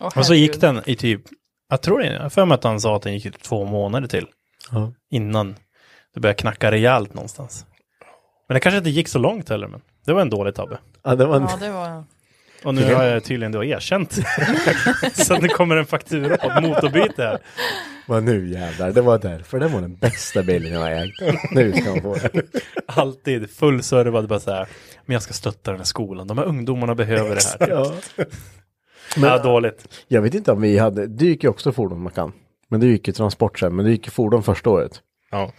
[SPEAKER 2] Åh,
[SPEAKER 5] Och så gick
[SPEAKER 2] herregud.
[SPEAKER 5] den i typ, jag tror det, jag har för mig att han sa att den gick i typ två månader till.
[SPEAKER 3] Ja.
[SPEAKER 5] Innan det började knacka rejält någonstans. Men det kanske inte gick så långt heller, men det var en dålig tabbe.
[SPEAKER 3] Ja, det var en...
[SPEAKER 2] Ja, det var...
[SPEAKER 5] Och nu har jag tydligen då erkänt. [laughs] så nu kommer en faktura på ett motorbyte här.
[SPEAKER 3] Vad nu jävlar, det var därför. Det var den bästa bilen jag har ägt. Nu ska man få den.
[SPEAKER 5] Alltid fullservad, bara så här. Men jag ska stötta den här skolan, de här ungdomarna behöver det här.
[SPEAKER 3] [laughs] Ja.
[SPEAKER 5] Men, ja, dåligt.
[SPEAKER 3] Jag vet inte om vi hade, det gick ju också fordon man kan. Men det gick ju transport sen, men det gick ju fordon första året.
[SPEAKER 4] Ja.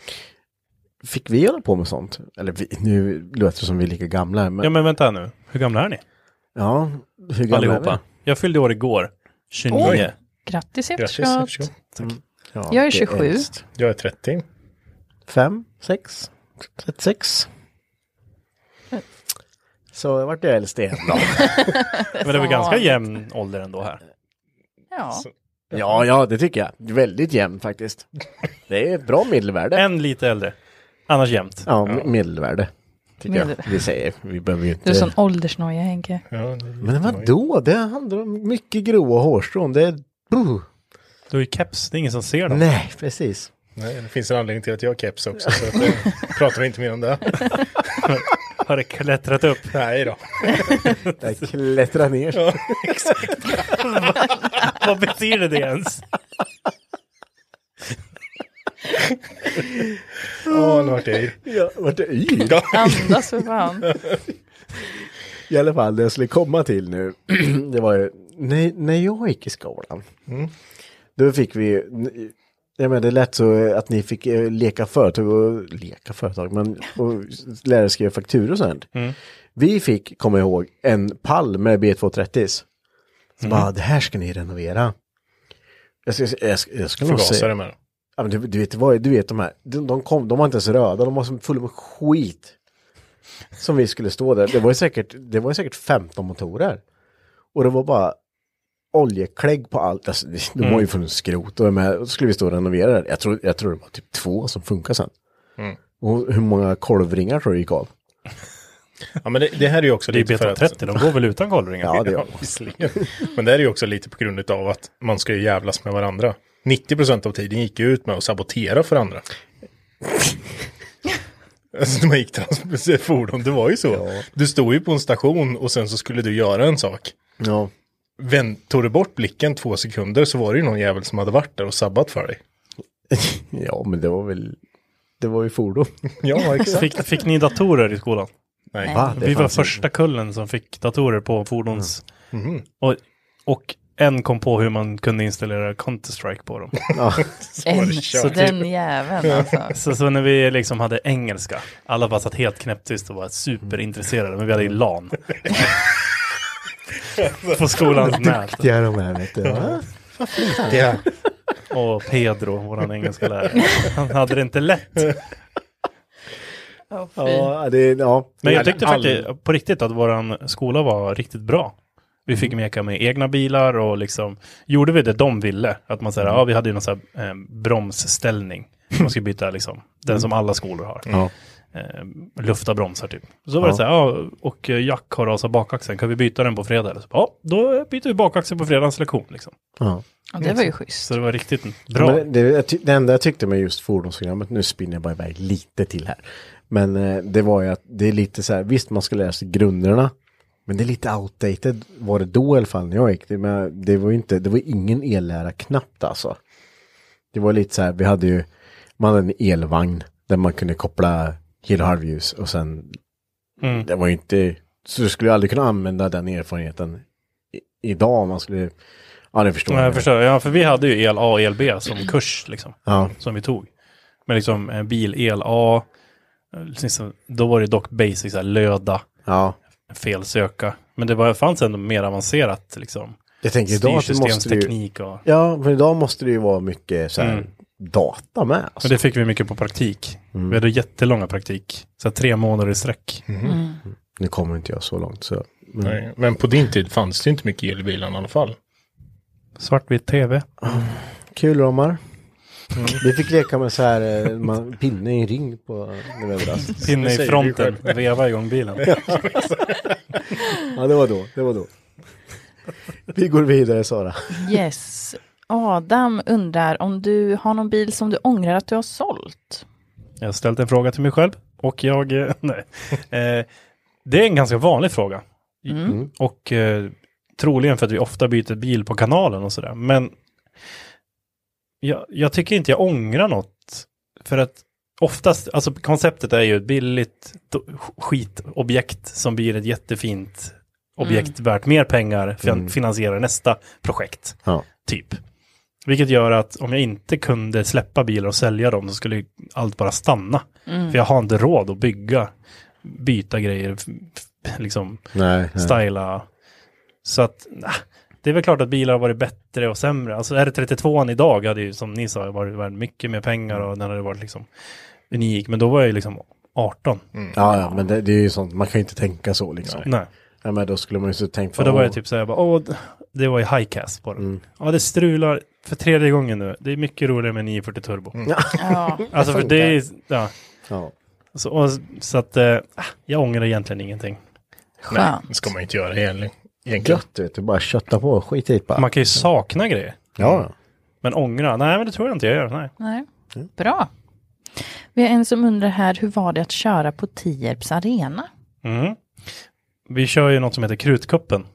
[SPEAKER 3] Fick vi hålla på med sånt? Eller vi, nu låter det som vi är lika gamla. Men,
[SPEAKER 5] Ja
[SPEAKER 3] ja,
[SPEAKER 5] men vänta nu, hur gamla är ni?
[SPEAKER 3] hur gamla är
[SPEAKER 5] Allihopa.
[SPEAKER 3] vi?
[SPEAKER 5] Jag fyllde år igår, 29.
[SPEAKER 4] Oj.
[SPEAKER 2] Grattis i
[SPEAKER 4] Grattis,
[SPEAKER 2] efterskott.
[SPEAKER 4] efterskott.
[SPEAKER 3] Ja,
[SPEAKER 2] Jag är
[SPEAKER 3] det
[SPEAKER 2] 27.
[SPEAKER 3] äldst.
[SPEAKER 4] Jag är 30.
[SPEAKER 3] Fem, sex, 36. Så jag vart jag äldst igen
[SPEAKER 2] [laughs]
[SPEAKER 3] då.
[SPEAKER 5] Men det var ganska jämn ålder ändå här.
[SPEAKER 2] Ja.
[SPEAKER 3] ja, ja, det tycker jag. Väldigt jämn faktiskt. Det är ett bra medelvärde.
[SPEAKER 5] En lite äldre, annars jämnt.
[SPEAKER 3] Ja, me- medelvärde. Tycker jag.
[SPEAKER 2] Medelvärde.
[SPEAKER 3] Vi säger, vi behöver ju
[SPEAKER 2] Du är
[SPEAKER 3] inte...
[SPEAKER 2] sån åldersnoja Henke.
[SPEAKER 4] Ja, det är
[SPEAKER 3] Men vadå? Det handlar om mycket grova hårstrån. Det är... Buh.
[SPEAKER 5] Du har ju keps, det är ingen som ser dem.
[SPEAKER 3] Nej, precis.
[SPEAKER 4] Nej, det finns en anledning till att jag har keps också. Så att, eh, pratar vi inte mer om det.
[SPEAKER 5] [laughs] Har det klättrat upp?
[SPEAKER 4] Nej då.
[SPEAKER 3] Jag klättrar ner.
[SPEAKER 5] Vad betyder det ens?
[SPEAKER 4] Ja, nu vart jag yr.
[SPEAKER 3] Ja, vart är yr?
[SPEAKER 2] Andas för fan.
[SPEAKER 3] I alla fall, det jag skulle komma till nu, [clears throat] det var ju, när, när jag gick i skolan, då fick vi, ju- jag menar det lät så att ni fick eh, leka företag och leka företag, men och lära er skriva fakturor och sånt. Vi fick, kommer jag ihåg, en pall med B230s. Så bara, det här ska ni renovera. Jag ska, jag ska, jag ska nog säga-
[SPEAKER 4] Förgasare med.
[SPEAKER 3] Ja, men du, du, vet, vad, du vet de här, de, de, kom, de var inte ens röda, de var som fulla med skit. Som vi skulle stå där, det var ju säkert, det var ju säkert 15 motorer. Och det var bara oljeklägg på allt, alltså, det- de
[SPEAKER 5] Mm.
[SPEAKER 3] var ju från skrot. Och, jag menar, och så skulle vi stå och renovera det, jag tror, jag tror det var typ två som funkar sen.
[SPEAKER 5] Mm.
[SPEAKER 3] Och hur många kolvringar tror du gick av?
[SPEAKER 4] Ja, men det, det här är ju också
[SPEAKER 5] Det är
[SPEAKER 4] lite för att...
[SPEAKER 5] B230, de går väl utan kollringar?
[SPEAKER 3] Ja, det gör
[SPEAKER 4] Ja, visserligen. [laughs] Men det här är ju också lite på grund av att man ska ju jävlas med varandra. 90% av tiden gick ju ut med att sabotera för andra. alltså när man gick trans- fordon, det var ju så. Du stod ju på en station och sen så skulle du göra en sak.
[SPEAKER 3] Ja,
[SPEAKER 4] Vänd, tog du bort blicken två sekunder så var det ju någon jävel som hade varit där och sabbat för dig.
[SPEAKER 3] [laughs] ja men det var väl, det var ju [laughs] fordon.
[SPEAKER 4] Ja, exakt.
[SPEAKER 5] Fick, fick ni datorer i skolan?
[SPEAKER 4] Nej.
[SPEAKER 3] Va? Det
[SPEAKER 5] Vi var
[SPEAKER 3] fanns inte.
[SPEAKER 5] första kullen som fick datorer på fordons...
[SPEAKER 4] Mm. Mhm.
[SPEAKER 5] Och, och en kom på hur man kunde installera Counter-Strike på dem.
[SPEAKER 2] En,
[SPEAKER 4] kört.
[SPEAKER 2] den jäveln alltså.
[SPEAKER 5] [laughs] Så, så när vi liksom hade engelska, alla bara satt helt knäpptyst och var superintresserade, men vi hade ju LAN. på skolans nät.
[SPEAKER 3] Ja, de här vet du. va?
[SPEAKER 4] Ja.
[SPEAKER 5] Och Pedro, vår engelska lärare, han hade det inte lätt.
[SPEAKER 2] Åh, fy.
[SPEAKER 3] Ja, det, ja.
[SPEAKER 5] Men jag
[SPEAKER 4] Hade
[SPEAKER 5] tyckte
[SPEAKER 4] all-
[SPEAKER 5] faktiskt på riktigt att vår skola var riktigt bra. Vi fick meka med egna bilar och liksom gjorde vi det de ville. Att man säger, ja vi hade ju någon sån här eh, bromsställning. Man skulle byta liksom, den som alla skolor har.
[SPEAKER 3] Ja.
[SPEAKER 5] Eh, lufta bromsar typ. Så var det så här, ja och eh, Jack har rasat bakaxeln, kan vi byta den på fredag? Så, ja, då byter vi bakaxeln på fredagens lektion liksom.
[SPEAKER 3] ja.
[SPEAKER 2] Ja, det var ju schysst.
[SPEAKER 5] Så det var riktigt bra.
[SPEAKER 3] Men det, det, jag ty- det enda jag tyckte med just fordonsprogrammet, nu spinner jag bara iväg lite till här. Men eh, det var ju att det är lite så här, visst man ska lära sig grunderna. Men det är lite outdated var det då i alla fall när jag gick. Det, men det var ju inte, det var ingen ellära knappt alltså. Det var lite så här, vi hade ju, man hade en elvagn där man kunde koppla hel och halvljus och sen,
[SPEAKER 5] Mm.
[SPEAKER 3] det var ju inte, så du skulle ju aldrig kunna använda den erfarenheten i, idag om man skulle, ja det förstår
[SPEAKER 5] Ja, jag förstår. Ja, för vi hade ju el A och el B som [clears throat] kurs liksom.
[SPEAKER 3] Ja.
[SPEAKER 5] Som vi tog. Men liksom eh, bil, el A. eh, Liksom, då var det dock basic, så här, löda,
[SPEAKER 3] Ja.
[SPEAKER 5] felsöka. Men det var, fanns ändå mer avancerat liksom.
[SPEAKER 3] Jag tänker idag att det måste ju,
[SPEAKER 5] Styrsystemsteknik och...
[SPEAKER 3] Ja, för idag måste det ju vara mycket så här data med. Alltså.
[SPEAKER 5] Men det fick vi mycket på praktik.
[SPEAKER 3] Mm.
[SPEAKER 5] Vi hade jättelånga praktik. Så här, tre månader i sträck.
[SPEAKER 3] Nu kommer inte jag så långt så. Mm.
[SPEAKER 4] Nej. Men på din tid fanns det ju inte mycket el i bilarna i alla fall.
[SPEAKER 5] Alltså, Svartvit tv.
[SPEAKER 3] Kulramar.
[SPEAKER 5] Mm.
[SPEAKER 3] Vi fick leka med så här, eh, man, pinne i en ring på alltså. när vi överraskade.
[SPEAKER 5] Pinne
[SPEAKER 4] Det
[SPEAKER 5] i
[SPEAKER 4] säger
[SPEAKER 5] fronten,
[SPEAKER 4] du själv.
[SPEAKER 5] veva igång [laughs] bilen.
[SPEAKER 3] Ja, det var då, det var då. Vi går vidare Sara.
[SPEAKER 2] Yes. Adam undrar om du har någon bil som du ångrar att du har sålt?
[SPEAKER 5] Jag har ställt en fråga till mig själv och jag... eh, [laughs] Nej. Eh, det är en ganska vanlig fråga.
[SPEAKER 2] Mm.
[SPEAKER 5] Och eh, troligen för att vi ofta byter bil på kanalen och sådär. Men jag, jag tycker inte jag ångrar något. För att oftast, alltså konceptet är ju ett billigt do- sk- skitobjekt som blir ett jättefint objekt värt mer pengar för
[SPEAKER 3] Mm.
[SPEAKER 5] att finansiera nästa projekt.
[SPEAKER 3] Ja.
[SPEAKER 5] Typ. Vilket gör att om jag inte kunde släppa bilar och sälja dem så skulle ju allt bara stanna.
[SPEAKER 2] Mm.
[SPEAKER 5] För jag har inte råd att bygga, byta grejer, f- f- liksom
[SPEAKER 3] Nej,
[SPEAKER 5] styla. Så att, nah, det är väl klart att bilar har varit bättre och sämre. Alltså R32 idag hade ju, som ni sa, varit värd mycket mer pengar och den hade varit liksom unik. Men då var jag ju liksom 18.
[SPEAKER 3] Ja, ja, men det, det är ju sånt, man kan ju inte tänka så liksom. Nej.
[SPEAKER 5] Nej.
[SPEAKER 3] men då skulle man ju så tänkt
[SPEAKER 5] För då var jag typ så här, jag bara, åh, d- det var ju highcast på den. Ja, det strular för tredje gången nu. Det är mycket roligare med 940 turbo.
[SPEAKER 3] Mm.
[SPEAKER 2] Ja.
[SPEAKER 5] Alltså för det är, ja.
[SPEAKER 3] Ja.
[SPEAKER 5] Så, och, så att, eh, ah, jag ångrar egentligen ingenting.
[SPEAKER 2] Skönt.
[SPEAKER 4] Det ska man ju inte göra egentligen. egentligen.
[SPEAKER 3] Gött vet du, bara kötta på, skit i bara.
[SPEAKER 5] Man kan ju sakna grejer.
[SPEAKER 3] Ja, ja.
[SPEAKER 5] Men ångra, nej men det tror jag inte jag gör, nej.
[SPEAKER 2] Nej. Bra. Vi har en som undrar här, hur var det att köra på Tierps arena?
[SPEAKER 5] Mm. Vi kör ju något som heter Krutkuppen.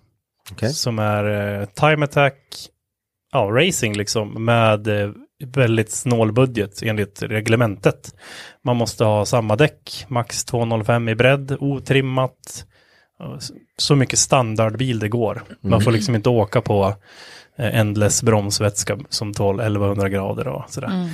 [SPEAKER 3] Okej.
[SPEAKER 5] Som är eh, time attack, ja, racing liksom, med eh, väldigt snål budget enligt reglementet. Man måste ha samma däck, max 2,05 i bredd, otrimmat, och s- så mycket standardbil det går. Man får liksom inte åka på eh, endless bromsvätska som tål 1100 grader och sådär. [laughs]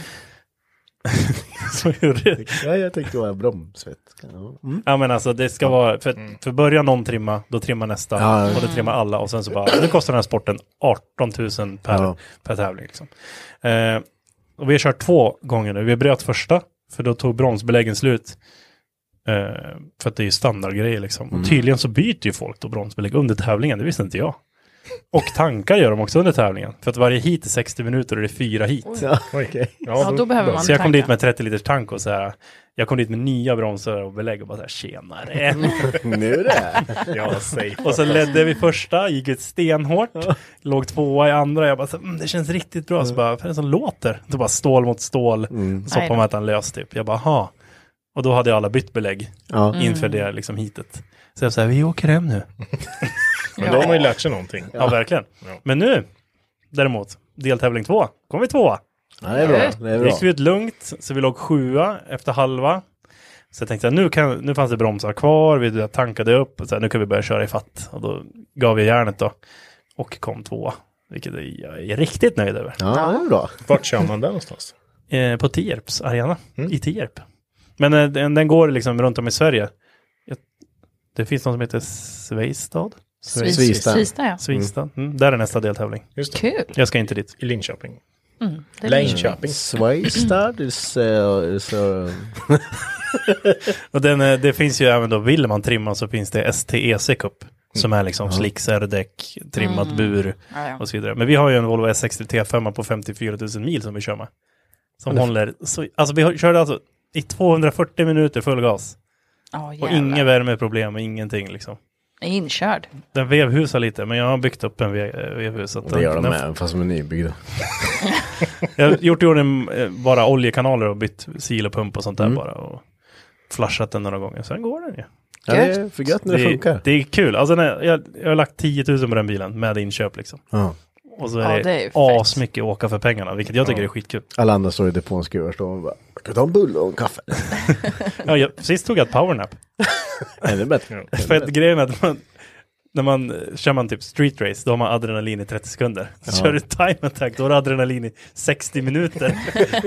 [SPEAKER 5] så hur det,
[SPEAKER 3] ja, jag tänkte vara bromsvätska. Ja. Mm.
[SPEAKER 5] Ja men alltså det ska vara, för,
[SPEAKER 2] Mm.
[SPEAKER 5] för börjar någon trimma, då trimmar nästa
[SPEAKER 3] Ja, ja.
[SPEAKER 5] och det trimmar alla och sen så bara, nu kostar den här sporten 18 000 per,
[SPEAKER 3] Ja.
[SPEAKER 5] per tävling. Liksom. Eh, och vi har kört två gånger nu, vi bröt första, för då tog bromsbeläggen slut. Eh, för att det är ju standardgrejer liksom.
[SPEAKER 3] Mm.
[SPEAKER 5] Och tydligen så byter ju folk då bromsbelägg under tävlingen, det visste inte jag. Och tankar gör de också under tävlingen, för att varje heat är 60 minuter och det är fyra heat.
[SPEAKER 3] Oj. Okej.
[SPEAKER 2] Ja, då behöver man
[SPEAKER 5] Så jag kom
[SPEAKER 2] tanka.
[SPEAKER 5] dit med 30 liters tank och så här, jag kom dit med nya bromsar och belägg och bara så här, tjenare.
[SPEAKER 3] [laughs] Nu det.
[SPEAKER 5] Ja, safe. Och så ledde vi första, gick ut stenhårt, låg tvåa i andra. Jag bara, så, mm, det känns riktigt bra. Så bara, vad är det som låter? Det bara stål mot stål,
[SPEAKER 2] Aj
[SPEAKER 5] soppa
[SPEAKER 2] då.
[SPEAKER 5] mätaren lös typ. Jag bara, ha. Och då hade jag alla bytt belägg
[SPEAKER 3] Ja.
[SPEAKER 5] inför det liksom hitet. Så jag sa, vi åker hem nu.
[SPEAKER 4] Men då har man ju lärt sig någonting.
[SPEAKER 5] Ja, verkligen. Men nu, däremot, deltävling två, kom vi tvåa.
[SPEAKER 3] ja, det är bra. Det är
[SPEAKER 5] Då
[SPEAKER 3] bra.
[SPEAKER 5] gick vi ut lugnt, så vi låg sjua efter halva. Så jag tänkte att nu, kan, nu fanns det bromsar kvar, vi tankade upp, och så här, nu kan vi börja köra i fatt. Och då gav vi järnet då. Och kom tvåa, vilket jag är riktigt nöjd över.
[SPEAKER 3] Ja, det är bra.
[SPEAKER 4] Vart kör man där någonstans?
[SPEAKER 5] Eh, på Tierps arena, i Tierp. Men eh, den, den går liksom runt om i Sverige. Jag, det finns någon som heter Sveistad?
[SPEAKER 2] Svis-
[SPEAKER 3] Svista.
[SPEAKER 2] Svista, ja.
[SPEAKER 5] Sveistad. Mm. Där är nästa deltävling.
[SPEAKER 4] Just det.
[SPEAKER 2] Kul.
[SPEAKER 5] Jag ska inte dit.
[SPEAKER 4] I Linköping.
[SPEAKER 2] Det är
[SPEAKER 4] Linköping.
[SPEAKER 3] Svajstad is, uh, is uh,
[SPEAKER 5] Mm. Och den, eh, det finns ju även då, vill man trimma så finns det STEC Cup. Som är
[SPEAKER 3] Mm.
[SPEAKER 5] liksom slicksar, däck, trimmat bur
[SPEAKER 2] Ja, Mm. ja.
[SPEAKER 5] och så vidare. Men vi har ju en Volvo S60 T5 på 54 000 mil som vi kör med. Som håller, så, alltså vi har- körde alltså i 240 minuter full gas.
[SPEAKER 2] Ja,
[SPEAKER 5] Och
[SPEAKER 2] jävlar.
[SPEAKER 5] inga värmeproblem och ingenting liksom.
[SPEAKER 2] Inkörd.
[SPEAKER 5] Den vevhusar lite, men jag har byggt upp en ve- vevhus. så att
[SPEAKER 3] Det gör de
[SPEAKER 5] den-
[SPEAKER 3] med, fast de är nybyggda.
[SPEAKER 5] Jag har gjort i ordning eh, bara oljekanaler och bytt silopump och sånt
[SPEAKER 3] Mm.
[SPEAKER 5] där bara. Och flashat den några gånger, sen går den ju.
[SPEAKER 3] Ja, det är för gött när det funkar.
[SPEAKER 5] Det är kul. Alltså, när jag, jag har lagt 10 000 på den bilen med inköp liksom.
[SPEAKER 3] Ja.
[SPEAKER 5] Och så
[SPEAKER 2] Ja,
[SPEAKER 5] är
[SPEAKER 2] det är
[SPEAKER 5] det,
[SPEAKER 2] ju fett.
[SPEAKER 5] asmycket åka för pengarna, vilket jag tycker är skitkul.
[SPEAKER 3] Alla andra står i depån och skruvar, står och bara, kan du ta en bulle och en
[SPEAKER 5] [laughs]
[SPEAKER 3] kaffe?
[SPEAKER 5] Ja, jag, sist tog jag ett powernap.
[SPEAKER 3] Ännu bättre.
[SPEAKER 5] För att grejen är att man, när man eh, kör man typ street race, då har man adrenalin i 30 sekunder. Kör du time attack, då har du adrenalin i
[SPEAKER 3] [laughs]
[SPEAKER 5] 60 minuter.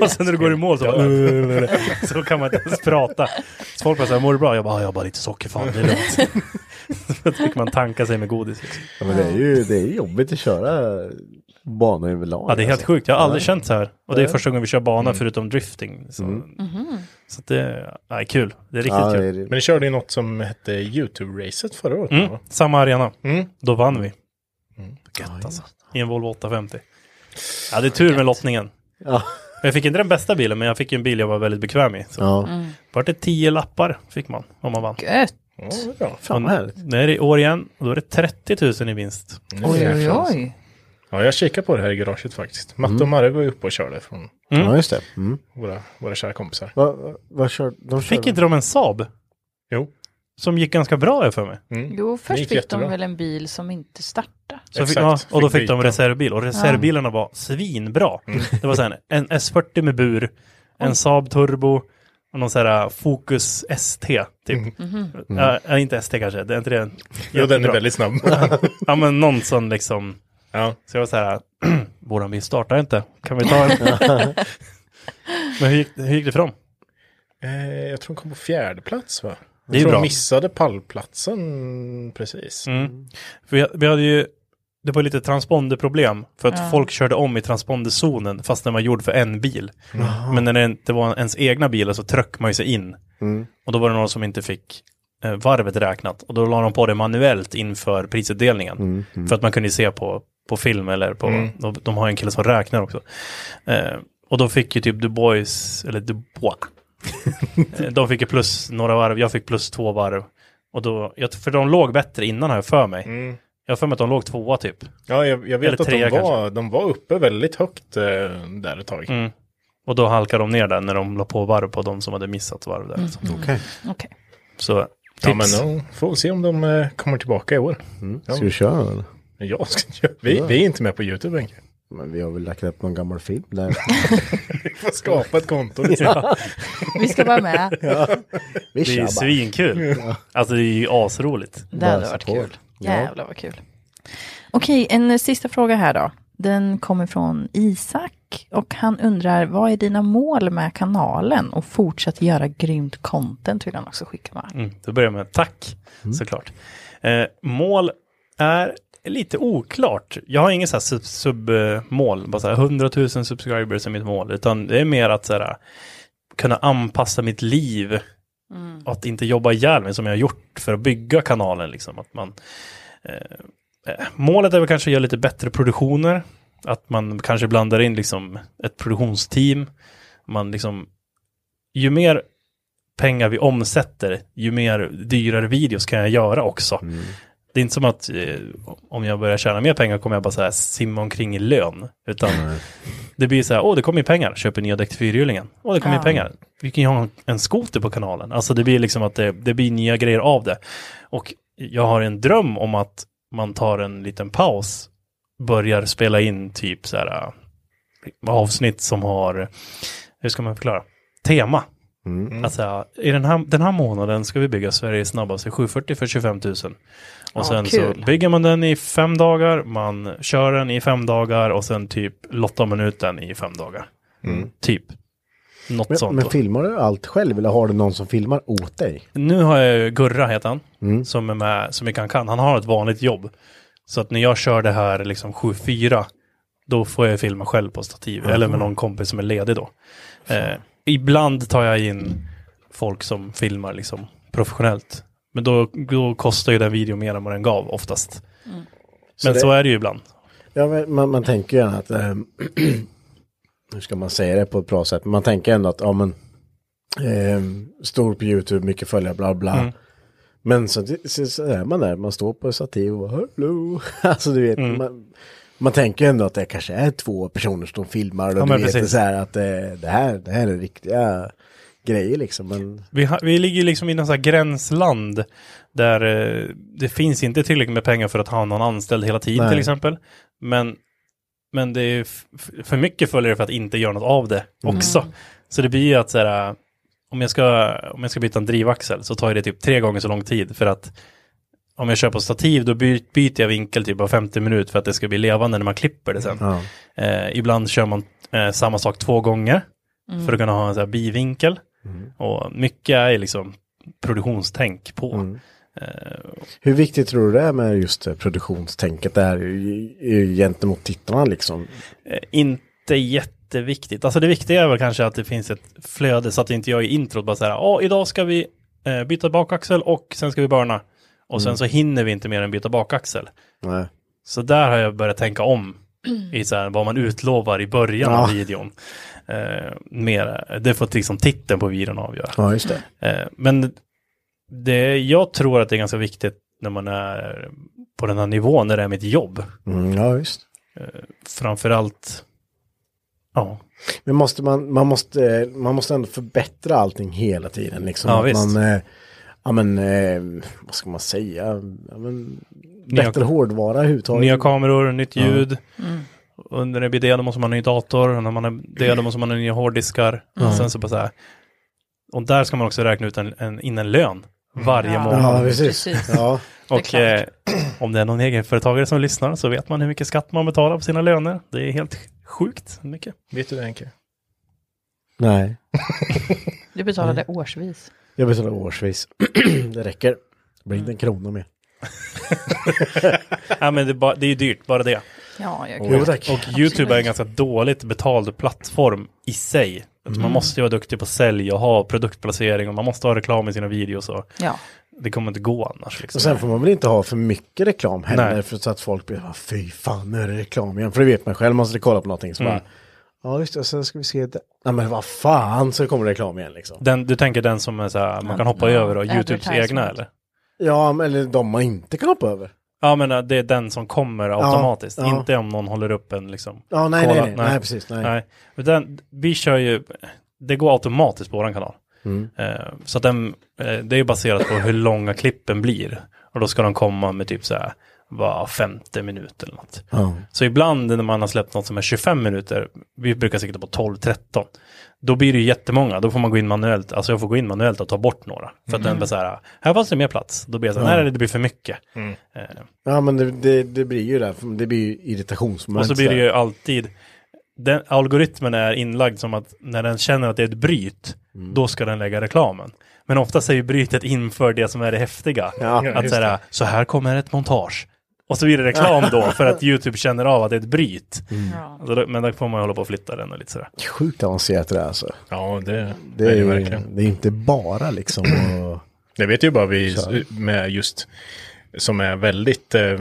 [SPEAKER 5] och sen när du går i mål så, bara, [laughs] så kan man inte ens prata. Så folk bara såhär, mår du bra? Jag bara, "Ja, jag har bara lite socker, fan det är lugnt. [laughs] så fick man tanka sig med godis. Liksom.
[SPEAKER 3] Ja, men det är ju det är jobbigt att köra banor överlag.
[SPEAKER 5] Ja, det är helt
[SPEAKER 3] alltså.
[SPEAKER 5] sjukt. Jag har aldrig känt så här. Och det är första gången vi kör bana
[SPEAKER 3] Mm.
[SPEAKER 5] förutom drifting. Så,
[SPEAKER 2] Mhm.
[SPEAKER 5] så att det ja, är kul. Det är riktigt
[SPEAKER 3] Ja, det
[SPEAKER 5] kul.
[SPEAKER 3] är det.
[SPEAKER 4] Men ni körde ju något som hette YouTube-racet förra året. Mm.
[SPEAKER 5] Mm.
[SPEAKER 4] va?
[SPEAKER 5] Samma arena.
[SPEAKER 4] Mm.
[SPEAKER 5] Då vann vi. Gött alltså. I en Volvo 850. Ja, det är tur med lottningen.
[SPEAKER 3] Ja.
[SPEAKER 5] Jag fick inte den bästa bilen, men jag fick ju en bil jag var väldigt bekväm i. Så
[SPEAKER 3] Ja.
[SPEAKER 5] vart det 10 lappar fick man om man vann.
[SPEAKER 2] Gött.
[SPEAKER 4] Ja, det är bra.
[SPEAKER 3] Fan vad härligt.
[SPEAKER 5] Nu är det i år igen och då är det 30 000 i vinst.
[SPEAKER 4] Nu
[SPEAKER 2] Oj,
[SPEAKER 4] jäklar,
[SPEAKER 2] oj,
[SPEAKER 4] alltså.
[SPEAKER 2] oj.
[SPEAKER 4] Ja, jag kikar på det här i garaget faktiskt. Matte
[SPEAKER 5] Mm.
[SPEAKER 4] och Marre var ju uppe och körde från
[SPEAKER 3] Ja just det. Mm.
[SPEAKER 4] våra, våra kära kompisar.
[SPEAKER 3] Vad va, kör de?
[SPEAKER 5] Fick
[SPEAKER 3] körde-
[SPEAKER 5] inte de en Saab?
[SPEAKER 4] Jo.
[SPEAKER 5] Som gick ganska bra har jag för mig.
[SPEAKER 4] Mm.
[SPEAKER 2] Jo, först
[SPEAKER 4] gick
[SPEAKER 2] fick
[SPEAKER 4] jättebra.
[SPEAKER 2] de väl en bil som inte startade.
[SPEAKER 5] Så fick,
[SPEAKER 4] Exakt,
[SPEAKER 5] ja, och då
[SPEAKER 4] fick
[SPEAKER 5] fick de
[SPEAKER 4] byta. Mm.
[SPEAKER 5] reservbil och reservbilarna var svinbra. Det var så här, en S40 med bur, en Saab Turbo och någon sån här äh, Focus ST typ. Ja, ja, inte ST kanske, det är inte det.
[SPEAKER 4] Mm. Jo, den är
[SPEAKER 5] Jättebra.
[SPEAKER 4] väldigt snabb.
[SPEAKER 5] Ja men någon sån liksom.
[SPEAKER 4] ja.
[SPEAKER 5] Så jag var så här, [clears throat] våran bil startar inte, kan vi ta en? men hur gick, hur gick det för dem?
[SPEAKER 4] [laughs] eh, jag tror de kom på fjärde plats va?
[SPEAKER 5] Det är
[SPEAKER 4] jag tror
[SPEAKER 5] bra.
[SPEAKER 4] de missade pallplatsen precis.
[SPEAKER 5] Mm. För jag, vi hade ju, det var lite transponderproblem för att folk körde om i transponderzonen fast den var gjord för en bil. Men när det inte var ens egna bilar så tryckte man ju sig in.
[SPEAKER 3] Mm.
[SPEAKER 5] Och då var det någon som inte fick eh, varvet räknat och då la de på det manuellt inför prisutdelningen.
[SPEAKER 3] Mm.
[SPEAKER 4] Mm.
[SPEAKER 5] För att man kunde se på, på film eller på, de, de har en kille som räknar också. Eh, och då fick ju typ Du Bois, eller Du
[SPEAKER 4] [laughs]
[SPEAKER 5] Bois, Eh, de fick ju plus några varv, jag fick plus två varv. Och då, jag, för de låg bättre innan har jag för mig.
[SPEAKER 4] Mm.
[SPEAKER 5] Jag har för mig att de låg tvåa typ.
[SPEAKER 4] Ja, jag, jag vet
[SPEAKER 5] Eller
[SPEAKER 4] att de
[SPEAKER 5] trea
[SPEAKER 4] var, de var uppe väldigt högt eh, där ett tag.
[SPEAKER 5] Och då halkade de ner där när de la på varv på de som hade missat varv där. Så-
[SPEAKER 3] Okej.
[SPEAKER 2] Okej.
[SPEAKER 5] Så tips.
[SPEAKER 4] Mm. Ja, men de får vi se om de eh, kommer tillbaka i år.
[SPEAKER 3] Ska vi köra eller?
[SPEAKER 4] Men Jag ska, [laughs] vi, vi är inte med på YouTube Henke.
[SPEAKER 3] Men vi har väl lagt upp någon gammal film där.
[SPEAKER 4] Vi får skapa ett
[SPEAKER 5] [laughs]
[SPEAKER 4] konto. ja.
[SPEAKER 2] Vi ska vara med.
[SPEAKER 3] Vi
[SPEAKER 5] det är ju
[SPEAKER 3] kör bara.
[SPEAKER 4] [laughs]
[SPEAKER 5] svinkul. Alltså det är ju asroligt.
[SPEAKER 2] Det hade
[SPEAKER 3] Bara
[SPEAKER 2] varit
[SPEAKER 3] support.
[SPEAKER 2] kul.
[SPEAKER 3] Ja.
[SPEAKER 2] Jävlar vad kul. Okej, en eh, sista fråga här då. Den kommer från Isak och han undrar vad är dina mål med kanalen och fortsätt göra grymt content vill han också skicka med.
[SPEAKER 5] Mm, då börjar jag med tack, såklart. Eh, mål är lite oklart. Jag har inget sub-mål, sub, eh, mål, bara så här 100 000 subscribers är mitt mål, utan det är mer att så här, kunna anpassa mitt liv, Mm. att inte jobba ihjäl mig som jag har gjort för att bygga kanalen. Liksom. Att man, eh, eh, målet är väl kanske att göra lite bättre produktioner, att man kanske blandar in liksom, ett produktionsteam. Man liksom, ju mer pengar vi omsätter, ju mer dyrare videos kan jag göra också.
[SPEAKER 3] Mm.
[SPEAKER 5] Det är inte som att eh, om jag börjar tjäna mer pengar kommer jag bara så här simma omkring i lön. Utan det blir så här, åh det kommer ju pengar, köper nya däck till fyrhjulingen. Åh det kommer ju
[SPEAKER 2] Ja.
[SPEAKER 5] pengar. Vi kan ju ha en- en skoter på kanalen. Alltså det blir liksom att det, det blir nya grejer av det. Och jag har en dröm om att man tar en liten paus, börjar spela in typ så här eh, avsnitt som har, hur ska man förklara, tema.
[SPEAKER 3] Mm.
[SPEAKER 5] Alltså, i den här, den här månaden ska vi bygga Sveriges snabbaste 740 för 25 000. Och
[SPEAKER 2] Ja,
[SPEAKER 5] sen
[SPEAKER 2] kul.
[SPEAKER 5] så bygger man den i fem dagar, man kör den i fem dagar och sen typ lottar man ut den i fem dagar. Typ. Något
[SPEAKER 3] Men,
[SPEAKER 5] sånt.
[SPEAKER 3] men
[SPEAKER 5] då.
[SPEAKER 3] filmar du allt själv eller har du någon som filmar åt dig?
[SPEAKER 5] Nu har jag ju Gurra, heter han, som är med så mycket han kan. Han har ett vanligt jobb. Så att när jag kör det här liksom 7-4, då får jag filma själv på stativ, eller med någon kompis som är ledig då. Eh, ibland tar jag in folk som filmar liksom professionellt. Men då, då kostar ju den videon mer än vad den gav oftast. Men
[SPEAKER 3] det-
[SPEAKER 5] så är det ju ibland.
[SPEAKER 3] Ja, men man, man tänker ju gärna att, eh, [clears throat] hur ska man säga det på ett bra sätt, Men man tänker ändå att, ja men, eh, stor på YouTube, mycket följare, bla bla.
[SPEAKER 5] Mm.
[SPEAKER 3] Men så, så, så är man där, man står på stativ och bara, hello. [laughs] Alltså du vet,
[SPEAKER 5] Mm.
[SPEAKER 3] man, man tänker ju ändå att det kanske är två personer som filmar och
[SPEAKER 5] Ja,
[SPEAKER 3] du
[SPEAKER 5] men
[SPEAKER 3] vet
[SPEAKER 5] precis.
[SPEAKER 3] så här att eh, det, här, det här är riktiga grejer liksom. Men,
[SPEAKER 5] Vi, ha, vi ligger ju liksom i någon sån här gränsland där eh, det finns inte tillräckligt med pengar för att ha någon anställd hela tiden
[SPEAKER 3] Nej.
[SPEAKER 5] till exempel. Men, men det är f- f- för mycket följare för att inte göra något av det också. Så det blir ju att så här, eh, om, jag ska, om jag ska byta en drivaxel så tar ju det typ tre gånger så lång tid för att om jag kör på stativ då by- byter jag vinkel typ av 50 minuter för att det ska bli levande när man klipper det sen.
[SPEAKER 3] ja.
[SPEAKER 5] Eh, ibland kör man eh, samma sak två gånger för att kunna ha en så här bivinkel. Och mycket är liksom produktionstänk på.
[SPEAKER 3] Mm.
[SPEAKER 5] Eh,
[SPEAKER 3] Hur viktigt tror du det är med just eh, produktionstänket där i- i- gentemot tittarna liksom?
[SPEAKER 5] Eh, inte jätteviktigt. Alltså det viktiga är väl kanske att det finns ett flöde så att inte jag i introt bara säger ja idag ska vi eh, byta bakaxel och sen ska vi börna. Och sen så hinner vi inte mer än byta bakaxel.
[SPEAKER 3] Nej.
[SPEAKER 5] Så där har jag börjat tänka om i så här, vad man utlovar i början av
[SPEAKER 3] Ja.
[SPEAKER 5] videon. Eh, mer, det får liksom titeln på videon avgöra.
[SPEAKER 3] Ja, just det.
[SPEAKER 5] Eh, men det, jag tror att det är ganska viktigt när man är på den här nivån, när det är mitt jobb.
[SPEAKER 3] Mm, ja, visst.
[SPEAKER 5] Framförallt, ja,
[SPEAKER 3] Men måste man, man, måste, man måste ändå förbättra allting hela tiden. Liksom.
[SPEAKER 5] Ja,
[SPEAKER 3] Att
[SPEAKER 5] visst.
[SPEAKER 3] Man, eh, ja, men, eh, vad ska man säga? Ja, men,
[SPEAKER 5] Nya-
[SPEAKER 3] bättre hårdvara överhuvudtaget.
[SPEAKER 5] nya kameror, nytt
[SPEAKER 3] Ja.
[SPEAKER 5] ljud.
[SPEAKER 2] Mm.
[SPEAKER 5] Och när det blir det, då måste man ha ny dator. Och när man är det, då måste man ha nya hårddiskar.
[SPEAKER 2] Mm.
[SPEAKER 5] Och sen så bara så här. Och där ska man också räkna ut en, en, in en lön varje
[SPEAKER 2] Mm. Ja.
[SPEAKER 3] Ja,
[SPEAKER 5] månad.
[SPEAKER 3] precis.
[SPEAKER 2] Precis.
[SPEAKER 3] Ja.
[SPEAKER 5] och
[SPEAKER 2] det är
[SPEAKER 5] eh, om det är någon egenföretagare som lyssnar så vet man hur mycket skatt man betalar på sina löner. Det är helt sjukt
[SPEAKER 2] [laughs]
[SPEAKER 5] mycket.
[SPEAKER 4] Vet du det Henke?
[SPEAKER 3] Nej,
[SPEAKER 2] Du betalade årsvis.
[SPEAKER 3] jag betalar årsvis. [clears throat] det räcker. Det blir inte en krona mer.
[SPEAKER 5] Nej, men det, är bara, det är ju dyrt, bara det.
[SPEAKER 2] Ja, jag
[SPEAKER 3] Jo, tack.
[SPEAKER 5] Och YouTube är en ganska dåligt betald plattform i sig. Att Man
[SPEAKER 3] Mm.
[SPEAKER 5] måste ju vara duktig på sälj och ha produktplacering och man måste ha reklam i sina videos. Och
[SPEAKER 2] Ja.
[SPEAKER 5] det kommer inte gå annars. Liksom.
[SPEAKER 3] Och sen får man väl inte ha för mycket reklam heller
[SPEAKER 5] Nej.
[SPEAKER 3] för så att folk blir, "Ah, fy fan nu är det reklam igen. För det vet man själv, man ska kolla på någonting så
[SPEAKER 5] Mm.
[SPEAKER 3] bara, ja just det, och sen ska vi se det. Nej men vad fan, så kommer reklam igen liksom.
[SPEAKER 5] Den, du tänker den som är så här, man kan hoppa
[SPEAKER 2] Ja,
[SPEAKER 5] över och Youtubes
[SPEAKER 2] advertisement.
[SPEAKER 5] egna eller?
[SPEAKER 3] Ja, men eller de man inte kan hoppa över.
[SPEAKER 5] Ja men äh, det är den som kommer automatiskt,
[SPEAKER 3] ja.
[SPEAKER 5] inte om någon håller upp en liksom.
[SPEAKER 3] Ja, nej,
[SPEAKER 5] Kolla,
[SPEAKER 3] nej, nej, nej,
[SPEAKER 5] nej.
[SPEAKER 3] precis, nej.
[SPEAKER 5] Nej. Men Den, vi kör ju, det går automatiskt på våran kanal.
[SPEAKER 3] Mm.
[SPEAKER 5] Eh, så att den, eh, det är ju baserat på hur långa klippen blir. Och då ska de komma med typ så här, var femte minut eller något.
[SPEAKER 3] Ja.
[SPEAKER 5] Så ibland när man har släppt något som är 25 minuter, vi brukar sikta på 12-13, då blir det ju jättemånga, då får man gå in manuellt, alltså jag får gå in manuellt och ta bort några. För att den blir så här, här fanns det mer plats, då blir jag så här, nej det blir för mycket. Eh,
[SPEAKER 3] ja, men det, det, det blir ju det, här, det blir ju irritationsmoment.
[SPEAKER 5] och så blir det
[SPEAKER 3] där.
[SPEAKER 5] ju alltid, den, algoritmen är inlagd som att när den känner att det är ett bryt, då ska den lägga reklamen. Men ofta är ju brytet inför det som är det häftiga.
[SPEAKER 3] Ja,
[SPEAKER 5] att så här, så här kommer ett montage. Och så blir det reklam då, för att YouTube känner av att det är ett bryt.
[SPEAKER 2] Ja.
[SPEAKER 5] Alltså, då- men då får man ju hålla på och flytta den och lite sådär.
[SPEAKER 3] Sjukt avancerat det där alltså.
[SPEAKER 4] Ja, det,
[SPEAKER 3] Det är,
[SPEAKER 4] det
[SPEAKER 3] ju-
[SPEAKER 4] verkligen.
[SPEAKER 3] det är inte bara liksom och,
[SPEAKER 4] Det vet ju bara vi med just, som är väldigt, eh,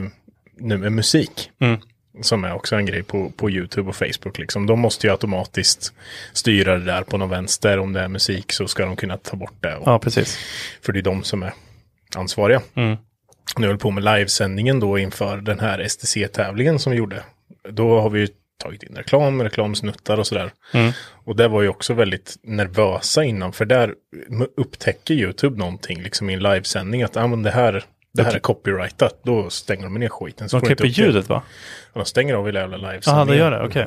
[SPEAKER 4] nu med musik,
[SPEAKER 5] Mm.
[SPEAKER 4] som är också en grej på, på YouTube och Facebook, liksom. de måste ju automatiskt styra det där på någon vänster, om det är musik så ska de kunna ta bort det. Och,
[SPEAKER 5] Ja, precis.
[SPEAKER 4] För det är de som är ansvariga.
[SPEAKER 5] Mm.
[SPEAKER 4] Nu höll på med livesändningen då inför den här STC-tävlingen som vi gjorde. Då har vi ju tagit in reklam, reklamsnuttar och sådär.
[SPEAKER 5] Mm.
[SPEAKER 4] Och det var ju också väldigt nervösa innan, för där m- upptäcker YouTube någonting liksom i en livesändning att ah, men det här, det här är copyrightat, då stänger de ner skiten. så
[SPEAKER 5] De
[SPEAKER 4] får du inte
[SPEAKER 5] klipper
[SPEAKER 4] upp det.
[SPEAKER 5] ljudet va?
[SPEAKER 4] Ja, De stänger av hela jävla livesändningen.
[SPEAKER 5] Jaha, det gör det, okej.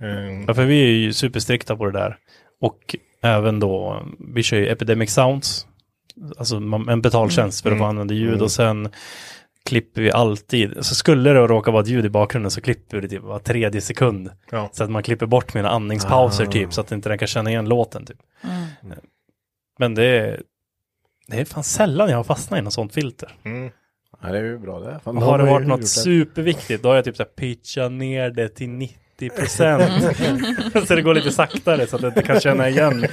[SPEAKER 5] Mm.
[SPEAKER 4] Ehm,
[SPEAKER 5] Ja, för vi är ju superstrikta på det där. Och även då, vi kör ju Epidemic Sounds, alltså man- en betaltjänst för att få använda ljud och sen klipper vi alltid, så skulle det råka vara ett ljud i bakgrunden så klipper vi det typ var tredje sekund.
[SPEAKER 4] Ja.
[SPEAKER 5] Så att man klipper bort mina andningspauser typ, så att inte den kan känna igen låten typ.
[SPEAKER 2] Mm.
[SPEAKER 5] Men det är, det är fan sällan jag har fastnat i något sånt filter.
[SPEAKER 4] mm.
[SPEAKER 3] Ja, det är ju bra det. Fan,
[SPEAKER 5] Och
[SPEAKER 3] de
[SPEAKER 5] har det
[SPEAKER 3] ju
[SPEAKER 5] varit
[SPEAKER 3] gjort
[SPEAKER 5] något superviktigt, då har jag typ så här pitchat ner det till 90 procent. så det går lite saktare så att jag inte kan känna igen.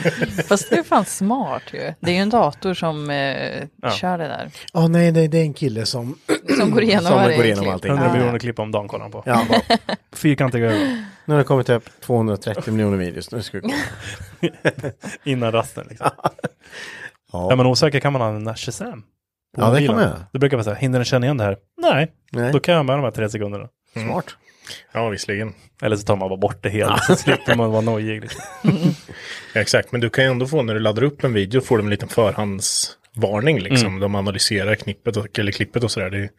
[SPEAKER 2] Fast det är fan smart ju. Det är ju en dator som eh,
[SPEAKER 5] Ja.
[SPEAKER 2] kör det där.
[SPEAKER 3] Ja, nej, nej, det är en kille som...
[SPEAKER 2] Som går igenom
[SPEAKER 3] Som
[SPEAKER 2] varje
[SPEAKER 3] går igenom
[SPEAKER 2] klipp.
[SPEAKER 3] allting.
[SPEAKER 5] 100
[SPEAKER 2] Ja.
[SPEAKER 5] miljoner klipp om dagen kollar han på.
[SPEAKER 3] Ja, bara,
[SPEAKER 5] Fyrkantiga ögon
[SPEAKER 3] nu har det kommit upp 230 miljoner videos, nu ska vi gå.
[SPEAKER 5] [laughs] innan rasten. Liksom. Ja.
[SPEAKER 3] Ja,
[SPEAKER 5] Är man osäker kan man använda Shazam. på
[SPEAKER 3] Ja, det
[SPEAKER 5] mobilen.
[SPEAKER 3] kan man göra.
[SPEAKER 5] Då brukar man säga, hinner den känna igen det här? Nej,
[SPEAKER 3] nej,
[SPEAKER 5] då kan jag med de här tre sekunderna.
[SPEAKER 3] smart.
[SPEAKER 4] ja, visserligen.
[SPEAKER 5] Eller så tar man bara bort det
[SPEAKER 3] [laughs]
[SPEAKER 5] helt, så slipper man vara nojig. Liksom.
[SPEAKER 4] Ja, exakt, men du kan ju ändå få när du laddar upp en video får du en liten förhandsvarning liksom.
[SPEAKER 3] Mm.
[SPEAKER 4] De analyserar knippet och, eller klippet och sådär. Det är, ju-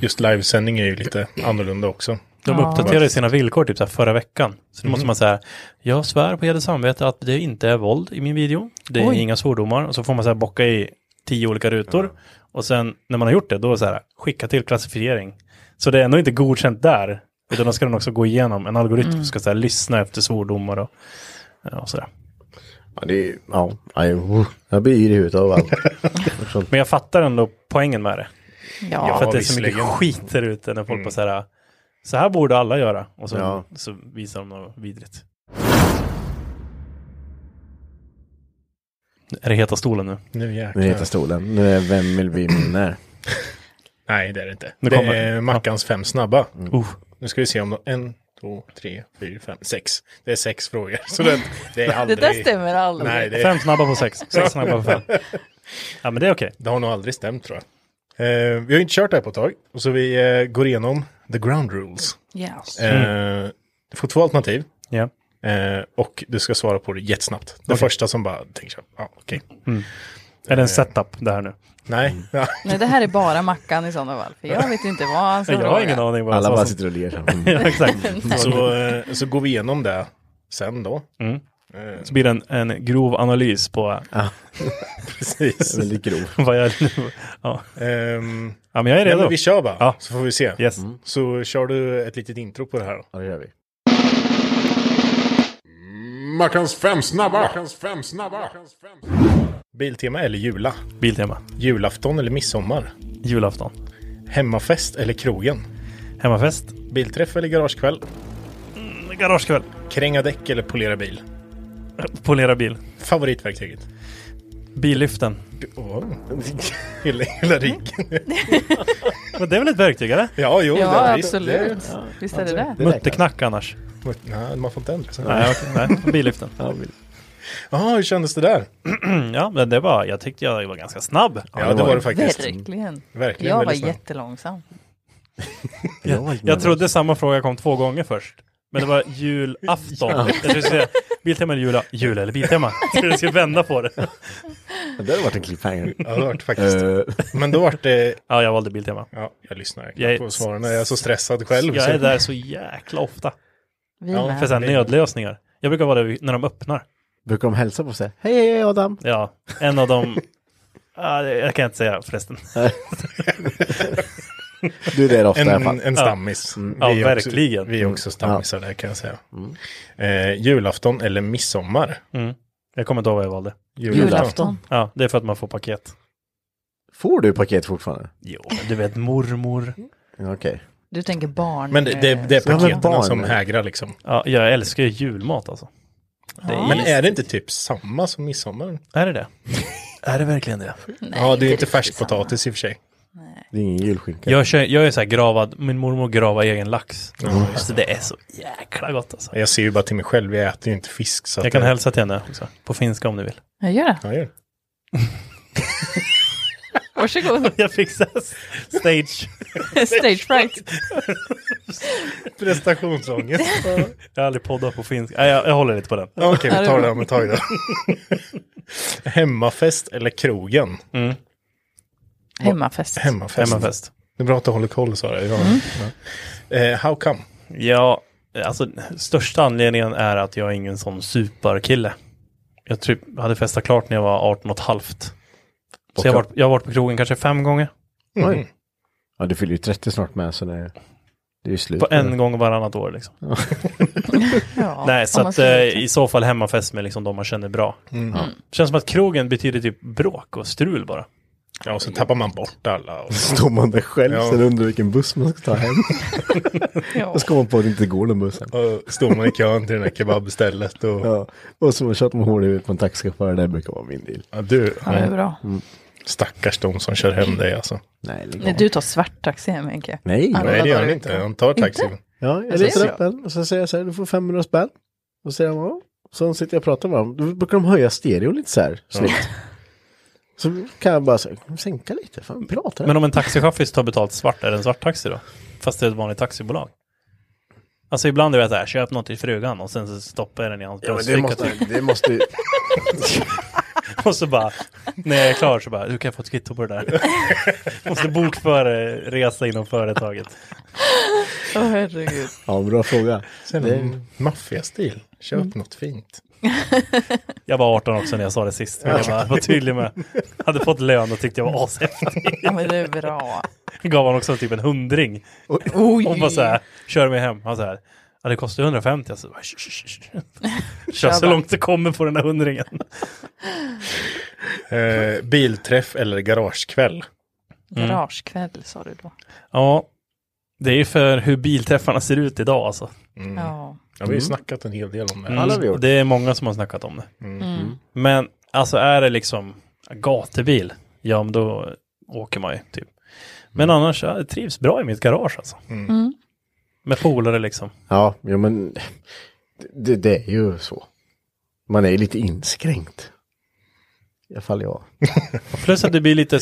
[SPEAKER 4] just livesändning är ju lite annorlunda också.
[SPEAKER 5] De
[SPEAKER 2] Ja. Mm.
[SPEAKER 5] uppdaterade sina villkor typ så här förra veckan. Så nu måste man säga, jag svär på heder och samvete att det inte är våld i min video. Det är
[SPEAKER 2] Oj.
[SPEAKER 5] inga svordomar. Och så får man så här bocka i tio olika rutor. Och sen när man har gjort det, då är det så här, skicka till klassificering. Så det är ändå inte godkänt där. Utan då ska den också gå igenom, en algoritm
[SPEAKER 2] Mm.
[SPEAKER 5] ska så här, lyssna efter svordomar och, ja, och sådär.
[SPEAKER 3] Ja, det är, ja, nej, uh, jag blir yr i huvudet av allt.
[SPEAKER 5] Men jag fattar ändå poängen med det.
[SPEAKER 2] Ja.
[SPEAKER 5] för att det är så mycket
[SPEAKER 4] visserligen.
[SPEAKER 5] skit där ute när folk bara så här, så här borde alla göra. Och så,
[SPEAKER 3] Ja.
[SPEAKER 5] så visar de något vidrigt. Är det heta stolen nu?
[SPEAKER 4] Nu
[SPEAKER 3] Nu
[SPEAKER 4] jäklar.
[SPEAKER 3] heter stolen, nu är Vem vill bli miljonär?
[SPEAKER 4] Nej, det är det inte.
[SPEAKER 5] Nu
[SPEAKER 4] det
[SPEAKER 5] kommer-
[SPEAKER 4] är Mackans fem snabba.
[SPEAKER 5] Uh,
[SPEAKER 4] Nu ska vi se om de, en, två, tre, fyra, fem, sex. Det är sex frågor. Så det, det
[SPEAKER 2] [laughs]
[SPEAKER 4] är
[SPEAKER 2] Det
[SPEAKER 4] aldrig...
[SPEAKER 2] där stämmer aldrig.
[SPEAKER 4] Nej, det,
[SPEAKER 5] Fem snabba på sex, sex snabba på fem. Ja men det är okej.
[SPEAKER 4] det har nog aldrig stämt tror jag. Eh, vi har ju inte kört det här på ett tag, så vi eh, går igenom the ground rules.
[SPEAKER 2] Yes.
[SPEAKER 4] Eh,
[SPEAKER 5] Mm.
[SPEAKER 4] Du får två alternativ
[SPEAKER 5] Ja.
[SPEAKER 4] eh, och du ska svara på det jättesnabbt. Det första som bara tänker så här, ja okej.
[SPEAKER 5] Är det en setup det här nu?
[SPEAKER 4] Nej,
[SPEAKER 5] Mm.
[SPEAKER 4] ja.
[SPEAKER 2] Nej, det här är bara Mackan i sådana fall. För jag vet inte vad han ska
[SPEAKER 5] Jag har
[SPEAKER 2] fråga.
[SPEAKER 5] ingen aning vad jag
[SPEAKER 3] Alla
[SPEAKER 5] sa
[SPEAKER 3] bara
[SPEAKER 5] [laughs] som-
[SPEAKER 3] sitter och ler. så här. Mm.
[SPEAKER 5] Ja, Mm. exakt.
[SPEAKER 4] så, eh, så går vi igenom det sen då.
[SPEAKER 5] Så blir det en, en grov analys på
[SPEAKER 4] Precis.
[SPEAKER 3] Väldigt grov.
[SPEAKER 5] [laughs] vad jag... Ja,
[SPEAKER 4] Ehm,
[SPEAKER 5] ja men jag
[SPEAKER 4] nej,
[SPEAKER 5] är redo.
[SPEAKER 4] men vi kör Mm. bara,
[SPEAKER 5] Ja.
[SPEAKER 4] så får vi se.
[SPEAKER 5] Yes.
[SPEAKER 4] Så kör du ett litet intro på det här. då.
[SPEAKER 3] Ja, det gör vi.
[SPEAKER 6] Mackans fem snabba! Mackans fem snabba!
[SPEAKER 4] Biltema eller jula?
[SPEAKER 5] Biltema.
[SPEAKER 4] Julafton eller midsommar?
[SPEAKER 5] Julafton.
[SPEAKER 4] Hemmafest eller krogen?
[SPEAKER 5] Hemmafest.
[SPEAKER 4] Bilträff eller garagekväll?
[SPEAKER 5] Garagekväll.
[SPEAKER 4] Kränga däck eller polera bil?
[SPEAKER 5] Polera bil.
[SPEAKER 4] Favoritverktyget?
[SPEAKER 5] Billyften.
[SPEAKER 4] Oh. Hela, hela riggen.
[SPEAKER 5] Men det är väl ett verktyg eller?
[SPEAKER 4] Ja, jo.
[SPEAKER 2] Ja,
[SPEAKER 4] visst,
[SPEAKER 2] absolut. Visst är det det?
[SPEAKER 3] Det räknas.
[SPEAKER 5] Mutterknack annars.
[SPEAKER 4] det- Nej, man får inte ändra sig.
[SPEAKER 5] Nej, okej. Nej, billyften.
[SPEAKER 3] Ja, vi-
[SPEAKER 4] Jaha, hur kändes det där?
[SPEAKER 5] Mm, Ja, men det var, jag tyckte jag var ganska snabb.
[SPEAKER 4] Ja, det var det faktiskt.
[SPEAKER 2] Verkligen.
[SPEAKER 4] Verkligen.
[SPEAKER 2] Jag var
[SPEAKER 4] väldigt snabbt.
[SPEAKER 2] jättelångsam.
[SPEAKER 3] Jag,
[SPEAKER 5] Jag trodde samma fråga kom två gånger först. Men det var julafton. Jag skulle säga Biltema eller jula? Jul eller Biltema? Jag trodde jag skulle vända på det.
[SPEAKER 3] Det hade varit en cliffhanger.
[SPEAKER 4] Ja, det vart faktiskt.
[SPEAKER 3] Eh,
[SPEAKER 4] Men då vart det...
[SPEAKER 5] Ja, jag valde Biltema.
[SPEAKER 4] Ja, jag lyssnar
[SPEAKER 5] Jag är-
[SPEAKER 4] jag på svaren. Jag är så stressad själv.
[SPEAKER 5] Jag
[SPEAKER 4] så-
[SPEAKER 5] är där så jäkla ofta.
[SPEAKER 2] Vi
[SPEAKER 4] Ja,
[SPEAKER 5] För
[SPEAKER 2] med.
[SPEAKER 5] såhär nödlösningar. Jag brukar vara där när de öppnar.
[SPEAKER 3] brukar de hälsa på sig? Hej, hej Adam!
[SPEAKER 5] Ja, en av dem... Ja, det- jag kan inte säga förresten.
[SPEAKER 3] Du är där ofta i alla
[SPEAKER 4] En,
[SPEAKER 3] fall. Mm.
[SPEAKER 4] en stammis.
[SPEAKER 5] Ja,
[SPEAKER 4] Vi är också-
[SPEAKER 5] verkligen. Mm.
[SPEAKER 4] Vi är också stammisar där kan jag säga. Eh, julafton eller midsommar?
[SPEAKER 5] Mm. Jag kommer inte ihåg vad jag valde.
[SPEAKER 2] Julafton.
[SPEAKER 5] Ja, det är för att man får paket.
[SPEAKER 3] Får du paket fortfarande?
[SPEAKER 5] Jo, men du vet mormor.
[SPEAKER 3] Ja, Okej.
[SPEAKER 2] Du tänker barn. Eh,
[SPEAKER 4] Men det, det, det är
[SPEAKER 3] Ja, men
[SPEAKER 4] paketen
[SPEAKER 3] barn.
[SPEAKER 4] som hägrar liksom.
[SPEAKER 5] Ja, jag älskar ju julmat alltså. Det är,
[SPEAKER 4] Men
[SPEAKER 2] eh,
[SPEAKER 4] är det inte typ samma som midsommar?
[SPEAKER 5] är det det? [laughs] är det verkligen det?
[SPEAKER 4] ja, det är inte färskpotatis i och för sig.
[SPEAKER 3] Det är ingen julskinka.
[SPEAKER 5] Jag, kör, jag är så här gravad, min mormor gravar egen lax. Så det är så jäkla gott alltså.
[SPEAKER 4] Jag ser ju bara till mig själv, jag äter ju inte fisk. Så
[SPEAKER 5] Jag
[SPEAKER 4] att
[SPEAKER 5] kan
[SPEAKER 4] det-
[SPEAKER 5] hälsa till henne också, på finska om du vill.
[SPEAKER 2] Jag gör det.
[SPEAKER 4] Ja, gör det.
[SPEAKER 2] [laughs] Varsågod.
[SPEAKER 5] [laughs] Jag fick så här stage.
[SPEAKER 2] Stage fright.
[SPEAKER 4] Prestationsångest. [laughs]
[SPEAKER 5] Jag har aldrig poddat på finska. Nej, jag, jag håller lite på den.
[SPEAKER 4] Ja, Okej, vi tar det om ett tag då.
[SPEAKER 5] [laughs]
[SPEAKER 4] Hemmafest eller krogen?
[SPEAKER 2] Hemmafest.
[SPEAKER 4] Hemmafest.
[SPEAKER 5] Mm. Hemmafest.
[SPEAKER 4] Det är bra att du håller koll, Sara. Ja. Ja. Eh, how come?
[SPEAKER 5] Ja, alltså största anledningen är att jag är ingen sån superkille. Jag typ hade festat klart när jag var 18 och ett halvt. Så jag har, varit, jag har varit på krogen kanske fem gånger. Mm.
[SPEAKER 4] Mm.
[SPEAKER 3] Oj. Ja, du fyller ju 30 snart med, så det, det är ju slut.
[SPEAKER 5] På en gång varannat år liksom.
[SPEAKER 2] Ja,
[SPEAKER 5] Nej, så
[SPEAKER 2] om man
[SPEAKER 5] att,
[SPEAKER 2] ska-
[SPEAKER 5] eh, i så fall hemmafest med liksom de man känner bra.
[SPEAKER 3] Mm.
[SPEAKER 5] Känns som att krogen betyder typ bråk och strul bara.
[SPEAKER 4] Ja, och så tappar man bort alla. Och...
[SPEAKER 3] Står man där själv,
[SPEAKER 4] Ja.
[SPEAKER 3] sen undrar vilken buss man ska ta
[SPEAKER 5] [laughs]
[SPEAKER 3] hem.
[SPEAKER 2] ja.
[SPEAKER 3] Och så kommer man på att det inte går någon buss hem.
[SPEAKER 4] Och står man i kön till det där kebabstället och...
[SPEAKER 3] Ja. Och så tjatar man hål i huvudet på en taxichaufför, det brukar vara min del.
[SPEAKER 4] Ja, du,
[SPEAKER 2] Ja, det är bra.
[SPEAKER 4] stackars de som kör hem dig alltså.
[SPEAKER 3] Nej, lägg
[SPEAKER 2] Nej,
[SPEAKER 3] av.
[SPEAKER 2] du tar svarttaxi hem, Henke.
[SPEAKER 3] Nej.
[SPEAKER 2] Ja.
[SPEAKER 4] Nej, det gör han
[SPEAKER 2] vadå?
[SPEAKER 4] inte. Han tar taxin.
[SPEAKER 3] Ja, jag
[SPEAKER 2] ser
[SPEAKER 3] letar upp den och så säger jag så här, du får 500 spänn. Och så säger han, ja. Så sitter jag och pratar med honom. Då brukar de höja stereon lite så här, snyggt. Så kan jag bara så här, sänka lite, fan prata.
[SPEAKER 5] Men om en taxichaffis tar betalt svart, är det en svart taxi då? Fast det är ett vanligt taxibolag. Alltså ibland är det så här, köp något till frugan och sen så stoppar jag den i hans bröstficka. typ.
[SPEAKER 3] det måste
[SPEAKER 5] [laughs] Och så bara, när jag är klar så bara, du kan få ett kvitto på det där. [laughs] Måste bokföra resa inom företaget.
[SPEAKER 2] Åh, herregud.
[SPEAKER 3] Ja, bra fråga.
[SPEAKER 4] Sen det... maffiastil. Köp något fint.
[SPEAKER 5] Jag var 18 också när jag sa det sist. Men jag bara, var tydlig med, hade fått lön och tyckte jag var ashäftig.
[SPEAKER 2] Ja, men det är bra.
[SPEAKER 5] Gav han också typ en hundring. Hon bara så här, kör mig hem. Han så här, ja det kostar 150. Jag så bara, "Sh, sh, sh, sh." Kör så
[SPEAKER 2] bara.
[SPEAKER 5] långt du kommer på den här hundringen.
[SPEAKER 4] Eh, bilträff eller garagekväll?
[SPEAKER 2] Mm. Garagekväll sa du då.
[SPEAKER 5] Ja, det är för hur bilträffarna ser ut idag alltså.
[SPEAKER 2] Ja.
[SPEAKER 4] Ja, vi har ju snackat en hel del om det.
[SPEAKER 3] Alla har vi gjort.
[SPEAKER 5] Det är många som har snackat om det.
[SPEAKER 3] Mm.
[SPEAKER 5] Men alltså är det liksom gatubil, ja men då
[SPEAKER 2] Mm.
[SPEAKER 5] åker man ju typ. Men annars, jag trivs bra i mitt garage alltså. Med polare liksom.
[SPEAKER 3] Ja, jo, men det, det är ju så. Man är ju lite inskränkt. I alla fall jag.
[SPEAKER 5] Plus att det blir lite,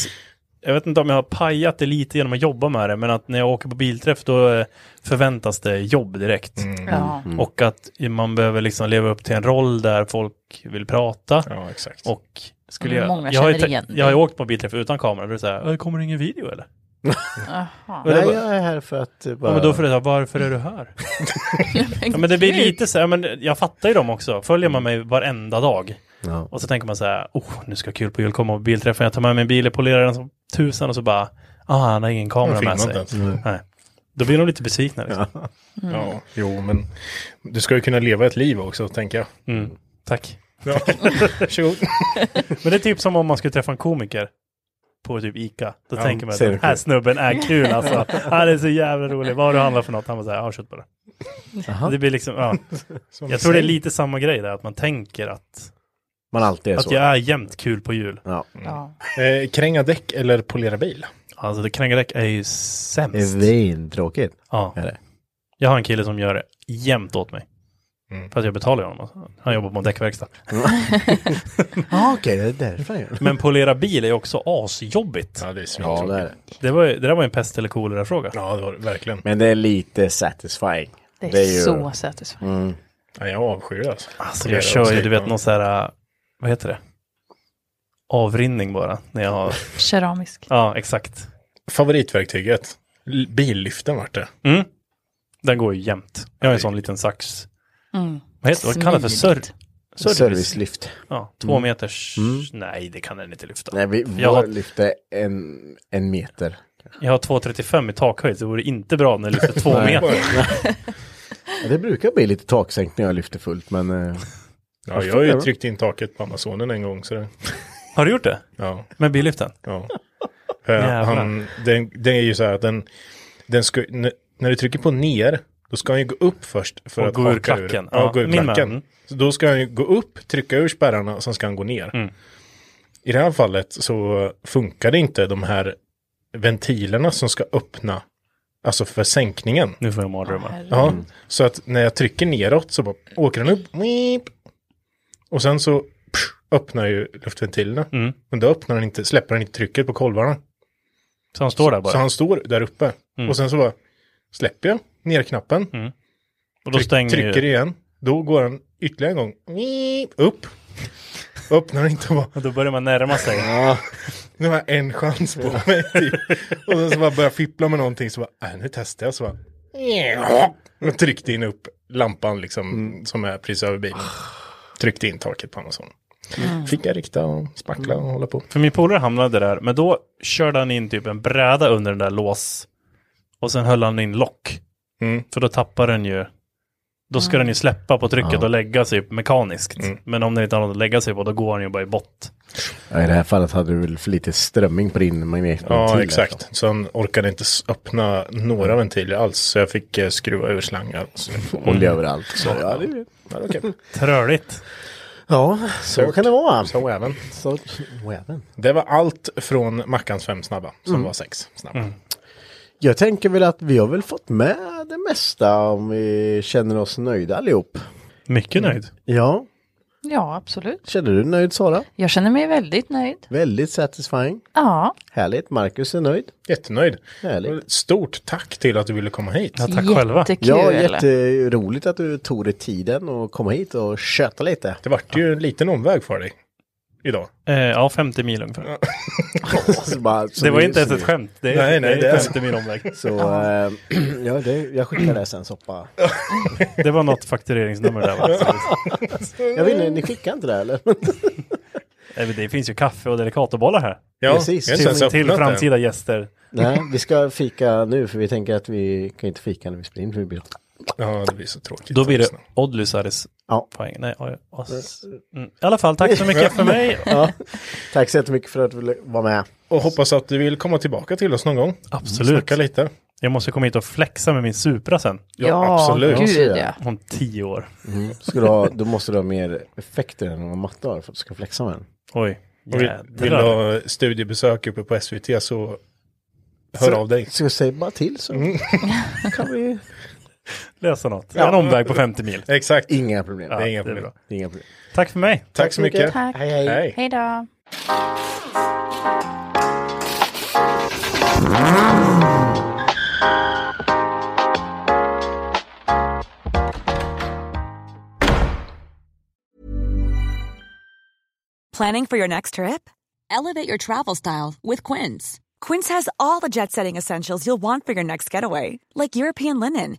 [SPEAKER 5] jag vet inte om jag har pajat det lite genom att jobba med det, men att när jag åker på bilträff då eh, förväntas det jobb direkt.
[SPEAKER 2] Ja.
[SPEAKER 5] Och att man behöver liksom leva upp till en roll där folk vill prata.
[SPEAKER 4] Ja, exakt.
[SPEAKER 5] Och skulle
[SPEAKER 2] Mm,
[SPEAKER 5] jag,
[SPEAKER 2] många
[SPEAKER 5] jag, har ju,
[SPEAKER 2] känner
[SPEAKER 5] te-
[SPEAKER 2] igen dig.
[SPEAKER 5] jag har ju åkt på bilträff utan kamera, då är det så här, "Äh, kommer det ingen video eller?
[SPEAKER 2] Jaha.
[SPEAKER 5] Men det
[SPEAKER 3] Nej,
[SPEAKER 5] bara-
[SPEAKER 3] jag är här för att eh, bara...
[SPEAKER 5] Ja, men då får det så här, varför är du här? ja, men det blir lite så här, men jag fattar ju dem också. Följer man
[SPEAKER 4] Mm.
[SPEAKER 5] mig varenda dag
[SPEAKER 3] [laughs] Ja.
[SPEAKER 5] och så tänker man så här, oh, nu ska jag ha kul på jul, komma på bilträffen, jag tar med min bil, jag polerar den som tusan och så bara, ah, han har ingen kamera
[SPEAKER 4] filmar
[SPEAKER 5] med sig.
[SPEAKER 4] inte ens. Mm.
[SPEAKER 5] Nej. Då blir de lite besvikna. Liksom.
[SPEAKER 2] Mm.
[SPEAKER 4] Ja, jo, men du ska ju kunna leva ett liv också, tänker jag.
[SPEAKER 5] Mm. Tack. [laughs]
[SPEAKER 4] Ja. Varsågod.
[SPEAKER 5] Men det är typ som om man skulle träffa en komiker på typ Ica. Då
[SPEAKER 4] Ja,
[SPEAKER 5] tänker man att
[SPEAKER 3] ser
[SPEAKER 5] den
[SPEAKER 3] du
[SPEAKER 5] här
[SPEAKER 3] kul."
[SPEAKER 5] snubben är kul
[SPEAKER 3] [laughs]
[SPEAKER 5] alltså. Han är så jävla rolig. Vad har du handlat för något? Han var så här, jag har köttbullar. Det blir liksom, ja.
[SPEAKER 4] Som
[SPEAKER 5] Jag tror det är
[SPEAKER 4] säg.
[SPEAKER 5] lite samma grej där, att man tänker att,
[SPEAKER 3] Man alltid är
[SPEAKER 5] att
[SPEAKER 3] så.
[SPEAKER 5] jag är jämt kul på jul.
[SPEAKER 3] Ja.
[SPEAKER 2] Ja.
[SPEAKER 4] Eh, kränga däck eller polera bil?
[SPEAKER 5] Alltså det krängardäck är ju
[SPEAKER 3] Det är
[SPEAKER 5] sämst.
[SPEAKER 3] vintråkigt.
[SPEAKER 5] Ja.
[SPEAKER 3] Är det?
[SPEAKER 5] Jag har en kille som gör det jämt åt mig.
[SPEAKER 4] Mm.
[SPEAKER 5] För att jag betalar ju honom. Alltså. Han jobbar på
[SPEAKER 3] [laughs]
[SPEAKER 5] en däckverkstad.
[SPEAKER 3] Ja, okej, det är därför jag gör det.
[SPEAKER 5] Men polera bil är ju också asjobbigt.
[SPEAKER 4] Ja, det är smidigt.
[SPEAKER 3] Ja, det är det.
[SPEAKER 5] Det, var ju, det där var ju en pest eller kolera-fråga.
[SPEAKER 4] Ja, det var det verkligen.
[SPEAKER 3] Men det är lite satisfying. Mm.
[SPEAKER 2] Det är,
[SPEAKER 3] Det är ju-
[SPEAKER 2] så satisfying.
[SPEAKER 4] Ja, jag avskyr det alltså.
[SPEAKER 5] Alltså
[SPEAKER 4] Flera
[SPEAKER 5] jag kör ju,
[SPEAKER 4] avsnitt,
[SPEAKER 5] du vet,
[SPEAKER 4] ja.
[SPEAKER 5] någon så här, äh, vad heter det? Avrinning bara, när
[SPEAKER 4] [laughs]
[SPEAKER 5] jag har,
[SPEAKER 2] Keramisk.
[SPEAKER 5] ja exakt.
[SPEAKER 4] Favoritverktyget? L- Billyften vart det.
[SPEAKER 5] Mm. Den går ju jämnt. Jag har en sån liten sax,
[SPEAKER 2] Mm.
[SPEAKER 5] vad heter det, vad kallas det för? Sör,
[SPEAKER 2] Smidigt.
[SPEAKER 5] service.
[SPEAKER 3] Servicelyft.
[SPEAKER 4] Mm.
[SPEAKER 5] Ja, två meters, nej det kan den inte lyfta.
[SPEAKER 3] Nej, vi,
[SPEAKER 5] Jag
[SPEAKER 3] vår
[SPEAKER 5] har-
[SPEAKER 3] lyft är en, en meter.
[SPEAKER 5] Jag har 2,35 i takhöjd, så det vore inte bra om den lyfter
[SPEAKER 4] [laughs]
[SPEAKER 5] två meter.
[SPEAKER 3] Ja, det brukar bli lite taksänkning när jag lyfter fullt, men... eh,
[SPEAKER 4] Ja, jag har ju tryckt in taket på Amazonen en gång. Så det,
[SPEAKER 5] Har du gjort det?
[SPEAKER 4] ja,
[SPEAKER 5] Med billyften?
[SPEAKER 4] ja. För han, den, den är ju så här att den, den ska, n- när du trycker på ner, då ska han ju gå upp först för
[SPEAKER 5] Och
[SPEAKER 4] att
[SPEAKER 5] gå ur
[SPEAKER 4] haka
[SPEAKER 5] klacken.
[SPEAKER 4] Ja,
[SPEAKER 5] Ja,
[SPEAKER 4] gå ur
[SPEAKER 5] min med.
[SPEAKER 4] klacken.
[SPEAKER 5] Mm.
[SPEAKER 4] Så då ska han ju gå upp, trycka ur spärrarna och sen ska han gå ner.
[SPEAKER 5] Mm.
[SPEAKER 4] I det här fallet så funkar det inte de här ventilerna som ska öppna, alltså för sänkningen.
[SPEAKER 5] Nu får jag mardrömmar.
[SPEAKER 4] Ja, så att när jag trycker neråt så bara åker den upp. Meep. Och sen så psh, öppnar ju luftventilerna.
[SPEAKER 5] Mm.
[SPEAKER 4] Men då öppnar den inte, släpper den inte trycket på kolvarna.
[SPEAKER 5] Så han står där bara.
[SPEAKER 4] Så han står där uppe.
[SPEAKER 5] Mm.
[SPEAKER 4] Och sen så bara släpper jag ner knappen.
[SPEAKER 5] och Mm. då stänger
[SPEAKER 4] trycker
[SPEAKER 5] ju...
[SPEAKER 4] igen. Då går den ytterligare en gång. Meep, upp. Öppnar den inte och bara,
[SPEAKER 5] Och då börjar man närma sig.
[SPEAKER 4] nu har jag en chans på mig. Typ. Och sen så bara börjar jag fippla med någonting så bara, äh, nu testar jag så bara. Och tryckte in upp lampan liksom
[SPEAKER 3] Mm.
[SPEAKER 4] som är precis över bilen.
[SPEAKER 3] Ah.
[SPEAKER 4] Tryckte in taket på Amazon.
[SPEAKER 3] Mm.
[SPEAKER 4] Fick jag rikta och spackla och hålla på.
[SPEAKER 5] För min polare hamnade där, men då körde han in typ en bräda under den där lås. Och sen höll han in lock.
[SPEAKER 4] Mm.
[SPEAKER 5] För då tappar den ju. Då ska den ju släppa på trycket och lägga sig mekaniskt. Men om den inte har något att lägga sig på, då går den ju bara i bott.
[SPEAKER 3] Ja, I det här fallet hade du väl för lite strömming på din magnet. liksom.
[SPEAKER 4] Ja, exakt.
[SPEAKER 3] alltså.
[SPEAKER 4] Så han orkade inte s- öppna
[SPEAKER 3] Mm.
[SPEAKER 4] några ventiler alls. Så jag fick eh, skruva ur slangar. Så,
[SPEAKER 5] Mm.
[SPEAKER 3] Olja överallt. Så, ja, det,
[SPEAKER 4] ja, det var kul.
[SPEAKER 5] Tröligt.
[SPEAKER 3] ja, så kan det vara.
[SPEAKER 4] så även.
[SPEAKER 3] Så, även.
[SPEAKER 4] Det var allt från Mackans fem snabba. Som
[SPEAKER 3] Mm.
[SPEAKER 4] var sex snabba.
[SPEAKER 3] Jag tänker väl att vi har väl fått med det mesta om vi känner oss nöjda allihop.
[SPEAKER 5] Mycket nöjd.
[SPEAKER 3] Ja,
[SPEAKER 2] Ja, absolut.
[SPEAKER 3] känner du dig nöjd Sara?
[SPEAKER 2] Jag känner mig väldigt nöjd.
[SPEAKER 3] Väldigt satisfying.
[SPEAKER 2] Ja,
[SPEAKER 3] Härligt, Marcus är nöjd.
[SPEAKER 4] Jättenöjd.
[SPEAKER 3] Härligt.
[SPEAKER 4] Stort tack till att du ville komma hit.
[SPEAKER 5] Ja, tack själva.
[SPEAKER 2] jättekul.
[SPEAKER 3] Ja, jätteroligt att du tog dig tiden och komma hit och köta
[SPEAKER 5] [laughs]
[SPEAKER 3] lite.
[SPEAKER 4] Det vart ju en liten omväg för dig idag.
[SPEAKER 5] Eh, ja, 50 mil ungefär.
[SPEAKER 3] Så bara- så
[SPEAKER 5] det var
[SPEAKER 3] nu-
[SPEAKER 5] inte ens
[SPEAKER 3] så
[SPEAKER 5] ett
[SPEAKER 3] nu-
[SPEAKER 5] skämt. Det är,
[SPEAKER 4] Nej, nej,
[SPEAKER 5] det
[SPEAKER 4] det
[SPEAKER 5] är
[SPEAKER 4] är-
[SPEAKER 5] 50 mil omväg.
[SPEAKER 3] Så eh, [clears throat] ja, det, jag skickar det sen soppa.
[SPEAKER 5] Det var något faktureringsnummer där va? [laughs] Så det-
[SPEAKER 3] Jag vet inte, ni skickar inte det eller?
[SPEAKER 5] Eh, men Det finns ju kaffe och delikatobollar här.
[SPEAKER 4] Ja,
[SPEAKER 3] Precis.
[SPEAKER 4] jag har inte ens
[SPEAKER 5] Till, till
[SPEAKER 4] öppnat den.
[SPEAKER 5] framtida gäster.
[SPEAKER 3] Nej, vi ska fika nu för vi tänker att vi kan inte fika när vi spelar in. för vi
[SPEAKER 4] [laughs]
[SPEAKER 3] blir-
[SPEAKER 4] Ja, det blir så tråkigt. Alltså.
[SPEAKER 5] Då blir det Odlysares
[SPEAKER 3] Ja.
[SPEAKER 5] poäng. Nej, oj, oss. Mm. I alla fall, tack så mycket
[SPEAKER 4] [laughs]
[SPEAKER 5] för mig.
[SPEAKER 3] Tack så jättemycket för att du ville vara med.
[SPEAKER 4] Och hoppas att du vill komma tillbaka till oss någon gång.
[SPEAKER 5] Absolut.
[SPEAKER 4] Snacka lite.
[SPEAKER 5] Jag måste komma hit och flexa med min Supra sen.
[SPEAKER 4] Ja, absolut.
[SPEAKER 2] gud ja.
[SPEAKER 5] Om tio år.
[SPEAKER 3] Ska du ha, då måste du ha mer effekter än vad matte har för att du ska flexa med den.
[SPEAKER 5] Oj,
[SPEAKER 4] Och vill, vill du
[SPEAKER 5] jädrar.
[SPEAKER 4] ha studiebesök uppe på SVT så hör av dig. Mm. [laughs]
[SPEAKER 3] Så jag säger bara till så kan vi
[SPEAKER 5] Lösa något. En omväg på 50 mil.
[SPEAKER 4] Exakt.
[SPEAKER 3] Inga problem.
[SPEAKER 4] det är inga problem.
[SPEAKER 5] bra.
[SPEAKER 3] Inga problem.
[SPEAKER 5] Tack för mig.
[SPEAKER 4] Tack så mycket.
[SPEAKER 2] Tack.
[SPEAKER 3] Hej, hej.
[SPEAKER 4] Hej.
[SPEAKER 2] Hej då.
[SPEAKER 7] Planning for your next trip? Elevate your travel style with Quince. Quince has all the jet setting essentials you'll want for your next getaway, like European linen,